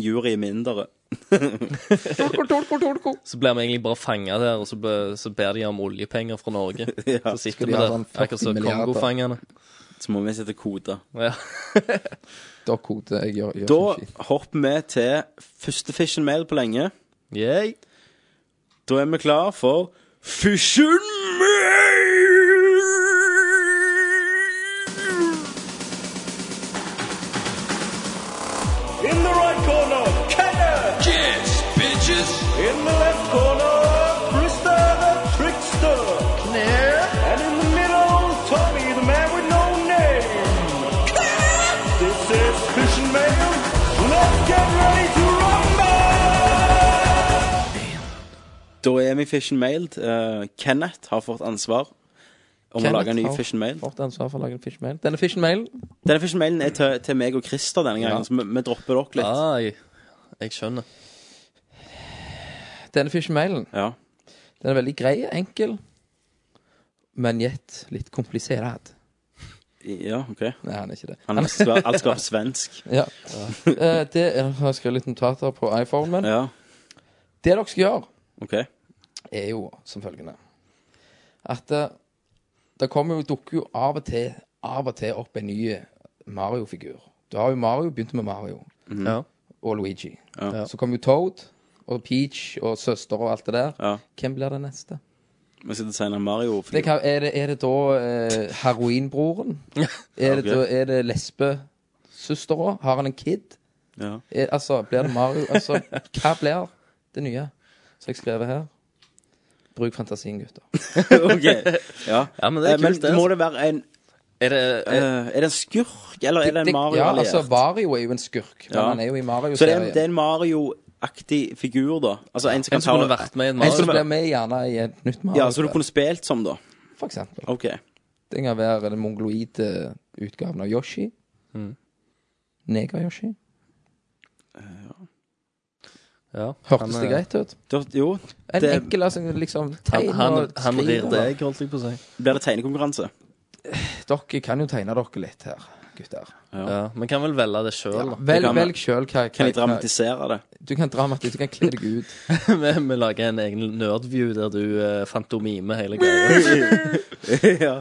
A: Jury med indere.
B: Så blir vi egentlig bare fanga der, og så, be, så ber de om oljepenger fra Norge.
A: Ja.
B: Så sitter vi
I: de ha
B: der,
I: sånn 40
B: akkurat som
I: milliarder?
B: Kongofangene.
A: Så må vi sette kode.
B: Ja.
I: Da koder jeg gjør, gjør
A: Da
I: som skit.
A: hopper vi til første Fission Mail på lenge.
B: Yay.
A: Da er vi klar for Fission Mail!
F: In the right corner, Kenneth. Yes, bitches. In the left corner, Krista the trickster. Claire. And in
C: ah.
F: the middle, Tommy, the man with no name. This is Fish and Mail. Let's get ready to rumble!
A: Da er vi i Fission Mail. Eh, Kenneth har fått ansvar om å
I: Kenneth
A: lage en ny
I: har
A: Fission Mail.
I: Fått ansvar for å lage en fish mail. Denne fish mailen
A: Denne Fission Mailen er til, til meg og Christer denne gangen,
I: Ja.
A: så vi, vi dropper dere litt.
B: Ai, Ah, jeg skjønner.
I: Denne fish mailen
A: Ja.
I: Den er veldig grei, enkel, men gjett litt komplisert.
A: ja, OK.
I: Nei, han er ikke det.
A: Han er- skal, alt skal være svensk.
I: Ja. Eh, det er, jeg har skrevet litt notater på iPhonen min.
A: Ja,
I: Det dere skal gjøre,
A: OK.
I: er jo som følgende At eh, det kommer jo, dukker jo av og til Av og til opp en ny Mario-figur. Du har jo Mario, begynte med Mario
B: Ja.
I: og Luigi.
A: Mhm. Ja.
I: Så kom jo Toad og Peach og søster og alt det der.
A: Ja.
I: Hvem blir det neste?
A: Vi skal designe Mario.
I: Det kan, er, det, er det da eh, heroinbroren? Er det,
A: ok.
I: da- er det lesbesøstera? Har han en kid?
A: Ja.
I: Er, altså, blir det Mario? Altså, hva blir det nye? Så jeg skrev her Bruk fantasien, gutter.
A: OK. Ja.
B: Ja, men det er
A: Eh, men
B: kult, det. altså.
A: må det være en
B: Er det,
A: eh, Er det en skurk, eller er det en Mario?
I: ja,
A: alliert?
I: altså, Vario er jo en skurk, men
A: Ja.
I: han er jo i
A: Så det er, en-
I: Mario-serien.
A: det er en Mario-aktig figur, da? Altså en som kan
B: en
A: ta
B: som kunne vært med i en
I: En som
B: Mario?
I: blir med gjerne i et nytt Mario.
A: Ja, som du kunne spilt som, da?
I: For eksempel.
A: OK.
I: Det kan være eh, den mongoloide utgaven av Yoshi.
A: Mm.
I: Neger-Yoshi.
B: Ja.
I: Hørtes
B: Han,
I: det
B: eh,
I: greit ut?
A: Da, jo,
I: En
A: det-
I: enkel altså, liksom
B: Han,
I: tegn
B: han,
I: og
B: han
I: skriv,
B: rir deg, holdt jeg på å si.
A: blir det tegnekonkurranse?
I: Dere kan jo tegne dere litt her, gutter.
B: Ja, men kan vel velge det sjøl, da.
I: Vel,
A: kan vi.
I: velg sjøl hva, hva,
A: Kan jeg
I: hva
A: dramatisere det?
I: Du kan dramatisere, du kan kle deg ut.
B: Vi vi lager en egen nerdview der du eh, fantomimer hele greia.
A: ja.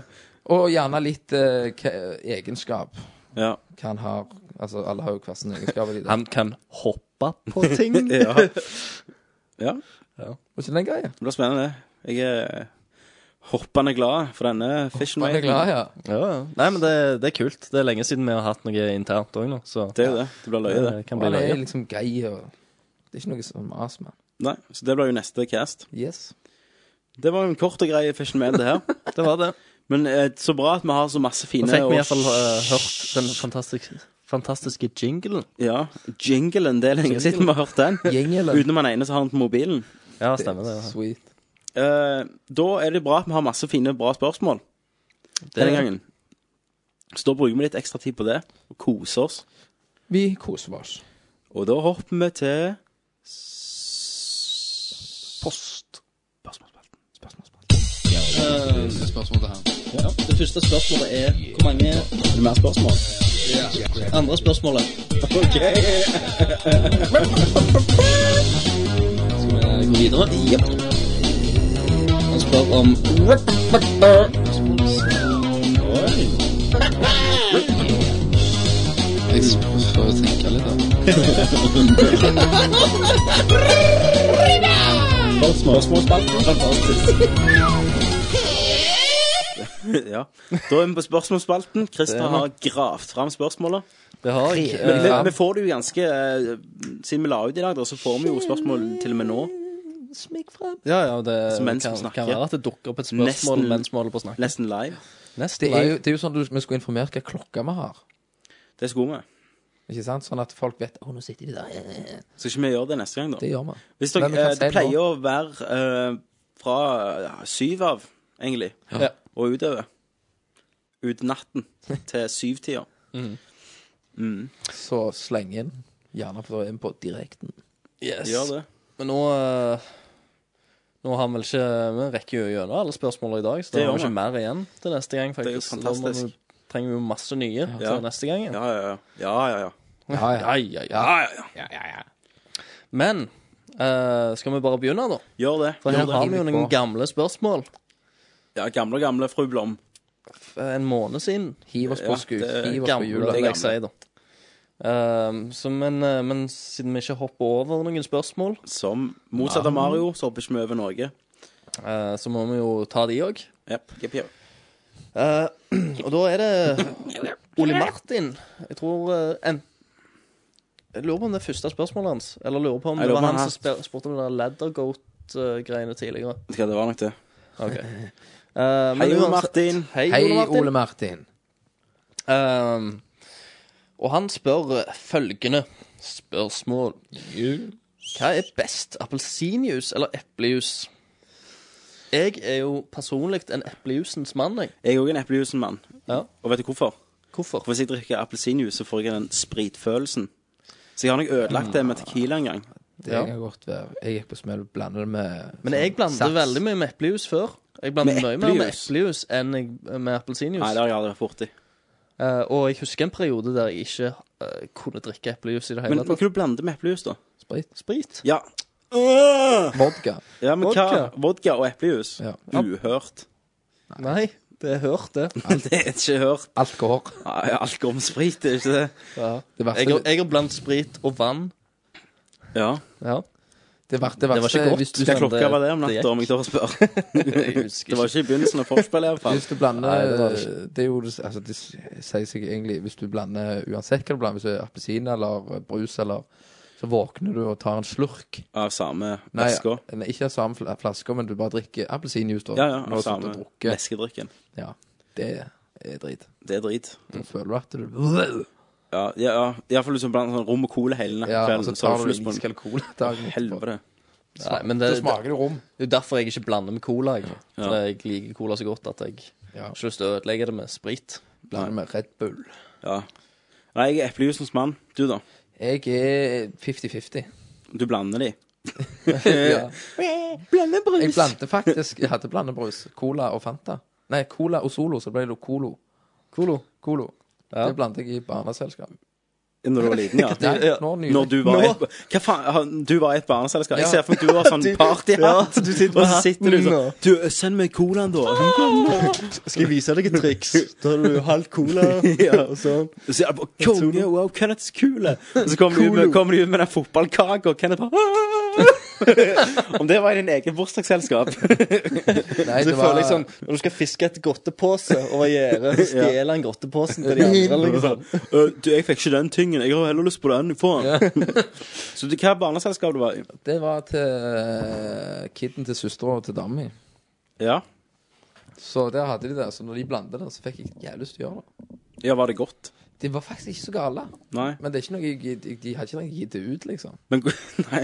I: Og gjerne litt eh, hva- egenskap.
A: Ja.
I: Hva han har Altså, alle har jo hver sin egenskap. i det.
B: Han kan hoppe på ting.
A: ja. ja.
I: Var ikke den greia?
A: Det blir spennende. Jeg er hoppende glad for denne Fission
I: Man er
A: Mail.
I: glad, ja.
B: Ja, ja. Nei, men det, det er kult. Det er lenge siden vi har hatt noe internt òg nå, så
A: Det er jo det. Det blir løye, det.
B: det kan
I: Og
B: bli
I: han er
B: løye.
I: liksom grei og Det er ikke noe sånn mas, mann.
A: Nei, så det blir jo neste cast.
I: Yes.
A: Det var jo en kort og grei Fission Mail, det her.
B: Det var det.
A: Men eh, så bra at vi har så masse fine
B: Nå fikk vi
A: og-
B: iallfall uh, hørt den fantastiske, fantastiske jinglen.
A: Ja. Jinglen. Det er lenge siden vi har hørt den.
I: Jingelen.
A: Utenom han ene som har den på mobilen.
B: Ja, stemmer det.
I: Sweet.
A: Eh, da er det bra at vi har masse fine, bra spørsmål. denne gangen. Så da bruker vi litt ekstra tid på det, og koser oss.
I: Vi koser oss.
A: Og da hopper vi til
B: Post.
A: Spørsmålsspalten.
B: Eh, Ja. Det første spørsmålet er hvor mange
A: Er det mer spørsmål?
B: Andre spørsmålet.
A: Ok.
B: Skal vi gå videre? Jepp. Han spør om
L: Jeg får jo tenke litt, da.
A: ja. Da er vi på spørsmålsspalten.
B: Det
A: Christer
B: er vi.
A: har gravd fram spørsmålet.
B: Det har jeg.
A: Men vi,
B: Eh,
A: vi får det jo ganske eh, Siden vi la ut i dag, da, så får vi jo spørsmål til og med nå.
B: Ja, ja, det
A: Så mens vi
B: kan,
A: snakker.
B: kan være at det dukker opp et spørsmål
A: Nesten-
B: mens vi holder på å snakke.
A: Nesten live.
B: Nesten
I: Det er
B: live.
I: jo, det er jo sånn at du- vi skulle informert hva klokka vi har.
A: Det skulle vi.
I: Ikke sant? Sånn at folk vet Å, nå sitter de der.
A: Skal ikke vi gjøre det neste gang, da?
I: Det gjør vi.
A: Hvis
I: Men
A: dere,
I: vi kan
A: eh, det
I: si det
A: pleier å være eh, fra ja, syv av, egentlig,
B: Ja.
A: og utover. Ut natten til syvtida.
I: Så sleng inn. Gjerne for å inn på direkten.
B: Yes.
A: Gjør det.
B: Men nå eh, Nå har vi vel ikke Vi rekker jo gjennom alle spørsmålene i dag, så
A: Det
B: da har
A: gjør
B: vi
A: vi.
B: ikke mer igjen til neste gang,
A: er jo
B: faktisk. Så Da
A: fantastisk.
B: må vi, trenger vi jo masse nye
A: Ja.
B: til neste gang. igjen.
A: Ja, ja, ja. Ja, ja, ja.
I: Ja, ja.
B: Ja, ja, ja. Men eh, skal vi bare begynne, da?
A: Gjør det.
B: For her
A: Gjør det.
B: har vi jo noen gamle spørsmål.
A: Ja, gamle, gamle fru Blom.
B: F- En måned siden.
I: Hiv oss
A: Ja,
I: på skut.
A: det er
I: Hiv oss på
B: Gamle,
I: hjula.
B: vil
A: gamle.
B: jeg si, da. Eh, så, men, eh, men siden vi ikke hopper over noen spørsmål,
A: Som motsatt av Mario, så hopper ikke vi over Norge.
B: eh, så må vi jo ta de òg.
A: Jep, jep, jep.
B: Eh, og da er det Ole Martin. Jeg tror eh, en Jeg lurer på om det er første spørsmålet hans. Eller lurer på om
A: Jeg
B: det
A: lurer
B: var
A: på
B: han
A: om
B: som
A: han
B: spør- spurte om det der Laddergoat-greiene tidligere.
A: Ja, det var nok det.
B: Ok. Eh, men
A: Hei, Ole
B: uansett-
A: Martin.
B: Hei,
I: Hei,
B: Ole Martin.
I: Ole Martin.
B: Ehm, og han spør eh, følgende spørsmål. Hva er best, appelsinjuice eller eplejus? Jeg er jo personlig en eplejusens mann, jeg.
A: Jeg er òg en eplejusen-mann.
B: Ja.
A: Og vet du hvorfor?
B: Hvorfor?
A: For hvis jeg drikker appelsinjuice, så får jeg den spritfølelsen. Så jeg har nok ødelagt det med tequila en gang.
I: Det
B: Ah. Ja.
I: kan godt være. Jeg gikk på smell og blandet det med
B: Men jeg blandet
I: Sånn sats.
B: veldig mye med eplejus før. Jeg blander
A: Med
B: mye mer med
A: eplejus?
B: eplejus enn jeg, med appelsinjuice.
A: Nei, det har jeg aldri vært borti.
B: Eh, og jeg husker en periode der jeg ikke eh, kunne drikke eplejus i det
A: Men
B: hele
A: hva
B: tatt.
A: kan du blande med eplejus, da?
I: Sprit.
B: Sprit.
A: Ja.
I: Ah! Vodka.
A: ja, men vodka.
B: Vodka.
A: hva? Vodka og eplejus.
I: Ja.
A: Uhørt.
B: Nei, det er hørt, det.
A: Det er ikke hørt.
I: Alkohol.
A: Nei, Alkohol med sprit, det er ikke det?
B: Ja.
I: Det
B: Jeg, har-
I: verste,
B: jeg har blandet sprit og vann.
A: Ja.
B: Ja.
I: det verste, det
B: var
I: verste
B: ikke godt.
I: hvis du
A: Hva
B: Men
A: klokka
B: det-
A: var det om
B: det
A: natta,
B: gikk.
A: om jeg tør å spørre?
B: Jeg husker
A: Det var ikke i begynnelsen av forspillet, iallfall.
I: Hvis du blander
B: Nei, det
I: det,
B: var det ikke.
I: er jo det- altså, det sier seg egentlig Hvis du blander uansett hva du blander, hvis det er appelsin eller brus eller Så våkner du og tar en slurk.
A: Av samme
I: Nei,
A: væska.
I: nei, ikke av samme fl- flaske, men du bare drikker appelsinjuice. da,
A: Ja, ja. Av
I: når du har sittet
A: samme
I: og drukket.
A: væskedrikken.
I: Ja, det er drit.
A: Det er drit.
I: Da føler du at du
A: Ja, ja, ja. Iallfall hvis du blander sånn rom og cola hele natt
I: Ja, og
A: kvelden,
I: så
A: så har
I: tar
A: du
I: du
A: ikke lyst på
I: is
A: den.
I: eller cola dagen etterpå.
A: Helvete.
B: Nei, men
I: Så
B: det,
I: smaker det rom.
B: Det er jo derfor jeg ikke blander med cola. Jeg,
A: Ja.
B: For jeg liker cola så godt at jeg
I: Ja.
B: har ikke lyst til å ødelegge det med sprit.
I: Blander med Red Bull.
A: Ja. Nei, jeg er eplejusens mann. Du, da?
I: Jeg er 50-50.
A: Du blander de.
I: Ja.
A: Eh. Blandebrus.
I: Jeg blandet faktisk Jeg hadde blandebrus. Cola og Fanta. Nei, Cola og Solo, så ble det Colo. Colo. Colo.
B: Ja.
I: Det blandet jeg i barneselskap.
A: Når du var liten, ja.
I: Nei,
B: ja.
I: nå nylig.
A: Når du var
B: Nå?
A: et, hva faen, han- du var et barneselskap. Jeg
I: Ja.
A: ser for meg du har sånn
B: Du-
A: partyhatt,
B: ja, du
A: og
B: sitter med
A: så sitter du
B: hatten
A: sånn
B: og-
A: Du, send meg colaen, da.
B: Skal jeg vise deg et triks? Da har du halvt cola og sånn.
A: Og så er det bare, Konge, wow, Kenneths kule. Og så kommer de ut med, kommer de ut med den fotballkaka, og Kenneth bare "Ah!" Om det var i din egen bursdagsselskap.
B: Så
I: Nei, det
B: jeg
I: var
B: føler jeg
A: liksom-
B: sånn, Når du skal fiske et godtepose over gjerdet, så stjeler han godteposen til de andre. liksom.
A: Øh, du, jeg fikk ikke den tingen. Jeg har heller lyst på den. Få den. Så du, hva barneselskap du var i?
I: Det var til eh, kidden til søstera og til dama mi.
A: Ja.
I: Så der hadde de det. Så når de blandet det, så fikk jeg jævlig lyst til å gjøre det.
A: ja, var det godt?
I: De var faktisk ikke så gale.
A: Nei.
I: Men det er ikke noe jeg, gid- jeg, de hadde ikke noe gitt det ut, liksom.
A: Men, nei.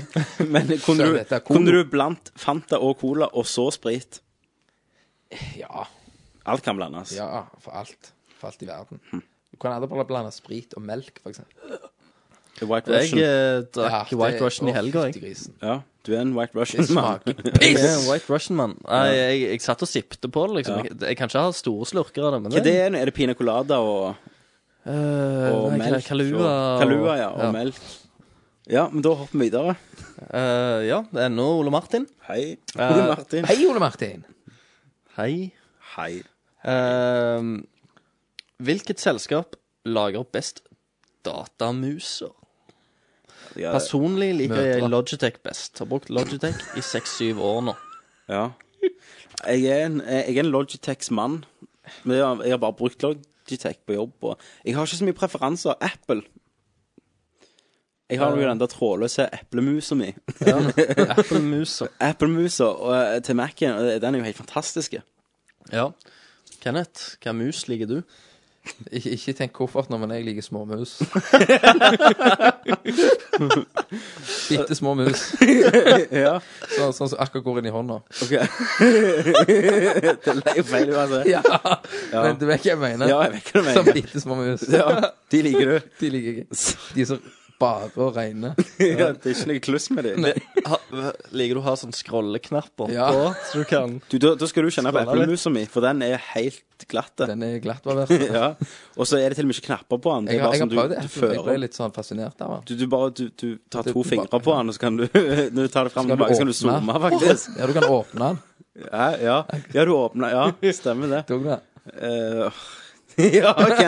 A: Men
I: Så
A: kunne,
I: dette
A: du,
I: er cola.
A: kunne du blant Fanta og Cola og så sprit?
I: Ja.
A: Alt kan blandes.
I: Ja, for alt. For alt i verden. Du kan aldri bare blande sprit og melk, for eksempel.
A: White
B: Jeg
A: Russian.
B: eh, drakk
I: Ja, det-
B: White Russian
I: å,
B: i helga,
I: fytti
B: jeg.
I: grisen.
A: Ja, du er en White
I: Det
A: Russian-mann.
I: smaker
B: Jeg er
I: piss!
B: en White Russian, mann. Jeg, jeg, jeg satt og sippte på det, liksom. Jeg, jeg kan ikke ha store slurker av det, men
A: Hva er
B: det
A: det? Er det pina colada og,
B: Eh,
A: og
B: nei,
A: melk?
B: Kalua.
A: og-
B: og-
A: Kalua, ja. Og melk. Ja, men da hopper vi videre.
B: Eh, ja, det er nå Ole Martin.
A: Hei.
B: Eh,
A: Ole Martin.
I: Hei, Ole Martin!
B: Hei.
A: Hei.
B: Eh, hvilket selskap lager best datamuser?
A: Ja, det-
B: Personlig liker
I: Mødre.
B: jeg Logitech best. Har brukt Logitech i seks-syv år nå.
A: Ja. Jeg er en, jeg er en Logitechs mann. Men jeg har, jeg har bare brukt Logitech på jobb. Og jeg har ikke så mye preferanser. Apple. Jeg har jo den der trådløse eplemusa mi.
B: Apple-muser.
A: Applemusa og, eh, til Mac-en, og den er jo helt fantastisk.
B: Ja. Kenneth, hva mus liker du?
I: Ikke, ikke tenk koffert nå, men jeg liker småmus. Bitte små mus.
A: Ja,
I: Sånn sånn som akkurat går inn i hånda.
A: ok. det er jo feil uansett.
I: Ja. Men du vet hva jeg mener?
A: Ja, jeg vet hva du
I: Sånn
A: mener.
I: bitte små mus.
A: Ja, de liker du.
I: De liker jeg. De som bare og regner.
A: Ja, det er ikke noe kluss med dem.
B: Eh, Ha, liker du å ha sånn scrolleknapper
I: Ja.
B: på, så du kan
A: Du, da, da skal du kjenne på
B: Skåler litt.
A: eplemusa mi, for den er helt glatt.
I: Den er glattbarbert.
A: Ja. Og så er det til og med ikke knapper på den. Det
I: Jeg
A: er
I: har,
A: bare
I: jeg har
A: sånn du,
I: prøvd det.
A: du
I: Jeg ble
A: fører
I: litt sånn fascinert av den.
A: Du, du bare du, du tar
I: Det-
A: to
I: du
A: fingre
I: bare-
A: på den, og så kan du Når du tar det fram
I: Skal du
A: tilbake, så kan du
I: åpne?
A: zoome, faktisk.
I: Ja, du kan åpne den.
A: Ja, ja. ja du åpner Ja, stemmer det.
I: Tok du den?
A: Eh, ja, ok.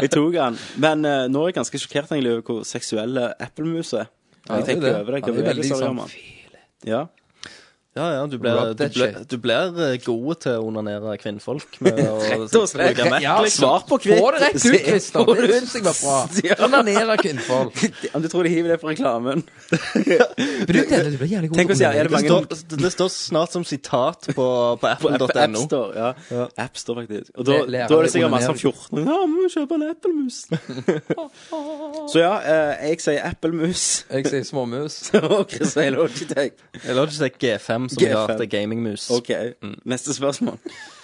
A: Jeg tok den. Men eh, nå er jeg ganske sjokkert egentlig over hvor seksuelle eplemus er. Jeg
I: Ja, det er
A: tenker
I: det.
A: over det.
I: Ja,
A: Hva
I: det er veldig
A: bevegelser det gjør
I: sånn
A: man? Ja.
B: Ja, ja, du blir,
I: Rub
B: du
I: that
B: blir,
I: shit.
B: du blir eh, gode til å onanere kvinnfolk med å
A: Rett og slett.
B: bruke Mac.
I: Ja,
A: Svar på kvitt.
I: Få det rett ut, Christer.
A: Få det ut.
I: Det syns jeg var bra.
A: Ja.
I: Onanere kvinnfolk.
A: Om du tror de hiver det på reklamen
I: Men du, Delle, du blir jævlig god
A: Tenk å si,
I: til
A: er
I: å
A: det
B: Det
A: mange
B: står, det står snart som sitat på,
A: på
B: på
A: app-
B: appen.no.
A: AppStore, ja. AppStore, faktisk. Og da,
I: Le- lærer
A: da er det
I: de
A: sikkert masse om 14
I: onanering.
A: Ja, vi må kjøpe en eplemus. Så ja, eh, jeg sier eplemus,
I: Jeg sier småmus.
A: og Chris sier Logitech.
B: Jeg lar ikke si G5, som
A: G5.
B: jeg har hatt, det er gamingmus.
A: OK, neste spørsmål.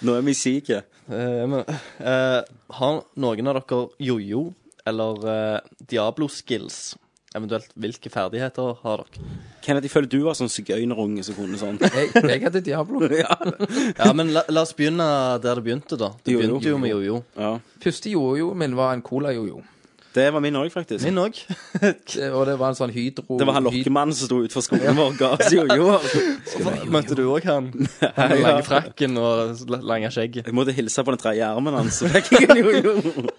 A: Nå er vi syke.
B: Eh, men, eh, har noen av dere jojo eller eh, Diablo-skills? Eventuelt hvilke ferdigheter har dere?
A: Kenneth, jeg føler du var sånn sigøynerunge som kunne sånn.
I: Jeg, jeg hadde Diablo.
B: Ja, men la, la oss begynne der det begynte, da. Det
A: Jojo.
B: begynte jo med jojo.
A: Ja.
I: Første jojo min var en cola-jojo.
A: Det var min òg, faktisk.
B: Min òg.
I: Det- Og det var en sånn hydro...
A: Det var han lokkemannen som sto utenfor skolen vår og ga oss jojoer.
B: Møtte du òg han? Han med lange frakken og l- lange skjegget.
A: Jeg måtte hilse på den tredje armen hans, så fikk jeg en jojo.
I: hyd-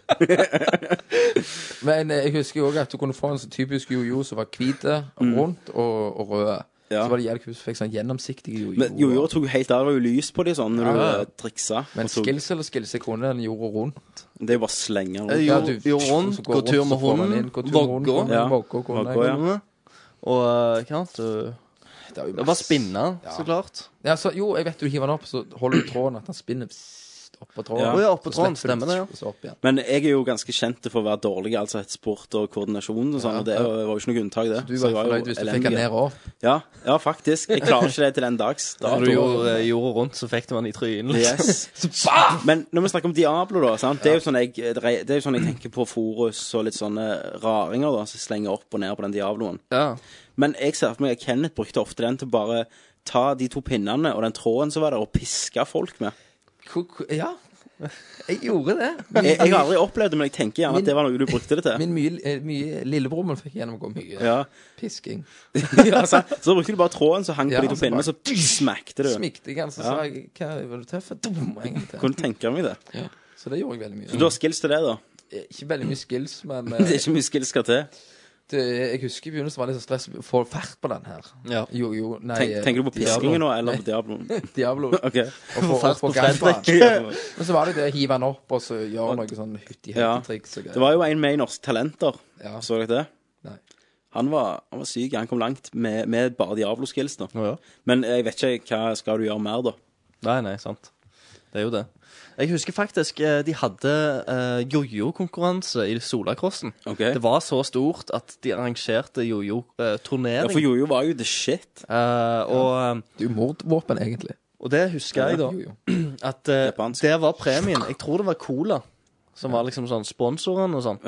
I: Men eh, jeg husker jo også at du kunne få en sånn typisk jojo som var hvit, rundt og, og rød.
A: Mm. Ja.
I: Så var det jævlig kult, så fikk sånn gjennomsiktig jojo.
A: Men jojoer tok jo helt av. Det var jo lys på de sånn når du
I: Ja.
A: eh, triksa.
I: Men
A: og tok-
I: skills eller skills jeg kunne, den gjorde rundt.
A: Det er jo bare å slenge den rundt.
B: Jo,
I: Ja, du-
B: jo rundt,
I: så går
B: gå tur
I: rundt,
B: med
I: så får man inn,
B: hunden,
I: gå tur med hunden,
B: vogge.
I: kom.
A: Ja.
I: Vogge kunne jeg.
A: Vogge, ja.
B: Og eh, hva annet? du-
I: Det var jo
B: Det var
I: masse.
B: spinne, så
I: Ja.
B: klart.
I: Ja, så, jo, jeg vet du hiver den opp, så holder du tråden at den spinner pssst, opp på tråden.
A: Ja.
B: Å ja, opp på
I: Så
B: tråden,
I: slipper du
B: stemmer det, ja.
I: så opp igjen.
A: Men jeg er jo ganske kjent for å være dårlig, altså et sport og koordinasjon og sånn, og det var jo ikke noe unntak, det.
I: Du
A: Så
I: var
A: jeg
I: fornøyd hvis du fikk den
A: elendig.
I: ned og opp.
A: Ja, ja, faktisk. Jeg klarer ikke det til den dags.
B: Da
A: Da
B: du gjorde eh, jorda rundt, så fikk du den i trynet. liksom.
A: Yes. Men når vi snakker om Diablo, da, sant? Det, er jo sånn jeg, det er jo sånn jeg tenker på Forus og litt sånne raringer da, som slenger opp og ned på den Diabloen.
B: Ja.
A: Men jeg ser for meg at Kenneth brukte ofte den til å bare ta de to pinnene og den tråden som var der, og piske folk med.
I: Ko- ko- Ja, jeg gjorde det.
A: Jeg, jeg har aldri opplevd det, men jeg tenker gjerne
I: Min-
A: at det var noe du brukte det til.
I: Min mye, eh, mye lillebror min fikk gjennomgå mye
A: Ja.
I: pisking.
A: Ja, sant? så da brukte du bare tråden som hang på
I: Ja,
A: de to
I: så
A: pinnene,
I: bare-
A: så smakte du.
I: Smikte jeg han, så sa jeg hva var du tøff for? Dum, en gang til.
A: Kunne tenke meg det.
I: Ja. Så det gjorde jeg veldig
A: Du
I: mye.
A: har skills til det, da.
I: Eh, Ikke veldig mye skills, men eh,
A: Det er ikke mye skills skal til.
I: det, eh, jeg husker i begynnelsen var det litt sånn stress. Få fart på den her.
B: Ja.
I: Jo, jo, nei
A: Tenk,
I: eh,
A: tenker du på
I: Diablo.
A: piskingen nå, eller på Diabloen?
I: Diablo.
A: OK.
I: Og få
B: fart
I: fart
B: på
I: på gamma.
A: Fredrik.
I: Men så var det det å hive den opp, og så gjøre noe sånn
A: Ja.
I: hytti-hytti-triks og
A: Det
I: greier.
A: var jo en med i Norske Talenter.
I: Ja.
A: Så dere det?
I: Nei.
A: Han var, han var syk. Han kom langt med, med bare Diablo-skills. da
B: Å, ja.
A: Men jeg vet ikke hva skal du gjøre mer, da.
B: Nei, nei, sant. Det er jo det. Jeg husker faktisk eh, de hadde eh, jojo-konkurranse i Solakrossen.
A: Ok.
B: Det var så stort at de arrangerte
A: Ja, For
B: jojo-turnering.
A: Jojo var jo the shit.
B: og, eh,
I: Det er jo mordvåpen, egentlig.
B: og det husker jeg, da.
I: Jo, jo.
B: At eh, der var premien Jeg tror det var Cola som var liksom sånn sponsoren og sånn.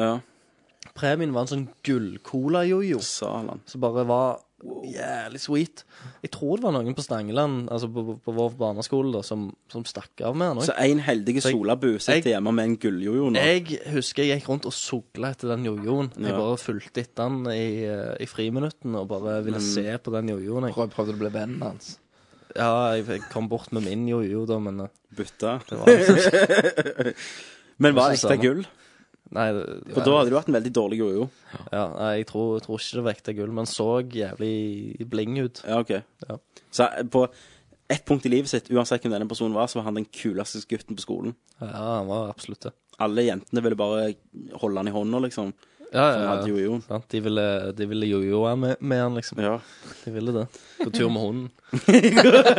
B: Premien var en sånn gull-cola-jojo. Som bare var jævlig sweet. Jeg tror det var noen på Stangeland, altså på, på- på vår barneskole, da, som, som stakk av med den. også.
A: Så en heldige
B: Så jeg-
A: solabu sitter hjemme med en gulljojo nå.
B: Jeg husker jeg gikk rundt og sogla etter den jojoen. Jeg
A: Ja.
B: bare fulgte etter den i, eh, i friminuttene og bare ville
A: Mm.
B: se på den jojoen. Jeg.
I: prøvde du å bli vennen hans?
B: Ja, jeg, jeg kom bort med min jojo, da, men eh,
A: Bytta.
B: Det var,
A: Men var det
B: ikke
A: ekte
B: samme.
A: gull?
B: Nei, det-
A: For da hadde du hatt en veldig dårlig jojo.
B: Ja, nei, jeg tror, jeg tror ikke det var ekte gull, men så jævlig bling ut.
A: Ja, ok. Så eh, på ett punkt i livet sitt, uansett hvem denne personen var, så var han den kuleste gutten på skolen.
B: Ja, han var absolutt det.
A: Alle jentene ville bare holde han i hånda, liksom.
B: Ja,
A: Som
B: ja,
A: hadde
B: ja.
A: jojoen.
B: Sant? De ville, de ville jojoe med, med han, liksom. De ville det. Gå tur med hunden.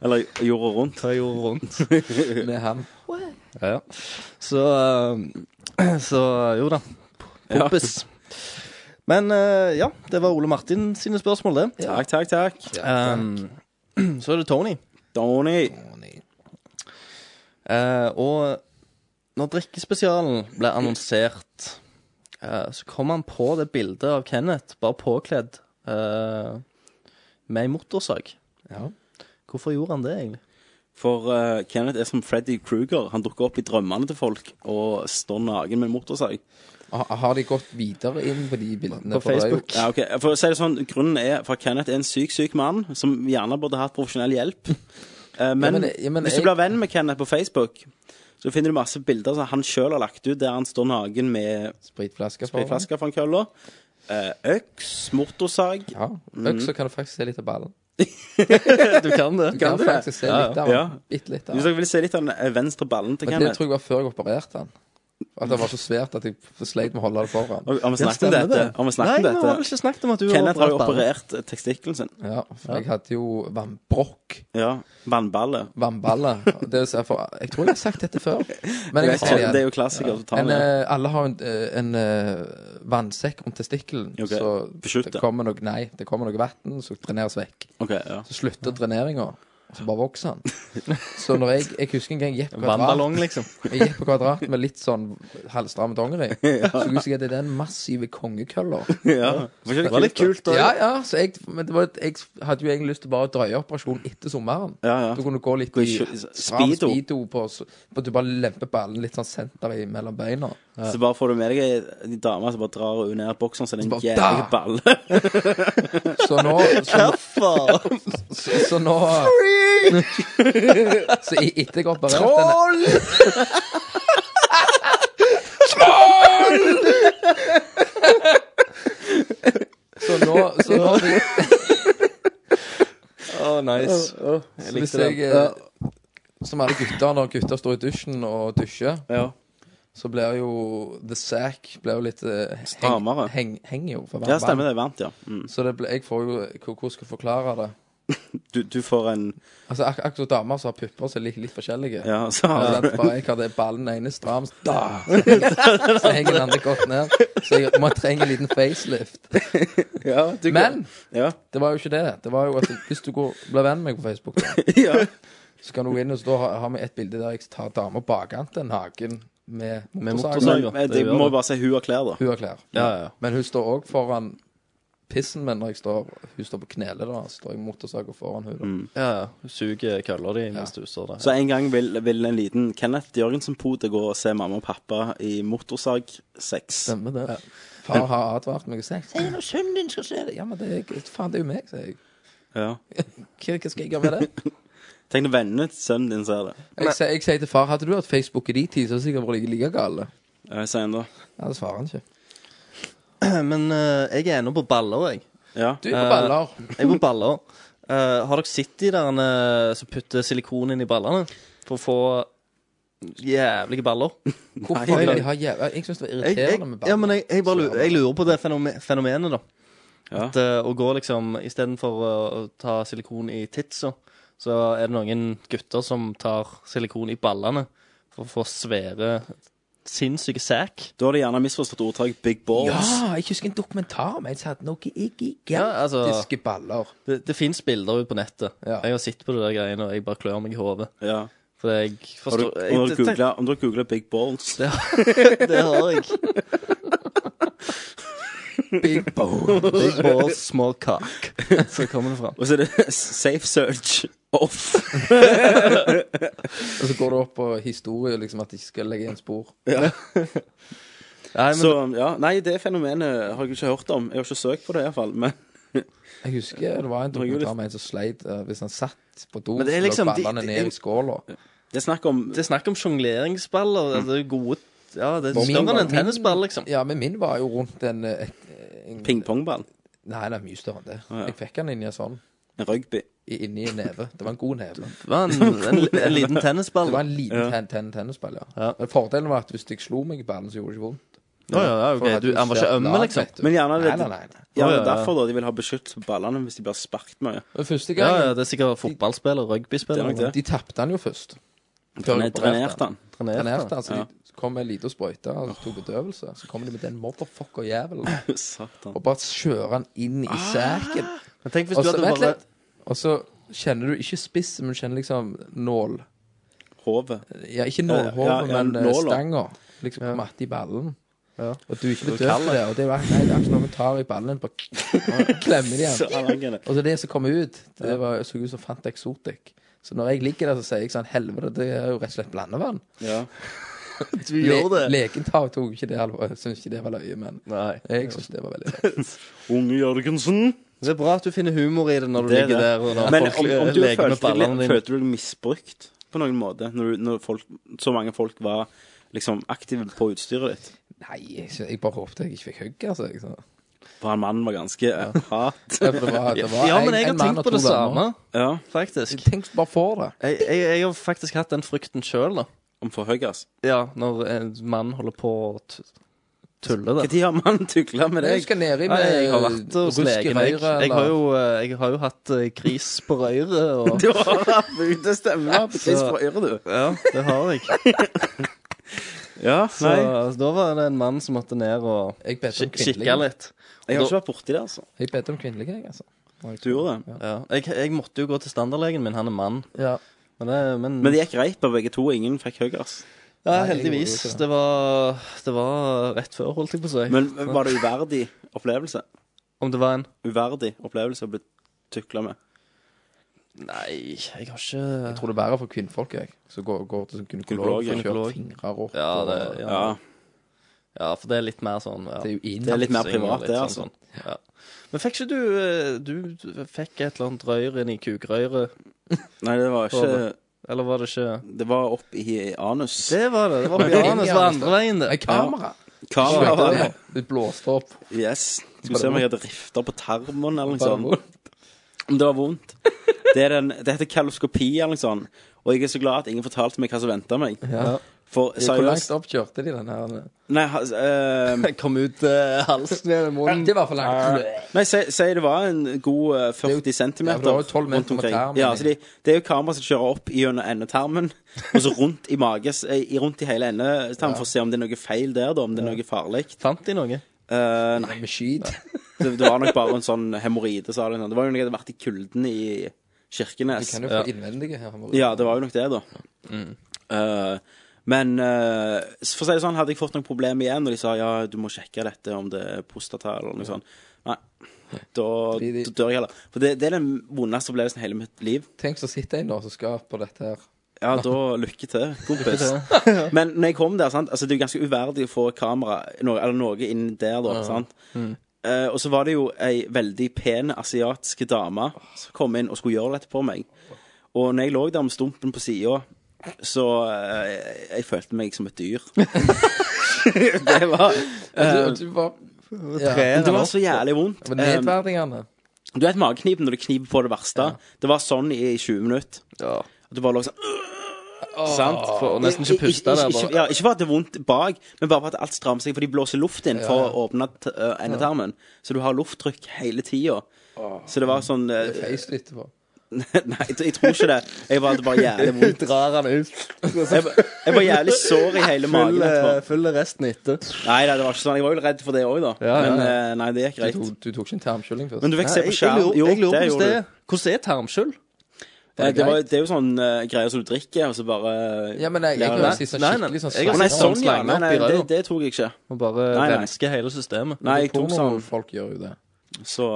A: Eller jorda rundt.
B: Ta jorda rundt.
I: Med ham.
B: Ja, ja. Så, eh, så jo da. Poppis. Men eh, ja, det var Ole Martin sine spørsmål, det.
A: Takk, takk, takk.
B: Um, så er det Tony.
A: Tony.
B: Eh, og når drikkespesialen ble annonsert, eh, så kom han på det bildet av Kenneth bare påkledd eh, med ei motorsag. Hvorfor gjorde han det, egentlig?
A: For eh, Kenneth er som Freddy Kruger. Han dukker opp i drømmene til folk og står naken med en motorsag.
I: Har har de gått videre inn på de bildene? For det er jo-
A: Ja, ok. For å si det sånn, grunnen er for Kenneth er en syk, syk mann som gjerne burde hatt profesjonell hjelp. Eh, men,
I: men- ja, men
A: hvis
I: jeg-
A: du blir venn med Kenneth på Facebook, så finner du masse bilder som han sjøl har lagt ut, der han står naken med
I: Spritflasker foran.
A: spritflasker foran kølla. eh, øks, motorsag.
I: Ja, Øks, så kan du faktisk se litt av ballen.
B: Du kan det.
I: Du kan faktisk se litt av
A: Ja.
I: den. Bitte litt av
A: Hvis
I: den.
A: dere vil se litt av den eh, venstre ballen til
I: Men det
A: Kenneth
I: tror jeg var før jeg opererte den. At det var så svært at jeg sleit med å holde det foran.
A: Har vi snakket om
I: stemmer
A: dette?
I: det.
A: Har vi snakket om
B: Nei, vi
A: dette?
B: har vel ikke snakket om at du har
A: Kenneth har jo
B: operert
A: operert eh, testikkelen sin.
I: Ja, for jeg hadde jo vannbrokk.
A: Ja. Vannballe.
I: Vannballe. Det er så- for, jeg tror jeg har sagt dette før. Men
A: Jeg
I: jeg
A: vet
I: tar
A: ikke,
I: igjen.
A: det er jo klassiker, så ta den
I: En,
A: igjen.
I: eh, alle har en, eh, en eh, vannsekk rundt testikkelen.
A: Ok,
I: Så
A: beskytt
I: det
A: det.
I: kommer noe Nei, det kommer noe vann som treneres vekk.
A: Ok, ja.
I: Så slutter dreneringa, og så bare vokser han. Så når jeg Jeg husker en gang jeg gikk på kvadrat.
B: Vannballong, liksom.
I: Jeg gikk på kvadrat med litt sånn halvstramme dongeri. Så husker jeg at det er den massive kongekølla.
A: Ja.
B: Det var litt kult, da.
I: Ja, ja. Så jeg, men det var, et- jeg hadde jo egentlig lyst til bare å drøye operasjonen etter sommeren.
A: Ja, ja.
I: Da kunne du gå litt
A: Gå i
I: i
A: kjø-
I: stram
A: speedo.
I: speedo på, så- på at du bare lemper ballen litt sånn senter i mellom beina.
A: Så bare får du med deg en dame som bare drar ned bokseren sin, en
I: bare,
A: jævlig
I: da!
A: ball.
I: Så nå så, så, så nå Så i- etter jeg opererte Troll! Så nå, så nå
B: Å, nice.
I: så
B: Jeg
I: Hvis
B: likte
I: jeg
B: det.
I: eh, Som alle gutter, når gutter står i dusjen og dusjer,
A: Ja.
I: så blir jo the sack blir jo litt eh, heng-
A: Strammere.
I: Heng, henger jo for hver
A: Ja, stemmer det. Varmt, ja. Mm.
I: Så det ble, jeg får jo Hvordan skal jeg forklare det?
A: Du, du får en
I: Altså ak Akkurat damer som har pupper, så er litt, litt forskjellige.
A: Ja, så har
I: Altså,
A: du
I: at bare jeg hadde ballen ene stram, så da, så henger- så henger den andre godt ned. Så jeg, man trenger en liten facelift.
A: ja, du,
I: Men
A: ja.
I: det var jo ikke det. Det var jo at Hvis du går, blir venn med meg på Facebook, da,
A: ja.
I: så kan du gå inn og så da har- har vi et bilde der jeg tar dama bakant til naken med
B: motorsag,
I: motorsag.
B: ja.
A: Men jeg- jeg eh, må bare si hun har klær, da.
I: Hun har klær.
B: Ja, ja.
I: Men hun står òg foran pissen min når jeg står Hun står på knele, da. Så står jeg motorsaga foran hun da.
B: Ja, ja. Hun Suger kølla di mens du står der.
A: Så en gang vil, vil en liten Kenneth Jørgensen-pote gå og se mamma og pappa i motorsag-sex.
I: Stemmer det. Far har advart meg og sagt 'Si når sønnen din skal se det.' Ja, men det er, ikke- faen, det er jo meg, sier jeg.
A: Ja.
I: Hva, hva skal jeg gjøre med det?
A: Tenk når vennene til sønnen din ser det.
I: Jeg, sier- jeg sier til far 'Hadde du hatt Facebook i de tid, så hadde du sikkert vært like- like gale'.
A: Ja, Si en, da.
I: Ja, det svarer han ikke.
B: Men eh, jeg er ennå på baller, jeg.
A: Ja.
I: Du er på baller.
B: Jeg er på baller. Eh, har dere sett de der eh, som putter silikon inn i ballene for å få jævlige baller?
I: Hvorfor vil de ha jævla Jeg syns det var
B: jeg, jeg,
I: irriterende med
B: ja,
I: baller.
B: men jeg, jeg, bare lurer, jeg lurer på det fenome fenomenet, da.
A: Ja.
B: At eh, å gå liksom Istedenfor å å ta silikon i titsa, så er det noen gutter som tar silikon i ballene for å få svære sinnssyke sekk.
A: Da har de gjerne misforstått ordtaket 'big balls'.
I: Ja, jeg husker en dokumentar om en som hadde noen gigantiske
B: Ja, altså,
I: baller.
B: Det, det fins bilder ute på nettet.
I: Ja.
B: Jeg har sett på det der greiene, og jeg bare klør meg i hodet.
A: Ja.
B: For jeg
A: Har du,
B: forstår
A: om du
B: jeg- det-
A: googlet- om du googler 'big balls'
B: Det, det, det har jeg.
I: Big balls.
B: Big balls, small cock. Så kommer det fram.
A: Og så er det 'safe search off'.
I: Og så går det opp på historie, liksom, at de ikke skal legge igjen spor.
B: Nei, men
A: Så ja, nei, det fenomenet har jeg ikke hørt om. Jeg har ikke søkt på det iallfall. Men
I: Jeg husker det var en
A: er jo litt-
I: dokumentar med en som sleit eh, hvis han satt på do,
B: Men
I: så
B: det er
I: lå
B: liksom-
I: ballene
B: de- de-
I: ned i skåla.
A: det er snakk om
B: det er snakk om sjongleringsballer. Det er gode Ja, det er
I: Min-
B: større enn en
I: min-
B: tennisball, liksom.
I: Ja, men min var jo rundt en, eh, et- en
A: pingpongball.
I: Nei, det er mye større enn det.
A: ja.
I: Jeg fikk den inn i en sånn,
A: En rugby.
I: i- inni en neve. Det var en god neve.
B: Det var en, en, en liten tennisball.
I: Det var en liten ten, ten, tennisball, ja.
B: Ja.
I: Men fordelen var at hvis jeg slo meg i ballen, så gjorde det ikke vondt.
B: Å, ja, ja, ok.
I: For jeg hadde
B: Du,
I: jo
B: han var ikke
I: svært
B: ømme,
I: lag,
B: liksom.
I: vet du.
A: Men gjerne
I: Nei,
A: litt-
I: nei, nei. nei.
A: Ja,
B: Å,
A: det
B: ja,
A: er
B: ja.
A: derfor da de vil ha beskyttelse på ballene hvis de blir sparket mye.
I: Men
B: Ja,
I: første
B: ja,
I: gangen,
B: det er sikkert fotballspiller, rugbyspiller.
A: Det er nok det.
I: de tapte han jo først. Før
A: Men
I: jeg
A: jeg
I: opererte
A: drenerte han.
I: Han
B: Trenert,
I: erfte, altså, de kom med en liten sprøyte og altså, tok bedøvelse. Så kommer de med den motherfucker-jævelen
A: Satan.
I: og bare kjører han inn i sæken.
B: Men tenk Ah! hvis
I: Og
B: du
I: så,
B: hadde
I: vent
B: bare
I: litt. Og så kjenner du ikke spissen, men du kjenner liksom nål.
A: Hovet.
I: Ja, ikke
A: Ja,
I: nålhåret,
A: ja,
I: men eh,
A: nåla.
I: stanga. Liksom på matte i ballen.
B: Ja.
I: Og du er ikke bedøvd for det. Og det er, nei, det er ikke noen tar i ballen, bare klemmer de
A: Så
I: igjen.
A: allerede.
I: Og så det som kom ut, det var, så ut som Fanta Exotic. Så når jeg ligger der, så sier jeg sånn Helvete, det er jo rett og slett blandevann.
A: Ja.
B: Du gjør det.
I: Le legen tar, tok ikke det alvorlig. Syns ikke det var løye, men
B: Nei.
I: jeg syns det var veldig løye.
A: Unge Jørgensen.
B: Det er bra at du finner humor i det når du
A: Det er
B: ligger
A: det.
B: der og når
A: Men
B: folk
A: om, om du
B: leker med
A: følte
B: ballene
A: deg,
B: dine.
A: følte du deg misbrukt på noen måte når, du, når folk, så mange folk var liksom aktive på utstyret ditt?
I: Nei, jeg, syns- jeg bare håpte jeg ikke fikk hugg, altså. Jeg, så.
A: For han mannen var ganske eh, hard.
I: Ja, for det var, det var
B: Ja, men
I: en-
B: jeg
I: en
B: har
I: mann
B: tenkt
I: og
B: på
I: to
B: det
I: damer.
B: samme,
A: Ja,
B: faktisk.
I: Tenk bare for det.
B: Jeg, jeg, jeg har faktisk hatt den frykten sjøl, da.
A: om for høy, ass.
B: Ja, når en mann holder på å t- tulle det.
A: Når har mannen tukla med
I: Jeg
A: deg?
I: skal nedi
B: Nei, eh,
I: med
B: jeg har vært hos
I: rusk i
B: legen. Jeg,
I: røret,
B: jeg, har
I: eller-
B: jo, eh, jeg har jo hatt eh, gris på røret. Og,
A: Du har hatt utestemme. Pris på øret, du.
B: ja, det har jeg.
A: Ja,
B: Så eh, da var det en mann som måtte ned og
I: Jeg bedt om
B: kik- kikke
I: kvinnelige.
B: litt.
A: Jeg har ikke vært borti det, altså.
I: Jeg bedt om kvinnelige, jeg, altså.
A: Du gjorde det.
B: Ja, jeg, jeg måtte jo gå til standardlegen min, han er mann.
I: Ja.
B: Men, det, men,
A: Men det gikk greit på begge to. Ingen fikk høy, ass.
B: ja,
I: Nei, jeg
B: heldigvis.
I: gjorde jo ikke det.
B: Det var, det var rett før, holdt jeg på å si.
A: Men var det uverdig opplevelse?
B: Om det var en
A: Uverdig opplevelse å bli tukla med?
B: Nei, jeg har ikke
I: Jeg tror det er verre for kvinnfolk, jeg. Som går, går til sånn gynekolog
A: Gynekolog, ja.
I: og kjører
B: Gynekolog.
I: fingrer opp.
B: Ja, det,
I: og-
B: ja.
A: Ja.
B: ja, for det er litt mer sånn ja.
I: Det er jo inn.
A: Det er litt mer
B: Synger
A: privat,
B: litt
A: det,
B: sånn,
A: altså.
B: sånn. Ja. Men fikk ikke du eh, Du fikk et eller annet røyr inn i kukrøyret?
A: Nei, det var ikke
B: Eller var det ikke
A: Det var opp i anus.
B: Det var det. Det var pianos var andre veien,
I: Nei,
B: det.
I: kamera!
A: Kamera var det.
I: Det blåste opp.
A: Yes. Skal vi se om jeg hadde rifter på tarmen eller noe
I: Bare
A: sånt.
I: vondt.
A: Om det var vondt. Det, er den, det heter kaloskopi eller noe sånt. Og jeg er så glad at ingen fortalte meg hva som venta meg.
I: Ja.
A: For
I: Hvor langt
A: seriøst
I: opp kjørte de den her?
A: Nei, ha- eh,
B: Det kom ut eh, halsen ned i munnen.
I: Det var for langt.
A: nei si, si det var en god eh,
I: Det er jo-
A: 40 cm
I: Ja, for det var jo 12 meter
A: rundt omkring.
I: med tarmen,
A: Ja, så de, det er jo kamera som kjører opp gjennom endetarmen, og så rundt i mages, eh, i- rundt i hele endetarmen for å se om det er noe feil der, da, om det er noe farlig.
B: Fant de noe?
A: Eh, nei,
I: Med skit.
A: det, det var nok bare en sånn hemoroide, sa de. Det var jo noe jeg hadde vært i kulden i
I: Du
A: Kirkenes.
I: kan jo få innvendige her. Marie.
A: Ja, det var jo nok det, da. Eh, men eh, for å si det sånn, hadde jeg fått noen problemer igjen, og de sa ja, du må sjekke dette om det er prostata eller noe sånt. Nei, da,
I: Fordi de-
A: da dør jeg heller. For det, det er den vondeste opplevelsen i hele mitt liv.
I: Tenk så sitter en da som skal på dette her.
A: Ja, da lykke til, kompis. Men når jeg kom der, sant, altså det er jo ganske uverdig å få kamera noe, eller noe inn der, da. sant? Eh, og så var det jo ei veldig pen asiatisk dame som kom inn og skulle gjøre dette på meg. Og når jeg lå der med stumpen på sida, så eh, Jeg følte meg som et dyr. det var
I: Og du, og du var ja.
A: Det var så jævlig vondt.
I: Men
A: Eh,
I: Nedverdigende.
A: du vet mageknipen når du kniper på det verste? Det var sånn i 20 minutter.
B: Ja.
A: At du bare lå sånn
B: Sant? For, og nesten ikke puste der.
A: Ikke,
B: Bare.
A: ja, ikke for at det er vondt bak, men bare for at alt strammer seg, for de blåser luft inn for å åpne t ø, endetarmen. Så du har lufttrykk hele tida. Så det var sånn eh,
I: Face litt på.
A: Nei, jeg, jeg tror ikke det. Jeg var det bare jævlig vondt.
B: Du drar han ut.
A: Jeg, var- jeg var jævlig sår i hele magen
B: Følg, eh,
A: etterpå.
B: Følg resten etter.
A: Nei, nei, det var ikke sånn. Jeg var jo redd for det òg, da.
B: Ja, ja,
A: Men
B: ja.
A: eh, nei, det gikk greit.
I: Du, du tok ikke en tarmskylling først?
A: Men du fikk se
B: Nei,
A: på
B: jeg- jeg
A: skjerm.
B: lurer-
A: Jo,
B: Jeg lurer
A: det
B: på hvordan det
A: gjorde
B: er. Hvordan er tarmskyld?
A: Eh, Det, var, det er jo sånn eh, greier som du drikker, og så bare
I: Ja, men jeg, jeg,
A: Lærer
I: kunne
A: det.
I: si sånn
B: Nei, nei,
I: skikkelig sånn
B: jeg har
A: Å, nei,
B: sett sånn
A: sånn, ja.
B: slange
A: Nei,
B: opp
A: nei,
B: i
A: det,
B: ræva.
A: det tok jeg ikke.
B: Og bare
A: Nei, nei.
B: rensker hele systemet.
A: Nei, jeg tok sånn,
I: Folk gjør jo det.
A: så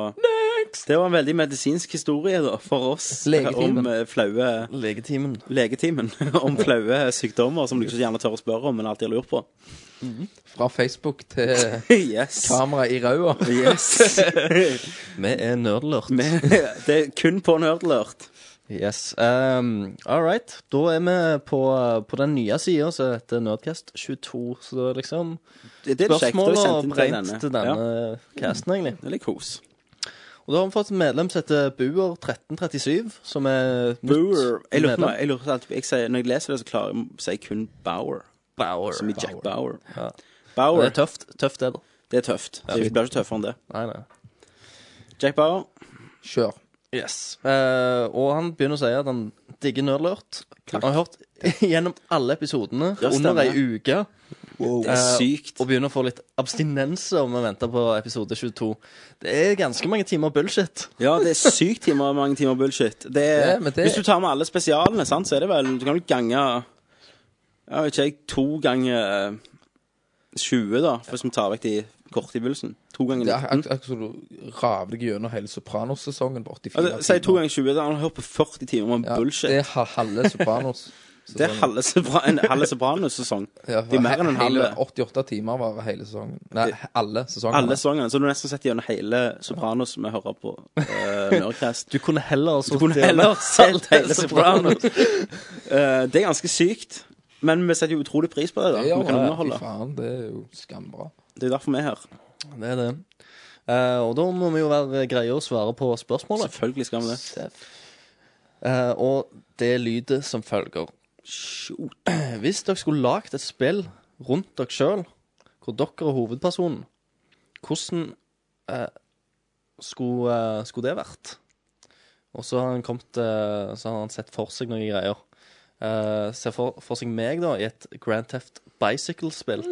A: Det var en veldig medisinsk historie da, for oss
I: Legetimen.
A: om eh, flaue
B: Legetimen.
A: Legetimen. om flaue sykdommer som du ikke så gjerne tør å spørre om, men alltid har lurt på.
I: Fra Facebook til
A: Yes.
I: kamera i ræva.
A: yes.
B: Vi er nerdlurt.
A: Men, eh, det er kun på nerdlurt.
B: Yes. Um, All right. Da er vi på, på den nye sida som heter Nerdcast 22. Så da er liksom
A: Det det er kjekt.
B: spørsmål
A: og sendt inn
B: og brent til denne
A: Ja,
B: casten, egentlig.
A: det er litt kos.
B: Og da har vi fått et medlem som heter Buer1337, som er nytt
A: Bower. Jeg lurer på
B: medlem.
A: jeg lurer på alt- jeg sier- Når jeg leser det, så klarer jeg å si kun Bower.
B: Bauer.
A: Som i Jack Bower.
B: Ja.
A: Bower,
B: Det er tøft, tøft det, da.
A: det er tøft. Det blir ikke tøffere enn det.
B: Nei, nei.
A: Jack Bower,
I: Kjør.
B: Yes. Eh, og han begynner å si at han digger nerdlurt. Han har hørt gjennom alle episodene
A: Ja,
B: under ei
A: stemmer.
B: uke.
A: det er
B: Eh,
A: sykt.
B: Og begynner å få litt abstinenser om å vente på episode 22. Det er ganske mange timer bullshit.
A: Ja, det er sykt timer, mange timer bullshit. Det er,
I: Ja, men det-
A: Hvis du tar med alle spesialene, sant, så er det vel Du kan vel gange Jeg vet ikke, jeg, to ganger eh, 20, da, hvis vi tar vekk de korte i bullsen. To ganger
I: Det er
A: 19.
I: ak- akkurat som du raver deg gjennom hele Sopranos-sesongen borti
A: Ja,
I: fire
A: det- Altså, Si to ganger 20. da, Han har hørt på 40 timer med
I: Ja,
A: bullshit.
I: Det er ha- halve Sopranos.
A: Det er halve Sopra- en halve Sopranos-sesong.
I: Ja,
A: det er mer enn en
I: hele
A: halve.
I: 88 timer varer hele sesongen. Nei, alle sesongene.
A: Alle sesongene. Så du har nesten sett gjennom hele Sopranos som vi hører på uh, Nerdcast.
B: Du kunne heller
A: Du kunne heller sett hele Sopranos. Eh, det er ganske sykt. Men vi setter jo utrolig pris på det. da
I: Det,
A: Vi
I: gjør
A: kan
I: det.
A: underholde.
I: Fy faen, det er jo skambra.
A: Det er derfor vi er her.
B: Det er det. Eh, og da må vi jo være greie å svare på spørsmålet.
A: Selvfølgelig skal vi det.
B: Eh, og det lyder som følger. Hvis dere skulle lagd et spill rundt dere sjøl, hvor dere er hovedpersonen, hvordan eh, skulle, eh, skulle det vært? Og så har han kommet eh, Så har han sett for seg noen greier. Eh, ser for, for seg meg, da, i et Grand Theft Bicycle-spill.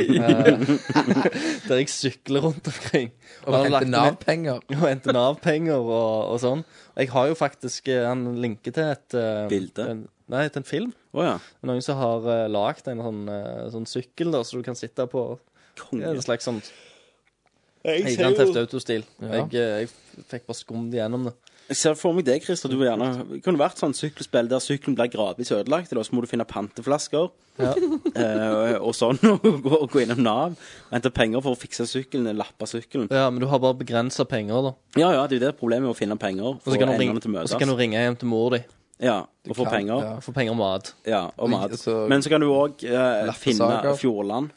B: Eh, der jeg sykler rundt omkring. Og
I: Og
B: han har lagt
I: hente
B: ned-
I: Nav-penger.
B: og hente Nav-penger og, og sånn. Jeg har jo faktisk eh, Han linker til et eh,
A: Bilde?
B: En, nei, til en film.
A: Å ja.
B: Det er Noen som har uh, lagd en sånn, eh, sånn sykkel da, så du kan sitte på. Det er En slags sånn Grand Theft Auto-stil. Jeg, eh, jeg fikk bare skumd igjennom det.
A: Jeg ser for meg det, Christer. Du vil gjerne det kunne vært sånn sykkelspill der sykkelen blir gradvis ødelagt, og så må du finne panteflasker eh, og sånn, og gå, og gå innom Nav og hente penger for å fikse sykkelen, lappe sykkelen.
B: Ja, Men du har bare begrensa penger, da.
A: Ja ja, det er jo det problemet, å finne penger
B: Og
A: for
B: så kan, du
A: endene
B: ringe-
A: til å
B: og
A: møtes.
B: så kan du ringe hjem til mor di
A: Ja, og få
I: kan,
A: penger.
I: ja.
B: og få penger og mat.
A: Ja, og mat.
I: Så-
A: Men så kan du òg eh, finne
I: Lappesaker.
A: Fjordland.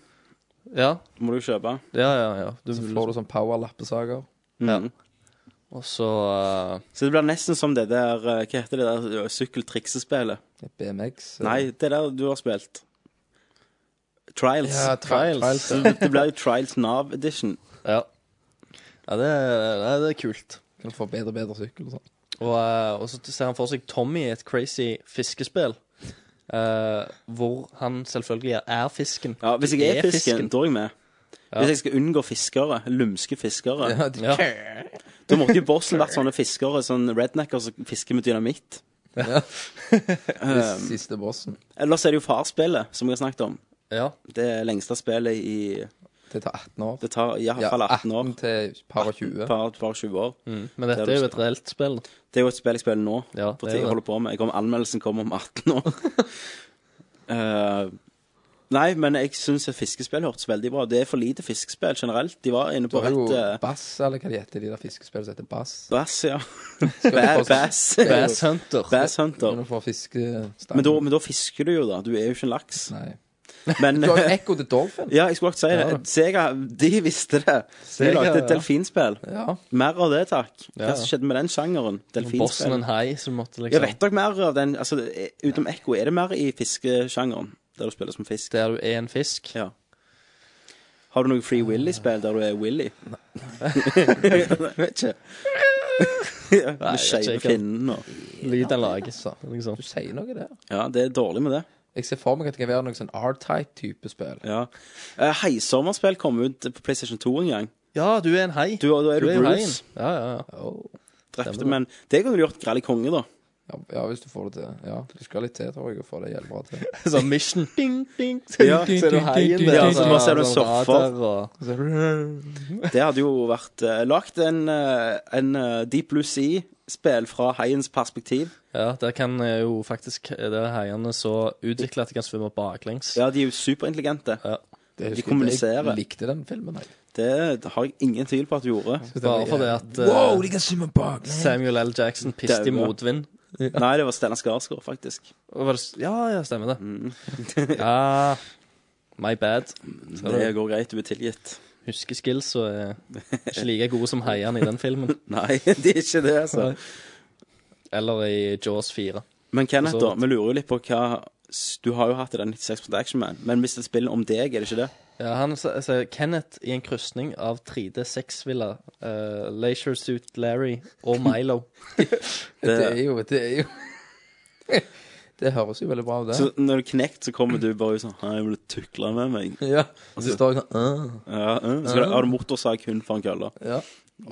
B: Ja,
A: Må du jo kjøpe.
B: ja, ja. ja. Du,
I: Så får du sånn power-lappesaker.
A: Mhm.
B: og så eh,
A: Så det blir nesten som det der eh, Hva heter det der eh, sykkeltriksespillet?
I: BMX. eh,
A: Nei, det der du har spilt. Trials.
I: Ja, trials.
B: Trials,
A: Så det blir jo Trials Nav Edition.
B: Ja. ja det, er, det er kult.
I: Kan du få bedre og bedre sykkel og sånn.
B: Og, eh, og så ser han for seg Tommy i et crazy fiskespill. eh, hvor han selvfølgelig er- er fisken.
A: Ja, Hvis jeg er fisken, da er jeg med. Hvis jeg skal unngå fiskere, lumske fiskere
B: Ja.
A: Da måtte jo bossen vært sånne fiskere, sånn rednecker som fisker med dynamitt.
I: Den Siste bossen.
A: Ellers er det jo farspillet, som jeg har snakket om.
B: ja.
A: Det lengste spillet i
I: Det tar 18 år.
A: Det tar i hvert fall 18 år.
I: til par og 20.
A: Par, par 20 år.
B: Men dette
A: Det er
B: er jo
A: du-
B: et reelt spill.
A: Det er jo et spill jeg spiller nå.
B: Mm. Ja,
A: for
B: det er
A: tiden jeg
B: det.
A: holder på med. Jeg kommer, anmeldelsen kommer om 18 år. Eh, nei, men jeg syns fiskespill hørtes veldig bra. Det er for lite fiskespill generelt. De var inne
I: Du
A: på
I: har jo
A: rett eh,
I: Bass, eller hva de heter, de der fiskespillene som heter Bass.
A: Bass, ja.
I: Skal du få-
A: Ba- Bass.
B: Bass Hunter.
A: Bass
I: Når
A: Hunter.
I: du får fiskestang.
A: Men da, men da fisker du jo, da. Du er jo ikke en laks.
I: Nei.
A: Men eh,
I: Du har jo Echo the Dolphin.
A: Ja, jeg skulle akkurat si
I: Ja.
A: det. Sega, de visste det. De
B: Sega,
A: lagde
B: ja.
A: et delfinspill.
I: Ja.
A: Mer av det, takk.
B: Ja.
A: Hva som skjedde med den sjangeren?
B: Bossen
A: Delfinspill.
B: en hai som måtte
A: Ja,
B: liksom
A: vet dere mer av den altså, eh, Utenom Ekko, er det mer i fiskesjangeren? Der du spiller som fisk?
B: Der du er en fisk.
A: Ja. Har du noe Free Willy-spill der du er Willy? Nei. Vet ikke. Ja,
B: Nei,
A: Med
B: jeg vet
A: skeive
B: ikke.
A: finnen og
B: Lyden lages. liksom.
I: Du sier noe der.
A: Ja, det er dårlig med det.
I: Jeg ser for meg at det kan være noe sånn R-type-type spill.
A: Ja. Eh, Heisommerspill kom ut på PlayStation 2 en gang.
B: Ja, du er en hei.
A: Du, og da er du,
B: jo
A: Bruce.
B: haien. Ja, ja, ja.
A: Drepte,
B: Stemmer det.
A: men det kunne du gjort grell i konge, da.
I: Oh, Ja, ja, hvis du får det til. Ja, du skal litt til, tror jeg, å få det jævlig bra til.
B: Sånn mission. Ding, ding,
A: Ja,
B: ding, så er du heien der.
A: Ja, så bare ser du en
B: sånn
A: surfer.
B: radar og-
A: Det hadde jo vært uh, lagt en, eh, en eh, Deep Blue Sea-spill fra haiens perspektiv.
B: Ja, der kan eh, jo faktisk eh, Der er haiene så utvikla at de kan svømme baklengs.
A: Ja, de er jo superintelligente.
I: Det
A: De
I: husker jeg,
A: kommuniserer.
I: Jeg likte den filmen, jeg.
A: Det har jeg ingen tvil på at du gjorde.
B: Bare fordi at eh,
I: Wow, de kan svømme bak!
B: Samuel L. Jackson piste i
A: Daua.
B: motvind.
A: Nei, det var Stellan Skarsgård, faktisk.
B: Og var det s- Ja, ja, stemmer det. ja, my bad. Skal
A: Det
B: du
A: går greit, du er tilgitt.
B: huske skills, så er ikke like gode som haiene i den filmen.
A: Nei, det er ikke det, altså.
B: Nei. Eller i Jaws 4.
A: Men Kenneth,
B: For så
A: da, vi lurer jo litt på hva Du har jo hatt den 96 Action Man, men hvis det er spill om deg, er det ikke det?
B: Ja, han s- sier Kenneth i en krysning av 3D6-villa, uh, Leisure Suit Larry og Milo.
I: Det er jo Det er jo Det høres jo veldig bra ut, det.
A: Så når du er knekt, så kommer du bare ut sånn Nei, jeg vil tukle med meg.
I: ja. Og så står jeg sånn «Åh».
A: Ja, ja. Så skal du- har du motorsag kun foran kølla.
I: ja.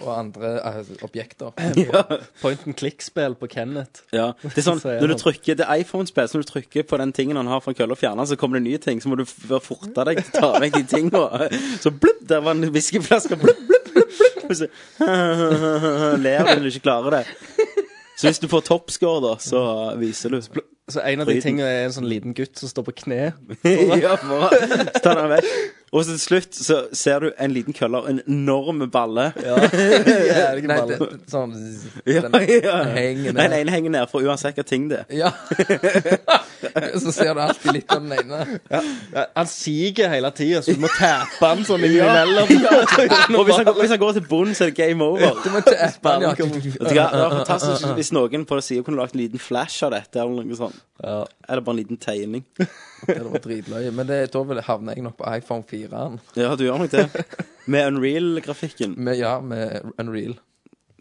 I: Og andre eh, objekter.
B: Point and click-spill på Kenneth.
A: Ja. Det er sånn,
B: Så er
A: når du
B: han-
A: trykker Det er iPhone-spill, så når du trykker på den tingen han har foran kølla og fjerner, så kommer det nye ting, så må du f- være forte deg til å ta vekk de tingene. Så blubb, der var en whiskyflaske, blubb, blubb, blubb, blubb. Og så ler du når du ikke klarer det. Så hvis du får toppscore, da, så viser du.
B: Så en av de
A: Fryden.
B: tingene er en sånn liten gutt som står på kne.
A: ja, bare ta den vekk. Og så til slutt så ser du en liten kølle og en enorm balle.
I: Jævlig Nei, det, sånn
A: Ja,
I: den,
A: ja.
I: henger
A: Den
I: ned.
A: ene henger ned, for uansett hva ting det er.
I: Ja. så ser du alltid litt av den ene.
B: Ja, Han siger hele tida, så du må tappe han sånn innimellom.
A: Og hvis han, går- hvis han går til bunnen, så er det game over.
I: Du må tappe den,
A: Vet du hva, Det var fantastisk hvis noen på sida kunne lagd en liten flash av dette. Eller noe sånt
B: Ja.
A: Eller bare en liten tegning.
I: Ja, det var dritløye. Men det, da vil- havner jeg nok på iPhone 4-en.
A: Ja, du gjør nok det. Med Unreal-grafikken.
I: Med, ja, med Unreal.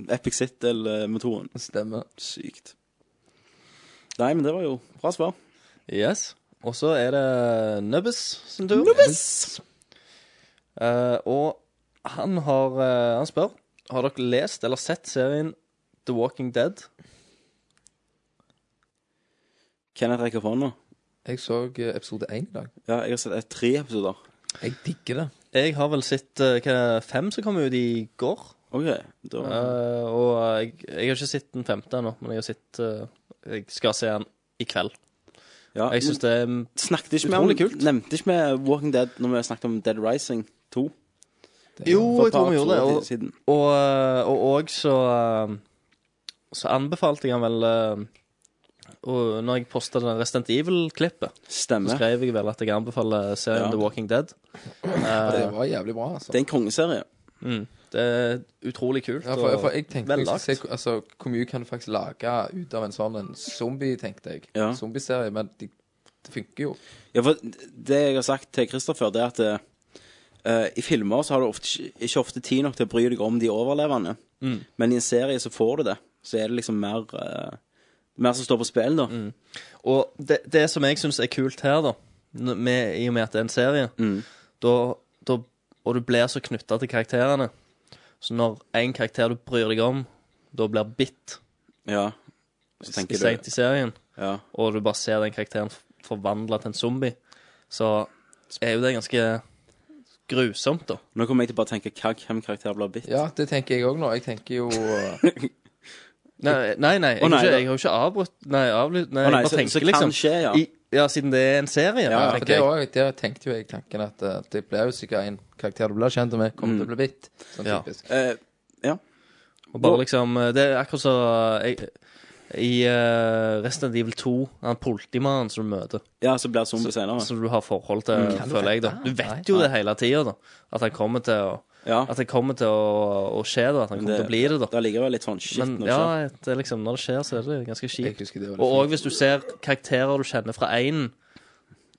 A: Epic eh, Citadel-motoren.
I: Stemmer.
A: Sykt. Nei, men det var jo bra svar.
B: Yes. Og så er det Nubbes sin tur. Eh, og han har eh, Han spør Har dere lest eller sett serien The Walking Dead.
A: Kenneth rekker opp hånda.
I: Jeg så eh, episode 1 i dag.
A: Ja, jeg har sett eh, tre episoder.
I: Jeg digger det.
B: Jeg har vel sett eh, hva, fem som kom ut i går.
A: OK. Da,
B: Eh, og jeg, jeg har ikke sett den femte ennå, men jeg har sett eh, Jeg skal se den i kveld.
A: ja,
B: Jeg syns det er
A: Snakket ikke vi om
B: Utrolig kult.
A: Nevnte ikke vi Walking Dead når vi snakket om Dead Rising 2? For
B: Jo,
A: et
B: jeg tror
A: par
B: vi gjorde det.
A: episoder
B: Og,
A: siden.
B: Og eh, og òg så eh, Så anbefalte jeg han vel eh, og Når jeg posta den Resident Evil-klippet, så
A: Stemmer.
B: skrev jeg vel at jeg anbefaler serien
A: Ja.
B: The Walking Dead. Eh,
I: Det var jævlig bra, altså.
A: Det er en kongeserie.
B: mm, det er utrolig kult.
I: Ja, for,
B: og
I: for jeg tenkte
B: vel
I: jeg skulle se
B: lagt.
I: hvor- altså, hvor mye kan du faktisk lage ut av en sånn en zombie, tenkte jeg.
A: Ja.
I: Zombieserie, men de, det funker jo.
A: Ja, for det jeg har sagt til Kristoffer, det er at eh, i filmer så har du ofte, ikke- ikke ofte tid nok til å bry deg om de overlevende. Men i en serie så får du det. Så er det liksom mer eh, Mer som står på spill, da.
B: Og det, det som jeg syns er kult her, da, n- med, i og med at det er en serie,
I: Mm.
B: da, da, og du blir så knytta til karakterene Så når én karakter du bryr deg om, da blir bitt
A: Ja. Så tenker
B: seint
A: du
B: i serien,
A: ja.
B: og du bare ser den karakteren f- forvandla til en zombie, så er jo det ganske grusomt, da.
A: Nå kommer jeg til bare å tenke hva hvem karakter blir bitt.
I: Ja, det tenker jeg òg nå. Jeg tenker jo eh,
B: Nei, nei, nei, jeg,
A: Å, nei,
B: har ikke,
A: da.
B: jeg har jo ikke avbrutt Nei, avlytt Nei,
A: Å, nei,
B: jeg bare
A: så-
B: tenker
A: så kan
B: liksom
A: skje, ja.
B: I, ja, siden det er en serie,
A: Ja,
I: for
B: tenker
I: det,
B: jeg.
I: også, der tenkte jo jeg tanken at eh, det blir jo sikkert en karakter du blir kjent med, kommer til å bli bitt. Sånn
B: Ja.
I: typisk.
A: Eh, ja.
B: Og bare liksom Det er akkurat så jeg, I uh, Resident Evil 2, han politimannen som du møter,
A: ja, så blir det zombie senere.
B: som du har forhold til,
A: Mm.
B: føler jeg, da. Du vet jo det hele tida, da. At han kommer til å
A: Ja.
B: At det kommer til å, å skje, da. At han kommer til å bli det, da.
A: Da ligger det litt sånn shit
B: Men
A: når det
B: ja,
A: skjer.
B: det er liksom, når det skjer, så er det ganske
I: Jeg
B: kjipt.
I: husker det var litt
B: Og òg hvis du ser karakterer du kjenner fra én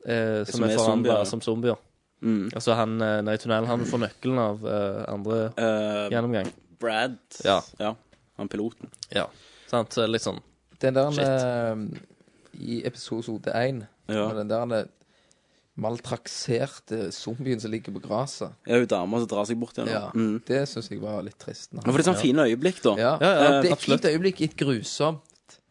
B: eh, som,
A: Som er zombier, ja. Mm.
B: er forandra som zombier. Altså han eh, nede i tunnelen, han får nøkkelen av eh, andre
A: Eh,
B: gjennomgang.
A: Brad
B: Ja.
A: ja. Han piloten.
B: Ja. Sant? Så Litt sånn
I: Den der
B: Shit.
I: eh, i episode 1,
A: Ja.
I: den der eh, maltrakserte zombien som ligger på gresset
A: Ja, hun dama som drar seg bort igjen.
I: Ja,
A: Ja. Mm.
I: Det syns jeg var litt trist.
A: Ja, For det er sånn fine øyeblikk, da.
I: Ja, ja,
A: Eh,
I: det er et fint øyeblikk, et grusomt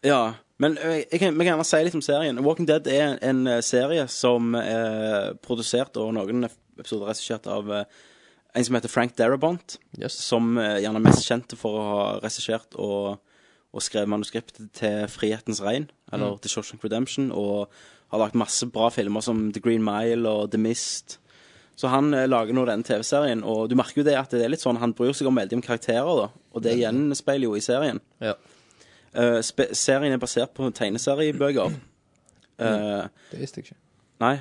A: Ja, men eh, jeg kan, vi kan gjerne si litt om serien. Walking Dead er en, en eh, serie som er produsert og noen episoder regissert av eh, en som heter Frank Darabont. Som eh, gjerne er mest kjent for å ha regissert og, og skrevet manuskriptet til Frihetens regn, eller
B: Mm.
A: til Shawshank Redemption, og har lagt masse bra filmer som The Green Mile og The Mist. Så han eh, lager nå denne TV-serien, og du merker jo det at det er litt sånn, han bryr seg om veldig om karakterer, da, og det gjenspeiler jo i serien.
B: Ja.
A: Eh, spe- serien er basert på tegneseriebøker. Eh,
I: Det visste jeg ikke.
A: nei.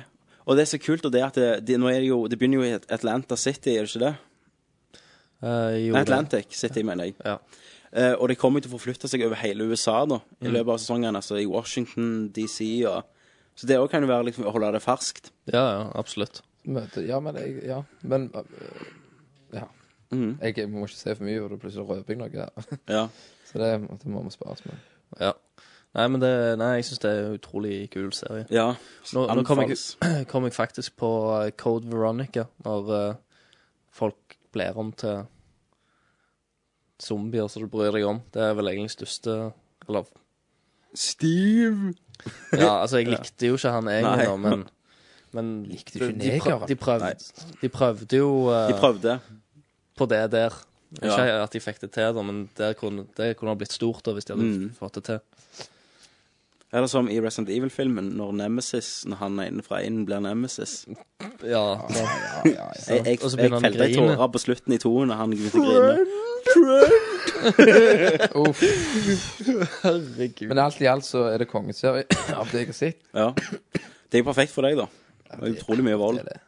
A: Og det som er kult, og det er at det, det, nå er det, jo, det begynner jo i At- Atlanta City, er det ikke det?
B: eh, jo,
A: Nei,
B: det-
A: Atlantic City, mener jeg. Eh, og det kommer jo til å forflytte seg over hele USA da, i
B: Mm.
A: løpet av sesongen. Altså i Washington, DC og Så det òg kan jo være liksom, å holde det ferskt.
B: Ja, ja, absolutt.
I: møte. Ja, men jeg Ja. Men øh, Ja. Jeg må ikke se for mye, for da plutselig røper jeg noe her.
A: Ja.
I: Så det, det må vi spares med.
B: Ja. Nei, men det, nei, jeg syns det er en utrolig kul serie.
A: Ja.
B: Nå, nå kom, jeg,
A: Anbefales.
B: kom jeg faktisk på eh, Code Veronica, når eh, folk blir om til zombier som du bryr deg om. Det er vel egentlig største Eller
A: Steve!
B: Ja, altså, jeg likte jo ikke han
A: Nei.
B: egentlig, da, men men likte de,
I: ikke
B: prøv,
I: negeren?
B: de, prøvde, de prøvde jo eh,
A: De prøvde.
B: på det der.
A: Ja.
B: Ikke at de fikk det til, da, men det kunne, det kunne ha blitt stort da, hvis de hadde
A: Mm.
B: fått det til.
A: Eller som i Resident Evil-filmen, når Nemesis, når han er inne fra inn, blir Nemesis.
B: Ja.
A: Jeg, jeg,
B: Og så
A: jeg
B: begynner han å
A: felte ei
B: grine.
A: tåre på slutten i toen, og han begynte å grine.
I: Uff.
B: Herregud.
I: Men alt i alt så er det kongeserie av det jeg har sett.
A: Ja. Det er jo perfekt for deg, da. Det er utrolig mye vold.
I: Det er det.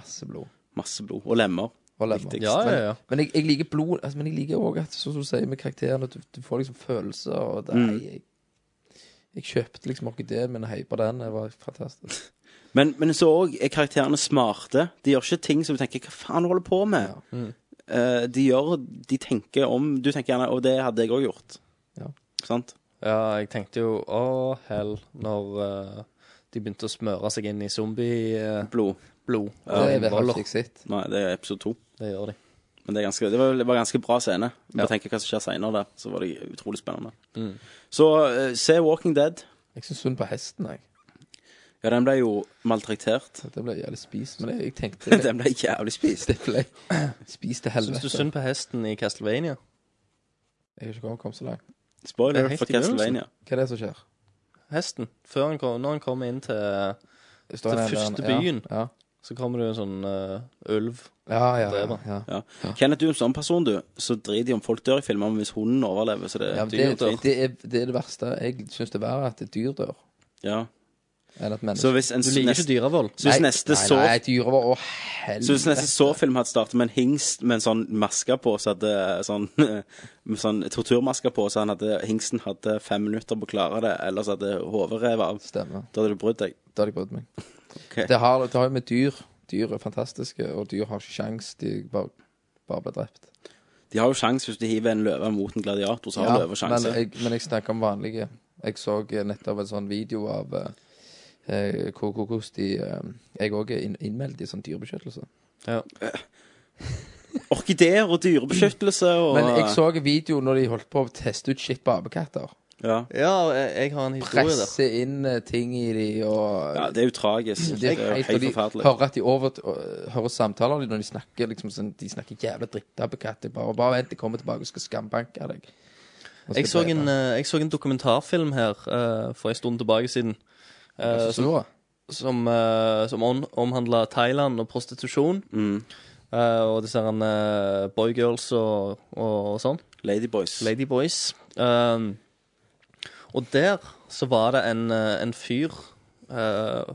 I: Masse blod.
A: Masse blod. Og lemmer.
I: Og lemmer.
A: Viktigst.
B: Ja, ja, ja.
I: Men jeg, jeg liker blod altså, Men jeg liker òg at sånn som du sier med karakterene, at du, du får liksom følelser og det,
A: Mm.
I: jeg, jeg kjøpte liksom orkideen min og heipa den. Det var fantastisk.
A: Men, men så òg er karakterene smarte. De gjør ikke ting som du tenker 'hva faen holder du på med'?
B: Mm.
A: Eh, de gjør De tenker om Du tenker gjerne 'og det hadde jeg òg gjort'.
I: Ja.
A: Sant?
B: Ja, jeg tenkte jo å hell når eh, de begynte å smøre seg inn i eh, zombieblod.
A: Blod.
I: Det er det har ikke jeg sett.
A: Nei, det er episode to.
B: det gjør de.
A: Men det, er ganske, det, var, det var ganske bra scene. Bare
B: Ja.
A: tenker hva som skjer seinere der. Så var det utrolig spennende.
B: Mm.
A: Så eh, se Walking Dead.
I: Jeg syns hun på hesten, jeg.
A: Ja, den ble jo maltraktert.
I: Det ble jævlig spist. Men jeg, jeg tenkte
A: den ble jævlig spist.
I: Det ble spist til helvete.
B: Syns du synd på hesten i Castlevania?
I: Jeg har ikke kommet- kommet så langt.
B: Det er
A: Spoiler
B: helt
A: for
B: i begynnelsen.
A: Castlevania.
I: Hva er det som skjer?
B: Hesten. Før han kom, når han kommer inn til
I: Det
B: Til
I: står en eller annen-
B: første byen.
I: Ja, ja.
B: Så kommer det jo en sånn eh, ulv.
I: Ja, ja,
B: Det er
I: ja,
B: bra.
I: ja.
A: Ja. Kenneth, du er en sånn person, du. Så driter de om folk dør i filmer, men hvis hunden overlever, så det
I: ja men
A: dyr
I: det,
A: dør.
I: det, er, det er det verste. Jeg syns det er verre at et dyr dør
A: Ja.
I: enn at
A: Så
I: mennesker
A: hvis en
B: Du liker ikke
A: neste,
B: dyrevold.
A: så hvis
I: Nei,
A: neste
I: nei,
A: så
I: Nei, dyret var Å,
A: så hvis
I: helvete.
A: neste Saw-film hadde startet med en hingst med en sånn maske på, så hadde sånn, med sånn torturmaske på, så han hadde, hingsten hadde fem minutter på å klare det, ellers hadde hodet revet av.
I: Stemmer.
A: Da hadde du brydd deg.
I: Da hadde jeg brydd meg.
A: Ok.
I: Det har det har jo med dyr Dyr er fantastiske, og dyr har ikke sjans De bare, bare blir drept.
A: De har jo sjans hvis de hiver en løve mot en gladiator, så har
I: Ja,
A: løve sjanse.
I: Men jeg, men jeg snakker om vanlige. Jeg så eh, nettopp en sånn video av eh, eh, hvor- hvor- hvordan de eh, Jeg òg er inn, innmeldt i sånn dyrebeskyttelse.
B: Ja.
A: Orkideer og dyrebeskyttelse og
I: Men jeg så en video når de holdt på å teste ut shit på apekatter.
A: ja.
B: ja, jeg, jeg har en historie der.
I: Presse inn eh, ting i de og
A: ja, det er jo tragisk. Det er jo
I: og
A: helt
I: de
A: forferdelig.
I: hører at de over, øh, hører samtaler de når de snakker liksom sånn, De snakker jævla drittapekatter. Bare, bare vent, de kommer tilbake og skal skambanke deg. Og
B: Jeg så,
I: skal
B: en,
I: drepe.
B: eh, jeg så en dokumentarfilm her eh, for en stund tilbake siden. eh,
I: Hva synes
B: som
I: du da?
B: som, uh, som om- omhandla Thailand og prostitusjon. Eh, og disse her, eh, boygirls og, og, og sånn.
A: Ladyboys.
B: Ladyboys. Um, og der så var det en, eh, en fyr eh,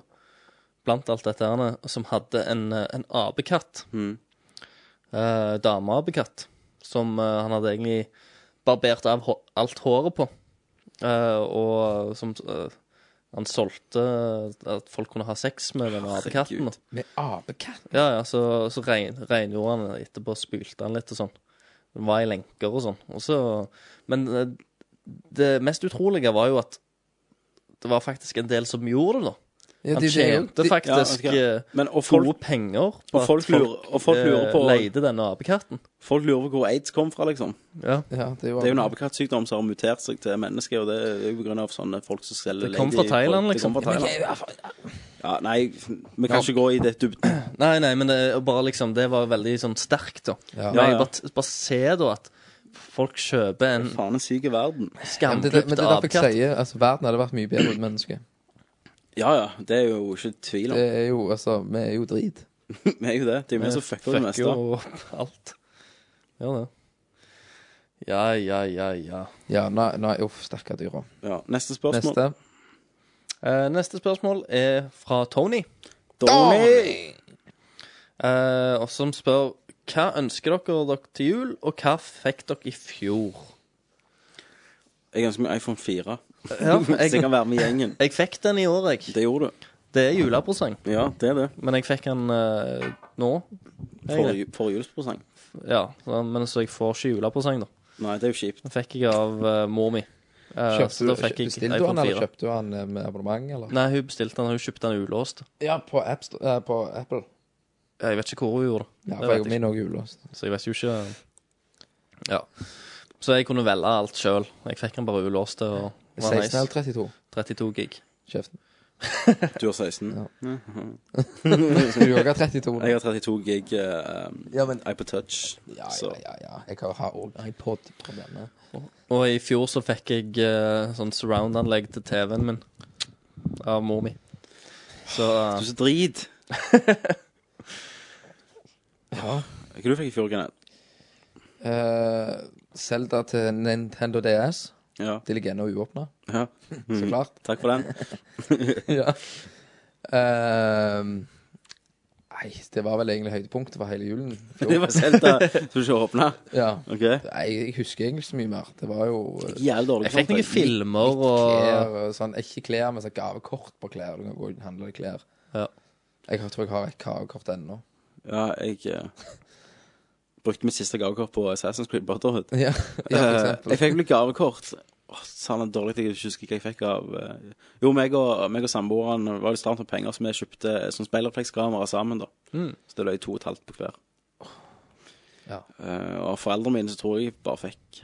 B: blant alt dette her som hadde en, eh, en apekatt.
A: Mm.
B: Eh, Dameapekatt. Som eh, han hadde egentlig barbert av hå alt håret på. Eh, og som eh, han solgte eh, at folk kunne ha sex med denne apekatten. da.
I: Med apekatt?
B: Ja, ja, så, så regn, regngjorde han etterpå, spylte han litt og sånn. Det var i lenker og sånn. Og så- men eh, det mest utrolige var jo at det var faktisk en del som gjorde det, da.
A: Ja,
B: Han
A: de- de-
B: tjente
A: de-
B: faktisk
A: ja, ok.
B: eh,
A: Men- og
B: gode
A: folk-
B: penger på
A: og folk
B: at folk,
A: lurer- og folk
B: eh,
A: lurer på-
B: leide denne apekatten.
A: Folk lurer på hvor aids kom fra, liksom.
B: Ja.
A: det, er jo en apekattsykdom som har mutert seg til mennesker, og det er jo på grunn av sånne folk som selger
B: Det kom
A: lady-
B: fra Thailand,
A: Det kom
B: liksom.
A: fra
B: Ja, men
A: Thailand. Ja, nei, vi kan ikke gå i det dybden.
B: Nei, nei, men det, bare liksom, det var veldig sånn sterkt, da.
A: Ja.
B: Nei,
A: Ja, ja.
B: Bare, bare se, da, at folk kjøper en
A: Faen, en syk verden.
I: Ja, men, det,
B: skamklipt
I: men det er derfor jeg
B: apekatt.
I: sier altså, verden hadde vært mye bedre uten mennesker.
A: Ja ja, det er jo ikke tvil om.
I: Det er jo, altså, vi er jo drit.
A: Vi er jo det. Det er jo vi som fucker det meste.
B: jo alt. Ja, det. Ja, ja, ja, ja.
I: Ja, nei, nei uff, stakkar dyra.
A: Ja, neste spørsmål.
I: Neste.
B: Eh, neste spørsmål er fra Tony.
A: Tony!
B: Eh, og som spør hva ønsker dere dere til jul, og hva fikk dere i fjor?
A: Jeg ønsker meg iPhone 4.
B: Ja,
A: Så jeg kan være med i gjengen.
B: Jeg fikk den i år, jeg.
A: Det gjorde du.
B: Det er julepresang,
A: Ja, det er det.
B: men jeg fikk den eh, nå. egentlig.
A: Forrige for julepresang.
B: Ja, så- men så jeg får ikke julepresang, da.
A: Nei, det er jo kjipt.
B: Den fikk jeg av eh, mor mi. Eh,
I: Kjøpte
B: så da
I: du-
B: fikk jeg
I: Bestilte du han,
B: iPhone
I: eller
B: 4.
I: kjøpte du han eh, med abonnement, eller?
B: Nei, hun bestilte den. Hun kjøpte den ulåst.
I: Ja, på, App Store- eh, på Apple.
B: Jeg vet ikke hvor hun gjorde det.
I: Ja,
B: Det
I: for jeg
B: vet jeg
I: min òg ulåst.
B: Så jeg vet jo ikke Ja. Så jeg kunne velge alt sjøl. Jeg fikk den bare ulåst. Og det var
I: 16 eller
B: nice.
I: 32?
B: 32 gig.
I: Kjeften.
A: Du har 16.
I: Skulle du òg ha 32?
A: Jeg har 32 gig uh,
I: Ja, men-
A: iPod Touch.
I: Ja,
A: så.
I: ja, ja, ja. Jeg har- har òg iPod-problemer.
B: Og i fjor så fikk jeg eh, sånn surround-anlegg til TV-en min av mor mi. Så
A: Du
B: eh,
A: er så drit.
I: Ja.
A: Hva du fikk i fjor, Kenneth?
I: Eh, Zelda til Nintendo DS.
A: Ja.
I: Det ligger ennå uåpna,
A: ja.
I: så klart.
A: Takk for den.
I: ja. Ehm, nei, det var vel egentlig høydepunktet for hele julen. i fjor.
A: Det var Selda som ikke åpna.
I: ja.
A: OK?
I: Nei, jeg husker egentlig ikke så mye mer. Det var jo eh,
A: Jævlig dårlig.
B: jeg fikk noen
A: samtale.
B: filmer og
I: klær og sånn. Ikke klær, men sånn gavekort på klær. Du kan gå og handle deg klær.
B: Ja.
I: Jeg har- tror jeg har et gavekort ennå.
A: Ja, jeg eh, brukte mitt siste gavekort på Assassin's Creed Brotherhood.
I: Ja, ja, for
A: Eh,
I: eksempel.
A: jeg fikk vel et gavekort. Åh, Sann er dårlig at jeg ikke husker hva jeg fikk av eh, Jo, meg og, meg og samboeren var litt stramt med penger, så vi kjøpte sånn speilreflekskamera sammen, da. Så det løy to og et halvt på hver.
I: Mm. Ja.
A: Eh, og foreldrene mine så tror jeg bare fikk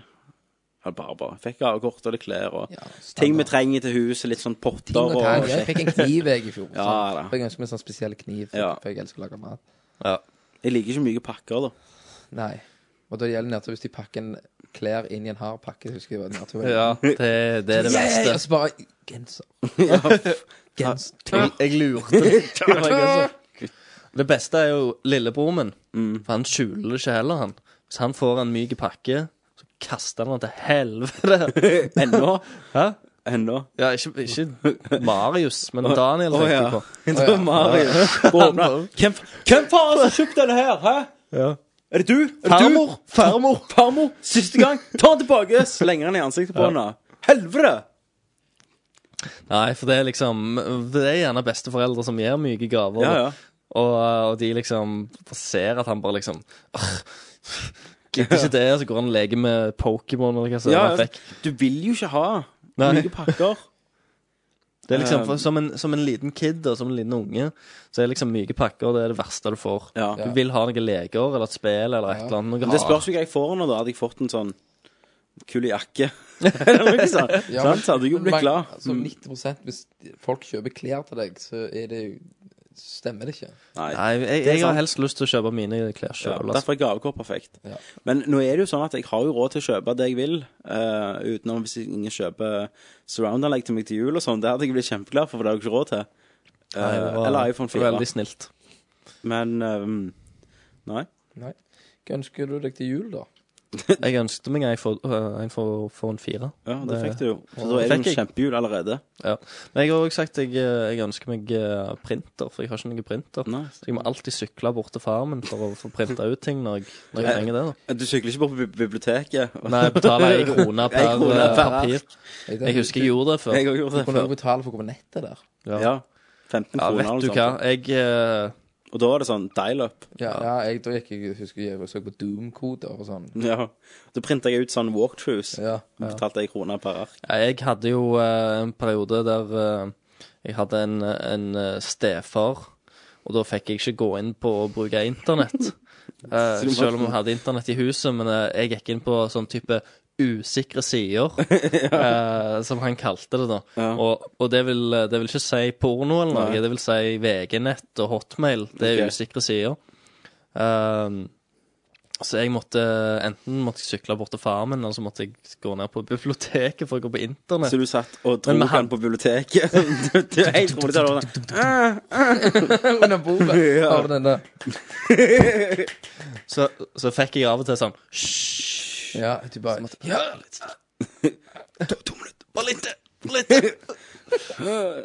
A: Eller bare, bare fikk gavekort og litt klær og
I: Ja,
A: ting vi
I: standard.
A: trenger til huset, litt sånn potter
I: Ting og tang.
A: og
I: Jeg fikk en kniv jeg i fjor.
A: Ja,
I: sant?
A: da.
I: For jeg ønsker meg en sånn spesiell kniv, for,
A: Ja.
I: for jeg elsker å lage mat.
B: ja.
A: Jeg liker ikke mye pakker, da.
I: Nei. Og da gjelder det nettopp hvis de pakker en klær inn i en hard pakke. så Husker jeg det var nedtur.
B: ja det, det er det
I: Yeah!
B: verste.
I: Og så bare genser. genser.
B: Jeg, jeg lurte det. Det beste er jo lillebroren min. For han skjuler det ikke heller, han. Hvis han får en myk pakke, så kaster han den til helvete.
A: Ennå.
B: Hæ?
A: Ennå.
B: Ja, ikke, ikke Marius, men Daniel tenkte jeg på.
A: Det var Marius. Åpna. Hvem, hvem faen har kjøpt denne her? Hæ? Er det du? Er det
B: Farmor!
A: du? Farmor! Farmor! Siste gang! Ta den tilbake! Slenger den i ansiktet på henne. Helvete!
B: Nei, for det er liksom Det er gjerne besteforeldre som gir myke gaver.
A: Ja, ja.
B: Og, og de liksom ser at han bare liksom «Åh, Gidder ikke det, og så går han og leker med Pokémon eller hva som
A: Ja,
B: han
A: ja.
B: fikk.
A: Du vil jo ikke ha
B: Nei.
A: mye pakker.
B: Det er
A: Eh.
B: liksom for, som, en, som en liten kid og som en liten unge, så er liksom myke pakker det er det verste du får.
A: Ja.
B: Du vil ha noen leker eller et spill eller et eller annet.
A: Men
B: Noe
A: det spørs jo hva jeg får henne, da. Hadde jeg fått en sånn kul jakke eller noe sånt,
I: Ja,
A: sant? så hadde jeg jo blitt
I: men-
A: glad. Mm.
I: Altså 90 Hvis folk kjøper klær til deg, så er det jo Stemmer det ikke?
A: Nei.
B: Nei, jeg,
A: Det er
B: jeg har
A: sant.
B: helst lyst til å kjøpe mine klær
A: Ja,
B: sjøl. altså.
A: derfor er gavekort perfekt.
I: Ja.
A: Men nå er det jo sånn at jeg har jo råd til å kjøpe det jeg vil, eh, utenom hvis ingen kjøper surround-anlegg til meg til jul og sånn. Det hadde jeg blitt kjempeglad for, for det har jeg ikke råd til. Eh,
B: Nei, det var
A: eller iPhone 4.
B: Veldig snilt.
A: Men ehm, Nei.
I: Nei. Hva ønsker du deg til jul, da?
B: Jeg ønsket meg en for, øh, en for, for en fire.
A: Ja, det fikk du jo. Så da
B: det
A: er det
B: fikk
A: jo en
B: jeg.
A: kjempejul allerede.
B: Ja. Men jeg har også sagt jeg, øh, jeg ønsker meg øh, printer, for jeg har ikke noen printer.
A: Nei.
B: Så jeg må alltid sykle bort til faren min for å få printa ut ting når jeg, når jeg trenger det. da
A: Du sykler ikke bort på bi- biblioteket?
B: Nei, jeg betaler ei krone per
A: En krone
B: øh,
A: per
B: papir. Jeg husker jeg gjorde det før.
A: Jeg har gjort
I: Du
A: det
I: kunne jo
A: før.
I: betale for å gå på nettet der.
A: Ja. 15
B: Ja,
A: kroner
B: vet
A: eller
B: du hva.
A: sånt.
B: Jeg, øh,
A: Og da var det sånn dial-up.
I: Ja, ja jeg, da gikk jeg, husker jeg, og så på Doom-koder og sånn.
A: Ja. Da printa jeg ut sånn walkthroughs.
I: Ja, ja.
A: Betalte jeg kroner per ark.
B: Ja, Jeg hadde jo eh, en periode der eh, jeg hadde en, en eh, stefar, og da fikk jeg ikke gå inn på å bruke internett. Eh,
A: Så du må-
B: selv om jeg hadde internett i huset, men eh, jeg gikk inn på sånn type usikre sider, eh, som han kalte det da. Og, og det, vil, eh, det vil ikke si porno eller noe,
A: Nei.
B: det vil si VG-nett og hotmail. Det er
A: Ok.
B: usikre sider. Ehm, så jeg måtte enten måtte jeg sykle bort til faren min, eller så måtte jeg gå ned på biblioteket for å gå på internett.
A: Så du satt og dro
B: Men vi
A: den på biblioteket. Det- det er helt rolig. det var sånn, «Ah, ah».
I: Under bordet
A: Ja.
I: har du den der.
B: Så, så fikk jeg av og til sånn Hysj!
I: Ja, du bare Ja!
B: Bare litt til! Bare litt til!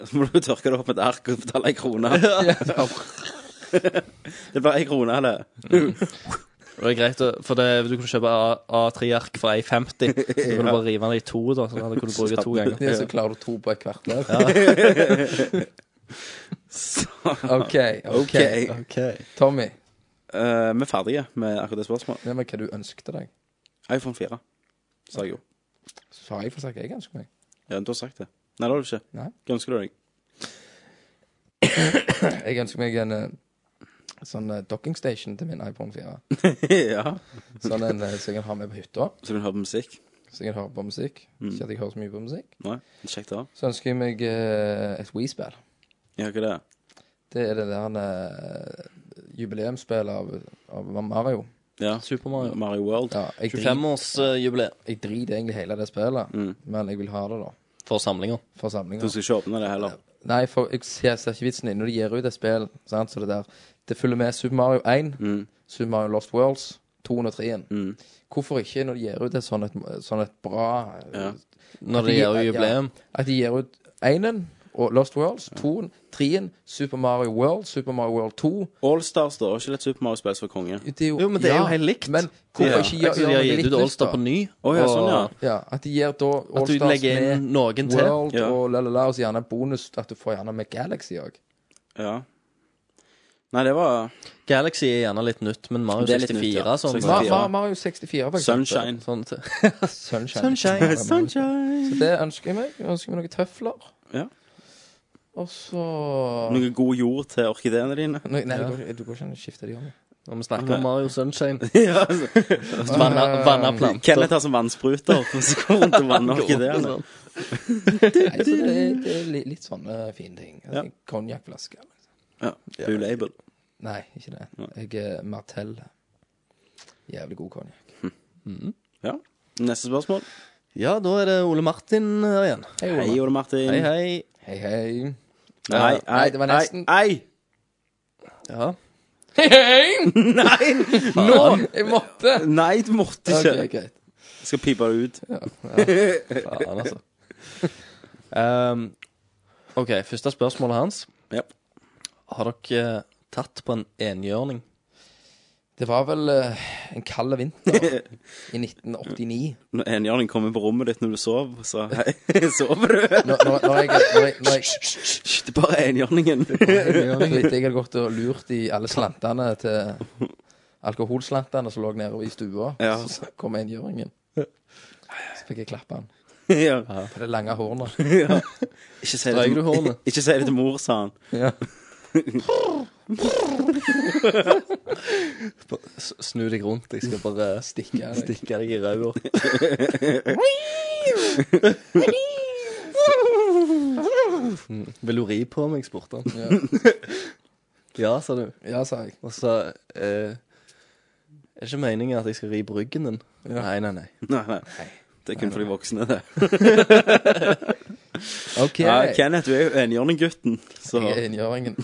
A: Så må du tørke det opp med et ark og betale ei krone. det ble ei krone, eller?
B: Og det er greit, å- for det, du kunne kjøpe A3-ark for 1,50. Så kunne du bare rive den i to, da. Sånn at du kunne bruke det to ganger.
I: Ja, så klarer du to på et hvert der. OK, OK.
A: Ok.
I: Tommy,
A: Eh, vi er ferdige med akkurat det spørsmålet.
I: det var hva du ønskte deg.
A: iPhone 4, sa jeg jo.
I: Sa jeg for sagt jeg ønsker meg?
A: Ja, du har sagt det. Nei, det har du ikke.
I: Nei.
A: Hva ønsker du deg?
I: Jeg ønsker meg en eh, sånn eh, docking station til min iPhone 4.
A: ja.
I: Sånn en eh, som jeg kan ha med på hytta,
A: Så kan du høre på musikk?
I: så jeg kan høre på musikk. Ikke at jeg hører så mye på musikk.
A: Nei? Kjekt å ha.
I: Så ønsker jeg meg eh, et Wii-spill.
A: Ja, hva er det?
I: Det er det der eh, jubileumsspillet av, av Mario.
A: Ja.
B: Super Mario.
A: Mario World.
I: Ja, jeg, driter,
B: 25-årsjubileet
I: jeg driter egentlig hele det spillet, men jeg vil ha det, da.
B: for samlinger.
I: For
A: Du
I: samlinga.
A: skal ikke åpne det heller.
I: Nei, for jeg ser, ser ikke vitsen i Når de gir ut et spill, sant, så det der Det følger med Super Mario 1,
B: Mm.
I: Super Mario Lost Worlds, 2 og 3. Hvorfor ikke når de gir ut et sånn et, sånn et bra eh,
A: Ja.
B: Når det gjør jubileum.
I: Ja, at de gir ut 1-en og Lost Worlds, 2-en, 3-en, Super Mario World, Super Mario World 2
A: Allstars, da. og Ikke litt Super Mario Spice for konge.
I: det er
B: Jo, men det er jo helt likt.
I: Men hvorfor
A: Ja.
I: ikke
B: Jeg
I: gjøre
B: tror de har
I: gjøre
B: gitt
I: likt
B: ut
I: nytt,
B: Allstar
I: da?
B: på ny.
A: Å, ja, sånn, ja.
I: Ja, at de gir da
B: At du
I: Allstars
B: legger inn
I: med
B: noen til.
I: World
A: Ja.
I: og la-la-la, og så gjerne bonus at du får gjerne med Galaxy òg.
A: Ja. Nei, det var
B: Galaxy er gjerne litt nytt, men Mario
A: Det er litt nytt,
B: 64
A: ja.
B: sånn,
A: 64.
I: Mario 64, for eksempel.
A: Sunshine.
B: sånn til.
I: Sunshine.
B: Sunshine.
I: Så det ønsker jeg meg. Jeg ønsker meg noen tøfler.
A: Ja.
I: Og så
A: Noe god jord til orkideene dine.
I: Nei, nei, du, går, ikke- du går ikke an å skifte de om.
B: Når vi snakker om Mario Sunshine
A: ja, altså.
B: Vanna, vanna planter.
A: Kenneth har som vannspruter, og så går rundt og vanner orkideene.
B: Sånn.
I: Nei, så det, det er li, litt sånne fine ting.
A: Ja.
I: Altså, en Konjakkflaske. liksom.
A: Ja. Blue label.
I: Nei, ikke det. Jeg er Martell. Jævlig god konjakk.
A: Ja. Neste spørsmål.
B: Ja, da er det Ole Martin her igjen.
I: Hei,
A: Hei,
I: Ola.
A: Ole Martin.
B: Hei, hei.
I: Hei, hei.
A: Nei,
I: Nei, det var nesten.
A: Nei, nei.
B: Ja.
I: Hei, hei!
A: Nå!
I: Jeg måtte!
A: Nei, du måtte ikke.
I: Ok, greit.
A: Jeg skal pipe det ut.
B: Faen, altså. Ehm, OK, første spørsmålet hans.
A: Ja.
B: Har dere eh, tatt på en enhjørning?
I: Det var vel eh, en kald vinter i 1989.
A: Når enhjørning kommer på rommet ditt når du sover, så hei, sover du?
I: Når, når, når jeg, når jeg, når jeg
A: Hysj, det er bare enhjørningen.
I: Fordi jeg hadde gått og lurt i alle slantene til Alkoholslantene som lå nede i stua.
A: Ja.
I: Så kom enhjørningen. Så fikk jeg klappe han
A: ja.
I: på det lange hornet.
A: Ikke si det
B: Streiker du
A: til,
B: hårene?
A: ikke si det til mor, sa han.
I: Ja.
B: S- Snu deg rundt, jeg skal bare
I: Stikke av deg.
B: stikke deg i ræva. Mm. Vil du ri på meg, spurte han.
I: Ja.
B: Ja, sa du.
I: ja, sa jeg.
B: Og så eh, Er det ikke meningen at jeg skal ri på ryggen din? Nei, nei, nei.
A: Nei, nei. Det er kun for de voksne, det.
I: OK.
A: Ja, Kenneth, du er jo enhjørninggutten. Så
I: Jeg er enhjørningen.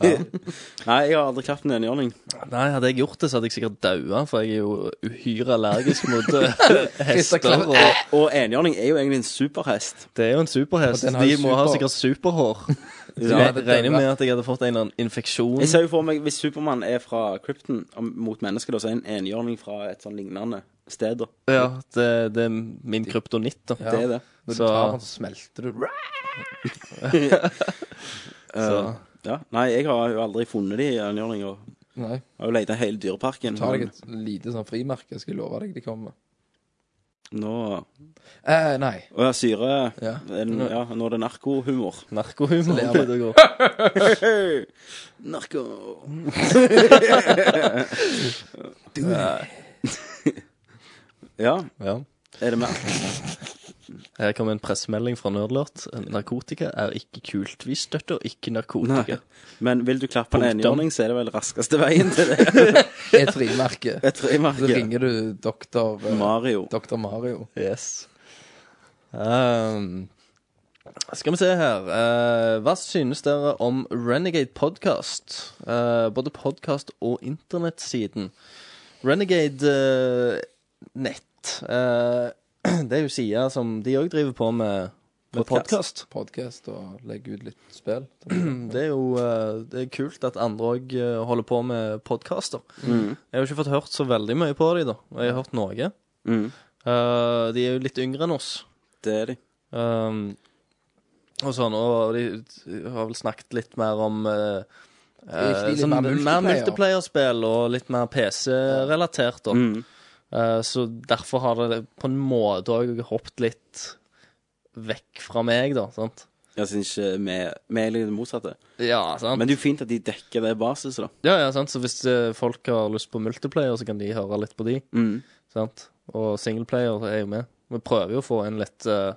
A: Nei, jeg har aldri klappet en enhjørning.
B: Nei, Hadde jeg gjort det, så hadde jeg sikkert daua, for jeg er jo uhyre allergisk mot eh, hester. Og
A: Og enhjørning er jo egentlig en superhest.
B: det er jo en superhest.
I: Og den har
B: De
I: jo
B: må ha
I: super-
B: sikkert superhår. Så
A: Ja,
B: jeg
I: det-
B: regner med at jeg hadde fått en eller annen infeksjon.
A: Jeg ser jo for meg, Hvis Supermann er fra Krypton om- mot mennesker, da, så er en enhjørning fra et sånn lignende sted. da.
B: Ja, det, det er min kryptonitt, da.
A: Det er det.
I: Når du
B: Så-
I: tar han, så smelter du.
B: Så
A: Ja. Nei, jeg har jo aldri funnet de enhjørninga.
I: Nei.
A: Har jo leita hele dyreparken.
I: Ta
A: men
I: deg et lite sånn frimerke, skal jeg love deg de kommer.
A: Nå
I: Eh, nei.
A: Å ja, syre
I: Ja.
A: eh, En, ja, Nå er det narkohumor.
I: Så
B: Narkohumor.
I: ler
B: det
I: vi.
B: det går.
A: Narko Ja.
B: Ja.
A: Er det mer?
B: Her kom en pressemelding fra Nerdlert. Narkotika er ikke kult. Vi støtter ikke narkotika.
A: Men vil du klappe en
B: Punktum.
A: enhjørning, så er det vel raskeste veien til det.
I: Et frimerke.
A: Et
I: Så
A: frimerke.
I: ringer du doktor eh,
A: Mario.
I: Doktor Mario.
B: Yes. Ehm, skal vi se her Eh, Hva synes dere om Renegade Podcast? Eh, både podcast og internettsiden. Renegade eh, Nett eh, Det er jo sida som de òg driver på med, med
A: Podcast.
B: podkast.
I: Podkast og legger ut litt spill.
B: Det er jo eh, det er kult at andre òg holder på med podkaster. Jeg har jo ikke fått hørt så veldig mye på dem, da. Og jeg har hørt noe.
A: Mm.
B: Eh, de er jo litt yngre enn oss.
A: Det er de.
B: Um, og sånn, og de har vel snakket litt mer om eh,
I: er
B: eh,
I: litt
B: sånn,
I: mer
B: mer
I: multiplayer.
B: multiplayer-spill og litt mer PC-relatert. da.
A: Mm.
B: Eh, så derfor har det på en måte òg hoppet litt vekk fra meg, da. sant?
A: Jeg syns ikke vi vi er litt det motsatte.
B: Ja, sant?
A: Men det er jo fint at de dekker det basis, da.
B: ja, ja, sant? Så hvis eh, folk har lyst på multiplayer, så kan de høre litt på de.
A: Mm.
B: Sant? Og singleplayer er jo med. Vi prøver jo å få inn litt eh,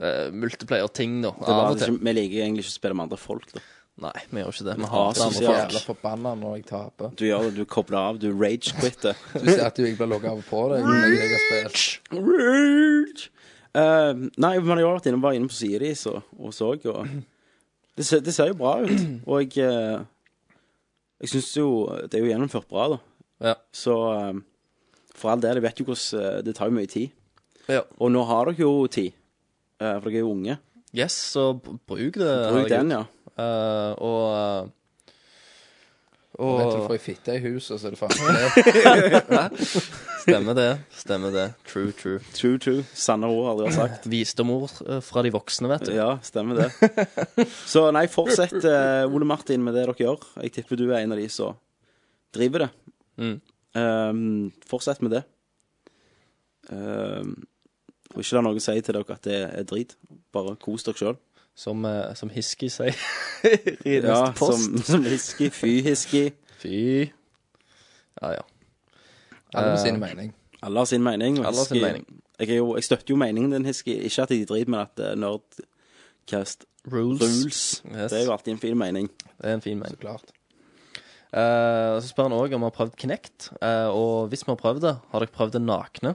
B: eh, multiplayer-ting, da.
A: Det liksom er
B: Av
A: bare
B: og
A: at
B: til.
A: ikke, vi liker egentlig ikke å spille med andre folk, da.
B: Nei, vi gjør ikke det. Vi
A: hater andre
B: hater andre
A: folk.
B: folk.
I: Jævla forbanna når jeg taper.
A: Du gjør det, du kobler av, du rage-quitter.
I: Du ser at du ikke blir logga av på deg. når Jeg har spilt.
A: Rage! Eh, nei, men jeg har vært inne, var inne på sida di så- og så, og det ser, det ser jo bra ut. Og jeg, eh, jeg syns jo Det er jo gjennomført bra, da.
B: Ja.
A: Så eh, for all del, jeg vet jo hvordan eh, Det tar jo mye tid.
B: Ja.
A: Og nå har dere jo tid, eh, for dere er jo unge.
B: Yes, så b- bruk det.
A: Bruk den, ja.
B: Eh, og eh,
I: Og vet du,
B: og
I: får jeg fitte i huset, så er det faen
B: Stemmer det. Stemmer det. True, true.
A: True, true. Sanne ord har dere sagt.
B: Visdomord eh, fra de voksne, vet du.
A: Ja, stemmer det. Så nei, fortsett, eh, Ole Martin, med det dere gjør. Jeg tipper du er en av de som driver det.
B: Mm.
A: Ehm, fortsett med det. Ehm, og ikke la noen si til dere at det er drit. Bare kos dere sjøl.
B: Som, eh, som Hiski sier. I
A: Ja,
B: neste post.
A: som, som hisky, fy hisky.
B: Fy. Ja, ja.
I: Alle med sin mening.
A: Alle har sin mening. og
B: Alle har sin
A: Hisky-
B: mening.
A: Jeg, er jo, jeg støtter jo meningen din, Hisky. Ikke at jeg driter, men at eh, Nerdcast
B: Rules.
A: rules.
B: Yes.
A: Det er jo alltid en fin mening.
B: Det er en fin mening.
I: Så klart.
B: Eh, så spør han òg om vi har prøvd Kinect. eh, og hvis vi har prøvd det, har dere prøvd det nakne?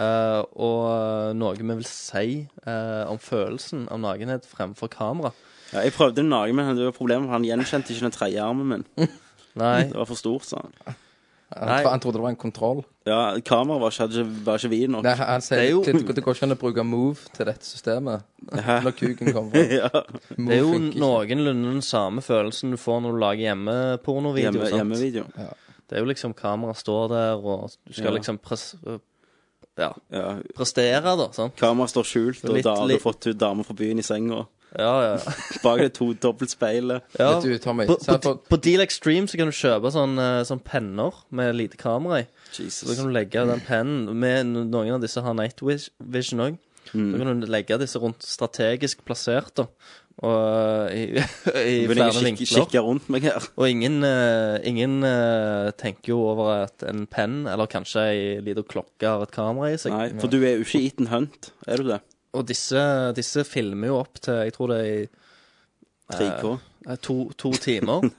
B: Eh, og noe vi vil si eh, om følelsen av nakenhet fremfor kamera.
A: Ja, jeg prøvde den naken, men det var problemet, for han gjenkjente ikke den tredje armen min.
B: Nei,
A: Det var for stort, sa han.
I: Han,
B: Nei.
I: tro, han trodde det var en kontroll.
A: Ja, kameraet var ikke, hadde- var ikke vid nok.
I: Nei, han sier
B: Det er jo-
I: det, det går ikke an å bruke move til dette systemet. Når kuken kommer fra.
A: ja,
B: det er jo
I: funker ikke.
B: noenlunde den samme følelsen du får når du lager hjemmepornovideo.
A: hjemme,
B: sant?
A: hjemmevideo.
B: Det er jo liksom kameraet står der, og du skal
A: Ja.
B: liksom pres eh, ja,
A: Ja.
B: prestere, da. Sant?
A: Kameraet står skjult, og
B: Litt-
A: da har du
B: litt-
A: fått ut damer fra byen i senga.
B: Ja, ja, ja.
A: Bak det to dobbeltspeilet.
B: Ja,
I: Vet du, Tommy,
B: på,
I: se
B: på,
I: på-
B: på Deal Extreme så kan du kjøpe sånn, eh, sånn penner med lite kamera i. Så da
A: Jesus.
B: kan du legge den pennen med no- Noen av disse har Night Vis- Vision òg.
A: Mm.
B: Da kan du legge disse rundt strategisk plassert, da. Og eh, i, i
A: Nå vil
B: flere
A: jeg kikke,
B: vinkler.
A: kikke rundt meg her.
B: Og ingen, eh, ingen eh, tenker jo over at en penn, eller kanskje ei lita klokke, har et kamera i seg.
A: Nei, for du er jo ikke Eaton Hunt, er du det?
B: Og disse, disse filmer jo opp til jeg tror det er i
A: 3K.
B: eh, to, to timer.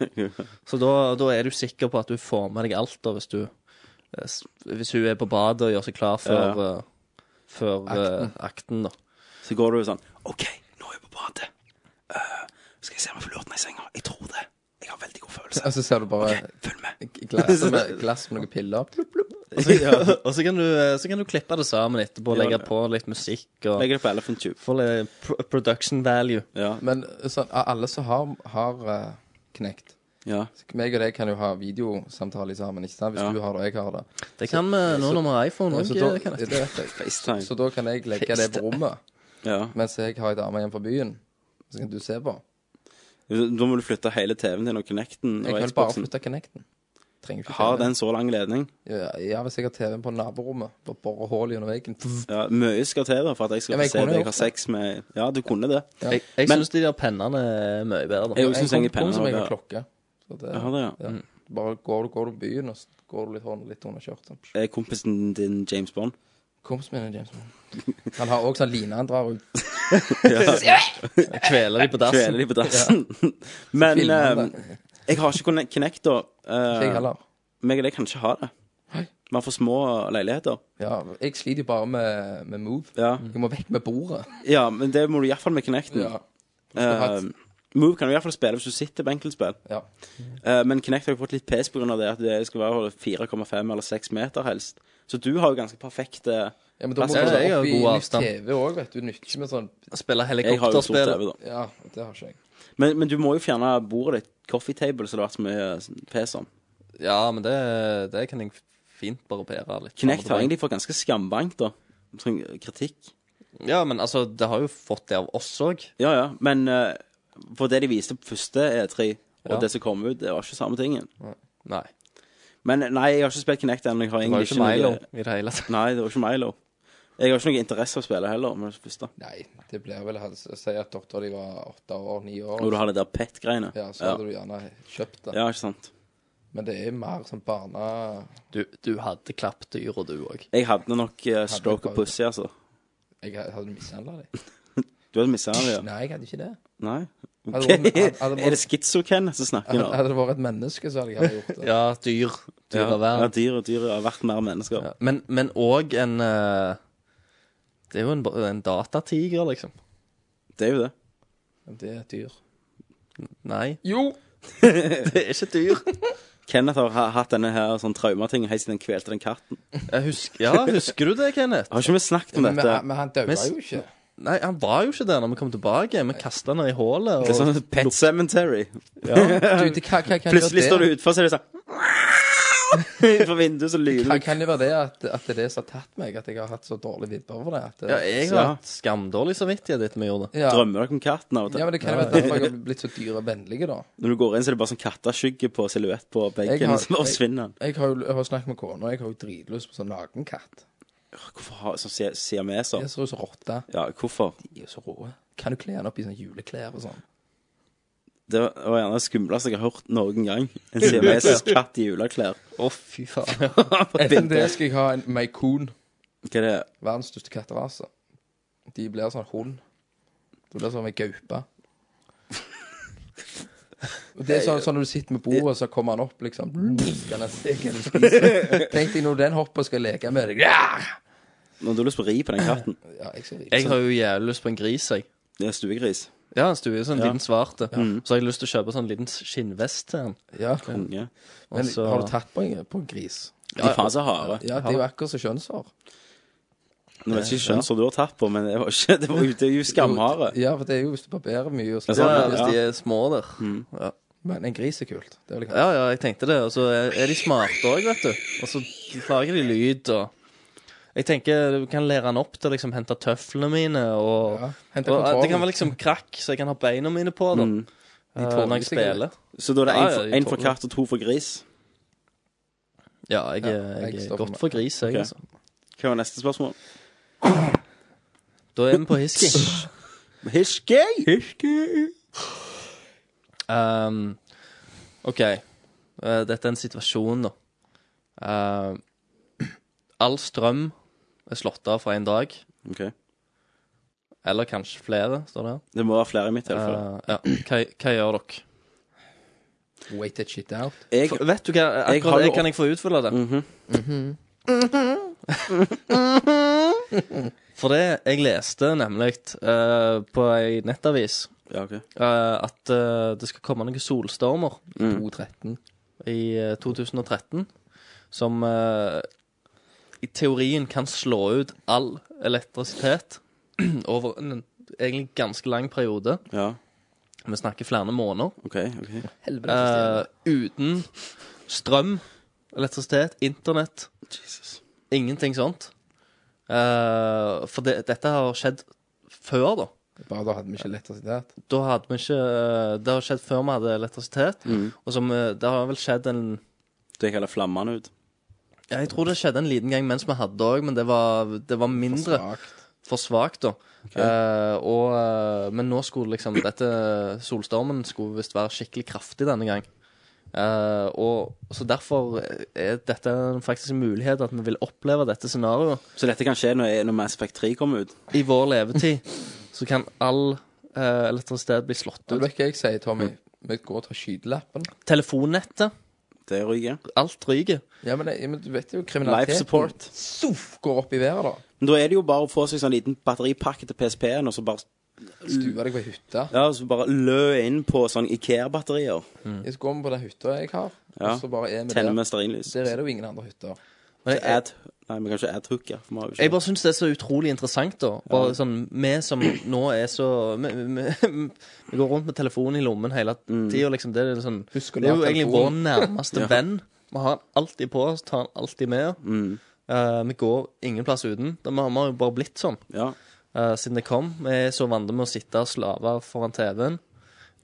B: Så da, da er du sikker på at du får med deg alt, da, hvis du eh, s- Hvis hun er på badet og gjør seg klar før, eh, før akten. akten, da.
A: Så går du jo sånn OK, nå er jeg på badet. Eh, skal jeg se om jeg får lurt meg i senga? Jeg tror det. Jeg har veldig god følelse.
I: Og
B: Altså,
I: så ser du bare
A: Følg med.
I: glass med, glass med noen piller. Plupp, plupp.
B: Og så, og så, kan, du, eh, så kan du klippe det sammen etterpå og
A: Ja,
B: legge
A: ja.
B: på litt musikk og
A: Legger det på Elephant Tube.
B: få litt pr production value.
A: Ja.
I: Men sånn, av alle som har, har eh, knekt
A: ja.
I: Meg og deg kan jo ha videosamtale sammen, ikke sant? Hvis
A: Ja.
I: du har det, og jeg har det.
B: Det kan vi nå når vi har iPhone
I: Så
B: òg.
I: da,
B: kan
I: det
B: jeg-
I: vet jeg.
A: FaceTime.
I: så da kan jeg legge det på rommet,
A: Ja.
I: mens jeg har ei dame hjemme fra byen. Så kan du se på.
A: Da må du flytte hele TV-en din og Kinecten
I: Jeg
A: og
I: kan vel bare
A: Xboxen.
I: flytte connecten. Trenger ikke
A: Har
I: TV.
A: den så lang ledning?
I: Ja, ja, hvis jeg har TV-en på naborommet, bare borer hull gjennom veggen.
A: Ja, Mye skal til da, for at jeg skal
I: Ja, men jeg
A: få se
I: kunne
A: deg
I: gjort
A: ha
I: det.
A: sex med Ja, du kunne det.
B: Jeg, jeg syns de der pennene er mye bedre. da.
A: Jeg også synes
I: kom-
A: egentlig
I: kom som
A: pennene
I: jeg
A: var
I: har klokke. Så det,
A: Jeg har det, ja. Mm.
I: Bare går du, går du byen, og så går du litt hånden litt under skjørtet.
A: Er kompisen din James Bond?
I: Kompisen min er James Bond. Han har også sånn line han drar ut.
A: Ja.
B: Kveler de på dassen.
A: Kveler de på dassen. Men
I: filmer han det.
A: eh, jeg har ikke Kinect- Kinect, da. Eh,
I: Ikke jeg heller.
A: Meg og deg kan ikke ha det. Vi har for små leiligheter.
I: Ja, jeg sliter jo bare med, med Move. Jeg må vekk med bordet.
A: Ja, men det må du iallfall med Kinecten.
I: Mm. Ja.
A: Eh, Move kan du iallfall spille hvis du sitter på enkeltspill.
I: Ja.
A: Eh, men Kinect har jo fått litt pes pga. det at det skal være 4,5 eller 6 meter helst. Så du har jo ganske eh, perfekte
I: Ja, men da må
A: plasser.
I: du opp i nytt TV òg, vet du. Nytter ikke med sånn
B: Spille
A: Jeg har jo stort TV, da.
I: Ja, det har ikke jeg.
A: Men, men du må jo fjerne bordet ditt, coffee table, som det har vært så mye eh, pes om.
B: Ja, men det, det kan jeg fint barbere litt.
A: Kinect har egentlig fått ganske skambank, da. Sånn kritikk.
B: Ja, men altså, det har jo fått det av oss òg.
A: Ja, ja. Men eh, for det de viste på første E3, og
B: Ja.
A: det som kom ut, det var ikke samme tingen.
B: Nei.
A: Men eh, nei, jeg har ikke spilt Kinect ennå. Det
B: Det var jo ikke Milo i det hele tatt.
A: Nei, det var ikke Milo. Jeg har ikke noe interesse av å spille heller. Men det første.
I: Nei, det blir vel å si at dattera di var åtte år, ni år.
A: Når du har det der pet-greiene.
I: Ja, så hadde du gjerne kjøpt det.
A: Ja, ikke sant.
I: Men det er mer sånn barne...
B: Du, du hadde klappdyr, og du òg.
A: Jeg hadde nok eh, stroke
I: prøvd.
A: og pussy, altså.
I: Jeg hadde mishandla deg.
A: Du hadde mista det, ja.
I: Nei, jeg hadde ikke det.
A: Nei?
I: Hadde
A: Ok.
I: det vært- hadde- hadde det vært-
A: Er det schizo-Ken som snakker
I: Hadde
A: nå?
I: hadde det vært et menneske, så hadde jeg aldri gjort det.
B: Ja, dyr. Dyr
A: Ja,
B: av verden.
A: ja, dyr og dyr har vært mer mennesker.
B: Men- Men òg en eh, Det er jo en, en datatiger, liksom.
A: Det er jo det.
I: Men Det er et dyr.
B: Nei,
I: Jo!
B: det er ikke dyr.
A: Kenneth har ha- hatt denne her sånn traumating helt siden han kvelte den katten.
B: Jeg husker, ja, husker du det, Kenneth?
A: Har ikke vi snakket om
I: Men,
A: dette?
I: men han døde
B: Men-
I: jo ikke.
B: Nei, han var jo ikke der når vi kom tilbake. Vi kasta han ned i hullet.
A: Det er
B: Og...
A: sånn Pet Cemetery.
I: Du, det kan, kan, kan det
A: Plutselig
I: være
A: står
I: det-
A: du utenfor, så er det sånn Utenfor vinduet så lyder
I: Kan,
A: det.
I: kan det være det at, at det er det som har tatt meg, at jeg har hatt så dårlig vibbe over det? At, det-
B: Ja, jeg har hatt skamdårlig samvittighet etter vi gjorde det.
I: ja.
A: Drømmer dere om katten av og til?
I: Ja, men det kan være derfor jeg har blitt så dyrevennlig, da.
A: Når du går inn, så er det bare sånn katteskygge på silhuett på
I: Jeg
A: veggen,
I: har-
A: og så bare
I: jeg-
A: forsvinner den.
I: Jeg har jo jeg har snakket med kona, jeg har jo dritlyst på sånn nakenkatt.
A: Hvorfor har sånn si-
I: Jeg
A: siameser?
I: ser ut som rotte.
A: Ja, hvorfor?
I: De er jo så rå. Kan du kle den opp i sånne juleklær og sånn?
A: Det var gjerne det skumleste jeg har hørt noen gang. En siamesisk katt i juleklær.
B: Å, fy faen.
I: Etter det skal jeg ha en Macoon,
A: Hva er det?
I: verdens største katterase. De blir sånn hund. Du blir sånn en gaupe. Og det er sånn, sånn når du sitter med bordet, så kommer han opp, liksom. Skal han se hva du spiser? Tenk deg når den hopper og skal leke med deg. Ja,
A: Når du har lyst på å ri på den katten.
I: jeg skal
B: Jeg har jo jævlig lyst på en gris, jeg.
A: Det er stuegris.
B: Ja, en stue, sånn liten svart. Så har jeg lyst til å kjøpe sånn liten skinnvest til han.
I: Ja.
A: Konge.
B: Og
I: Men
B: så-
I: har du tatt på en, på en gris?
A: De faen så harde.
I: Ja, det er jo akkurat som kjønnshår.
A: Nå vet jeg ikke skjønnshår du har tatt på, men det var ikke Det var jo- det er jo skamharde.
I: Ja, for det er jo hvis du barberer mye og
A: Ja,
I: sånn.
B: Ja,
A: ja,
B: hvis de er små der. Ja.
I: Men en gris er kult. Det vil jeg ha.
B: ja, ja, jeg tenkte det. Og så er er de smarte òg, vet du. Og så lager de lyd og Jeg tenker du kan lære han opp til å liksom hente tøflene mine og,
I: Ja, hente
B: og at
I: kontrollen.
B: Det kan være liksom krakk, så jeg kan ha beina mine på da, eh,
I: tåler
B: når jeg
I: sikkert
B: spiller.
A: Så da er det
B: Ja,
A: én
B: ja,
A: for,
B: de
A: en for
B: tåler.
A: katt og to for gris.
B: Ja, jeg, er-
I: Ja, jeg
B: jeg
I: står
B: er
I: for
B: godt
I: meg.
B: for gris, jeg,
A: Ok.
B: altså.
A: Hva var neste spørsmål?
B: Da er vi på Hiski.
A: Hiskey!
B: Um, OK. Eh, dette er en situasjon, da. Eh, all strøm er slått av for én dag.
A: Ok.
B: Eller kanskje flere, står det her.
A: Det må være flere i mitt tilfelle.
B: Eh, ja. hva, hva gjør dere?
I: Wait that shit out.
A: Jeg,
B: For, vet du hva,
A: jeg har
B: akkurat det
A: jo-
B: kan jeg Mhm. få utfylle det. For det jeg leste nemlig eh, på ei nettavis
A: ja, ok.
B: eh, at eh, det skal komme noen solstormer
I: 2.13.
B: i eh, 2013 som eh, i teorien kan slå ut all elektrisitet over en egentlig ganske lang periode.
A: Ja,
B: Vi snakker flere måneder.
A: ok, ok.
B: Eh, uten strøm, elektrisitet, internett.
A: Jesus.
B: Ingenting sånt. Eh, for det, dette har skjedd før, da.
I: Bare da hadde vi ikke elektrisitet.
B: Da hadde vi ikke eh, Det har skjedd før vi hadde elektrisitet.
A: Mhm.
B: Og som eh, Det har vel skjedd en
A: Det heller flammene ut.
B: Ja, jeg tror det skjedde en liten gang mens vi hadde òg, men det var, det var mindre. For svakt, da. Eh, og, eh, men nå skulle liksom dette Solstormen skulle visst være skikkelig kraftig denne gang. Eh, og Så derfor er dette en faktisk en mulighet at vi vil oppleve dette scenarioet.
A: Så dette kan skje når, når Mass Effect 3 kommer ut?
B: I vår levetid så kan all eh, elektrisitet bli slått
I: Det
B: ut.
I: er ikke jeg sier, Tommy. Vi går og tar skytelappen.
B: Telefonnettet.
A: Det ryker.
B: Alt ryker.
I: Ja, men, det- ja, men du vet jo
A: Life
I: kriminaliteten
A: support.
I: Suff, går opp i været, da.
A: Men da er det jo bare å få seg sånn liten batteripakke til PSP-en, og så bare
I: Stue deg på ei hytte.
A: Ja, så bare lø inn på sånn Ikea-batterier.
I: Jeg Så går vi på den hytta jeg har,
A: Ja.
I: og så bare er vi
A: Tenner
I: der.
A: med stearinlys.
I: Der er det jo ingen andre hytter.
B: Men jeg,
A: Ad... Nei, vi kan ikke adhooke. for vi har jo
B: jeg
A: ikke-
B: bare syns det er så utrolig interessant, da. Bare sånn, Vi som nå er så Vi, vi, vi går rundt med telefonen i lommen hele
I: Mm.
B: tida, liksom. Det er, sånn, det
I: Husk å
B: er jo
I: la
B: egentlig vår
I: telefonen-
B: nærmeste
A: Ja.
B: venn. Vi har den alltid på oss, tar den alltid med.
I: Mm.
B: Eh, vi går ingen plass uten. Det- Vi har vi har jo bare blitt sånn
A: Ja.
B: eh, siden det kom. Vi er så vant med å sitte og slave foran TV-en.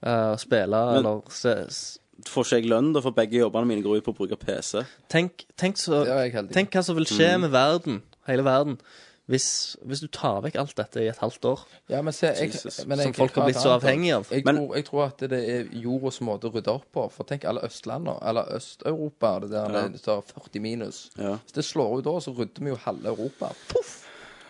B: eh, og spille eller se, s-
A: Får ikke jeg lønn, da får begge jobbene mine gå ut på å bruke PC.
B: Tenk, tenk, så,
I: Det var jeg heldig.
B: tenk hva som vil
I: Mm.
B: skje med verden, hele verden, hvis, hvis du tar vekk alt dette i et halvt år.
I: Ja, men se, jeg,
A: Jesus.
I: men jeg,
B: Som folk
I: jeg
B: har
I: har
B: blitt
I: et
B: så
I: annet.
B: avhengig av.
I: Jeg,
A: Men-
I: tror, jeg tror at det er jordas måte å rydde opp på. For tenk alle østlanda, eller Øst-Europa, det der
A: Ja.
I: det står 40 minus.
A: Ja.
I: Hvis det slår ut da, så rydder vi jo halve Europa.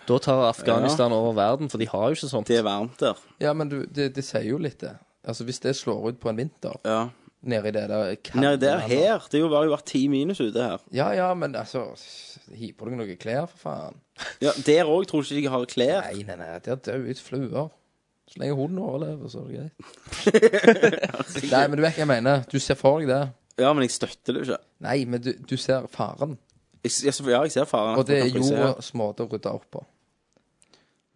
B: Da tar Afghanistan over verden, for de har jo ikke sånt.
A: Det er varmt der.
I: Ja, men du, det, det sier jo litt, det. Altså, hvis det slår ut på en vinter
A: Ja.
I: nede i det der kalde
A: Nede der,
I: landet-
A: her. Det er jo bare vært ti minus ute her.
I: Ja, ja, men altså Hi på deg noen klær, for faen.
A: Ja, Der òg tror ikke jeg har klær.
I: Nei, nei, nei, der dør ut fluer. Så lenge hunden overlever, så er det greit. nei, men du vet hva jeg mener. Du ser for deg det.
A: Ja, men jeg støtter det jo ikke.
I: Nei, men du, du ser faren.
A: Jeg, s- ja, så- ja, jeg ser faren.
I: Og det er
A: Kan folk se her?
I: jordas måte å rydde opp på.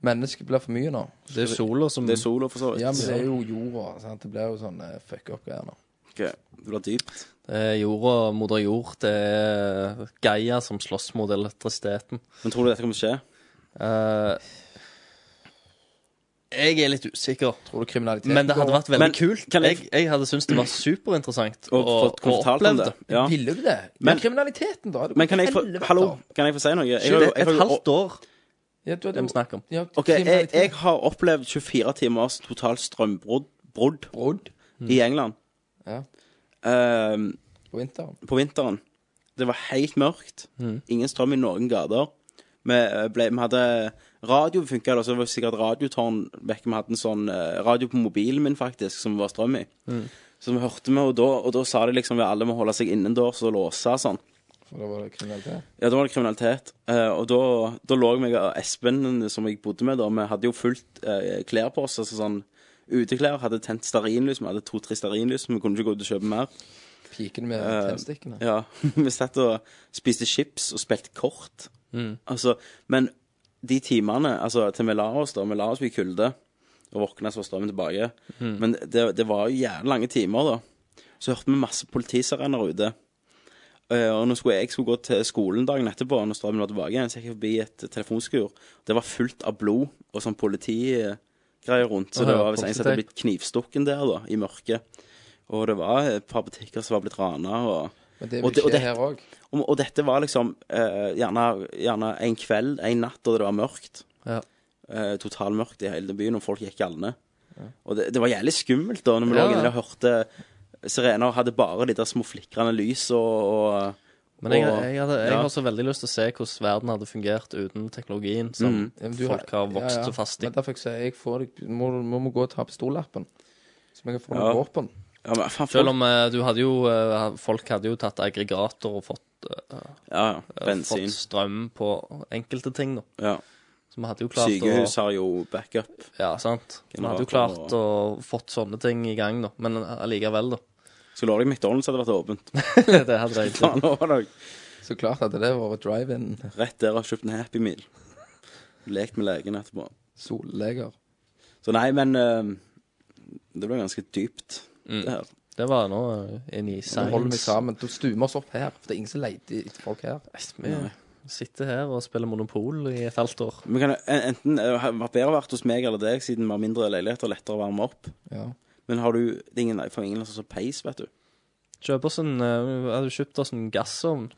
I: Mennesket blir for mye nå.
B: Det er sola som
A: Det er sola, for så vidt.
I: Ja, men det er jo jorda. Sant? Det blir jo sånn eh, fuck up-greier nå.
A: Ok, Det blir dypt.
B: Eh, jorda, moder jord. Det er Gaia som slåss mot elektrisiteten.
A: Men tror du dette kommer til å skje?
B: Eh, jeg er litt usikker,
I: Tror du kriminaliteten
B: men det hadde vært veldig
A: Men
B: kult.
A: kan
B: Jeg,
A: jeg-
B: jeg hadde syntes det var superinteressant
A: Og fått fortalt om det? Ja.
I: Ville du det?
A: Men-
I: Men kriminaliteten, da? Er det
A: Men kan jeg få
I: helvete?
A: Hallo, kan jeg få si noe? Jeg har jo-
B: Det
A: jeg
B: er
A: har
B: et
A: jo-
B: halvt år
I: Ja, du hadde
B: de
I: jo
B: snakker om.
I: ja,
A: OK, jeg, jeg
I: kriminalitet.
A: har opplevd 24 timers totalt strømbrudd brudd
I: Brodd
A: i England.
I: Ja.
A: Ehm,
I: på vinteren.
A: på vinteren. Det var helt mørkt.
I: Mm.
A: Ingen strøm i noen gater. Vi, eh, ble, vi hadde radio funka, og så var det sikkert radiotårn vekk. Vi hadde en sånn eh, radio på mobilen min, faktisk, som var strøm i.
I: Mm.
A: Så vi hørte vi, og da, og da sa de liksom at alle må holde seg innendørs og låse og sånn.
I: For da var det kriminalitet.
A: Ja, da var det kriminalitet. Eh, og da, da lå jeg meg og Espen, som jeg bodde med, da, vi hadde jo fullt eh, klær på oss. Altså sånn uteklær. Hadde tent stearinlys. Vi hadde to-tre stearinlys, men vi kunne ikke gå ut og kjøpe mer.
I: Pikene med
A: Eh,
I: tennstikkene.
A: Ja, Vi satt og spiste chips og spilte kort.
B: Mm.
A: Altså, men de timene altså, til vi la oss, da Vi la oss i kulde og våkna, så var strømmen tilbake.
B: Mm.
A: Men det, det var jo jævlig lange timer, da. Så hørte vi masse politisirener ute. Eh, Og når skulle jeg skulle gå til skolen dagen etterpå, når strømmen var tilbake, igjen, så gikk jeg forbi et telefonskur. Det var fullt av blod og sånn politigreier rundt. Så
B: Å,
A: det
B: ja,
A: var hvis en som hadde
B: polititeip.
A: blitt knivstukken der, da, i mørket. Og det var et par butikker som var blitt rana. Og,
I: Men det
A: og
I: vil
A: og
I: skje her òg.
A: og, og dette var liksom eh, gjerne, gjerne en kveld, en natt, da det var mørkt.
B: Ja.
A: Eh, Totalmørkt i hele byen, og folk gikk galne. Og det, det var jævlig skummelt da, når vi
B: Ja,
A: lå
B: ja.
A: inne og hørte sirener og hadde bare de der små flikrende lys og, og
B: Men jeg,
A: og-
B: jeg, hadde, jeg
A: ja.
B: har så veldig lyst til å se hvordan verden hadde fungert uten teknologien som
A: Mm.
B: folk har vokst så fast i.
I: Men derfor sier jeg får deg må, må, må gå og ta pistollappen. Så vi kan få
A: Ja.
I: noen våpen.
A: Ja, men faen, folk,
B: Selv om eh, du hadde jo eh, Folk hadde jo tatt aggregater og fått, eh,
A: ja, ja, bensin.
B: fått strøm på enkelte ting, da.
A: Ja.
B: Så vi hadde jo klart
A: Sykehus
B: å
A: har jo backup.
B: Ja, sant. Vi hadde jo
A: Generator
B: klart å fått sånne ting i gang, da. Men allikevel, da.
A: Skulle love deg McDonald's hadde vært åpent.
B: det hadde jeg ikke.
A: Faen, lover deg.
I: Så klart hadde det vært drive-in
A: Rett der og kjøpt en Happy Meal. Lekt med legen etterpå.
I: solleger.
A: Så nei, men eh, det ble ganske dypt, det her.
B: Det var nå eh, inn i
I: Så holder vi
B: science.
I: sammen. Da stuer vi oss opp her. For det er ingen som leter etter folk her.
B: Vi Sitter her og spiller Monopol i et halvt år.
A: Vi kan jo en- enten eh, ha vært bedre vært hos meg eller deg, siden vi har mindre leiligheter og lettere å varme opp.
I: Ja.
A: Men har du det er ingen for ingen altså, som peis, vet du?
B: Kjøp oss en eh, Vi hadde kjøpt oss en gassovn.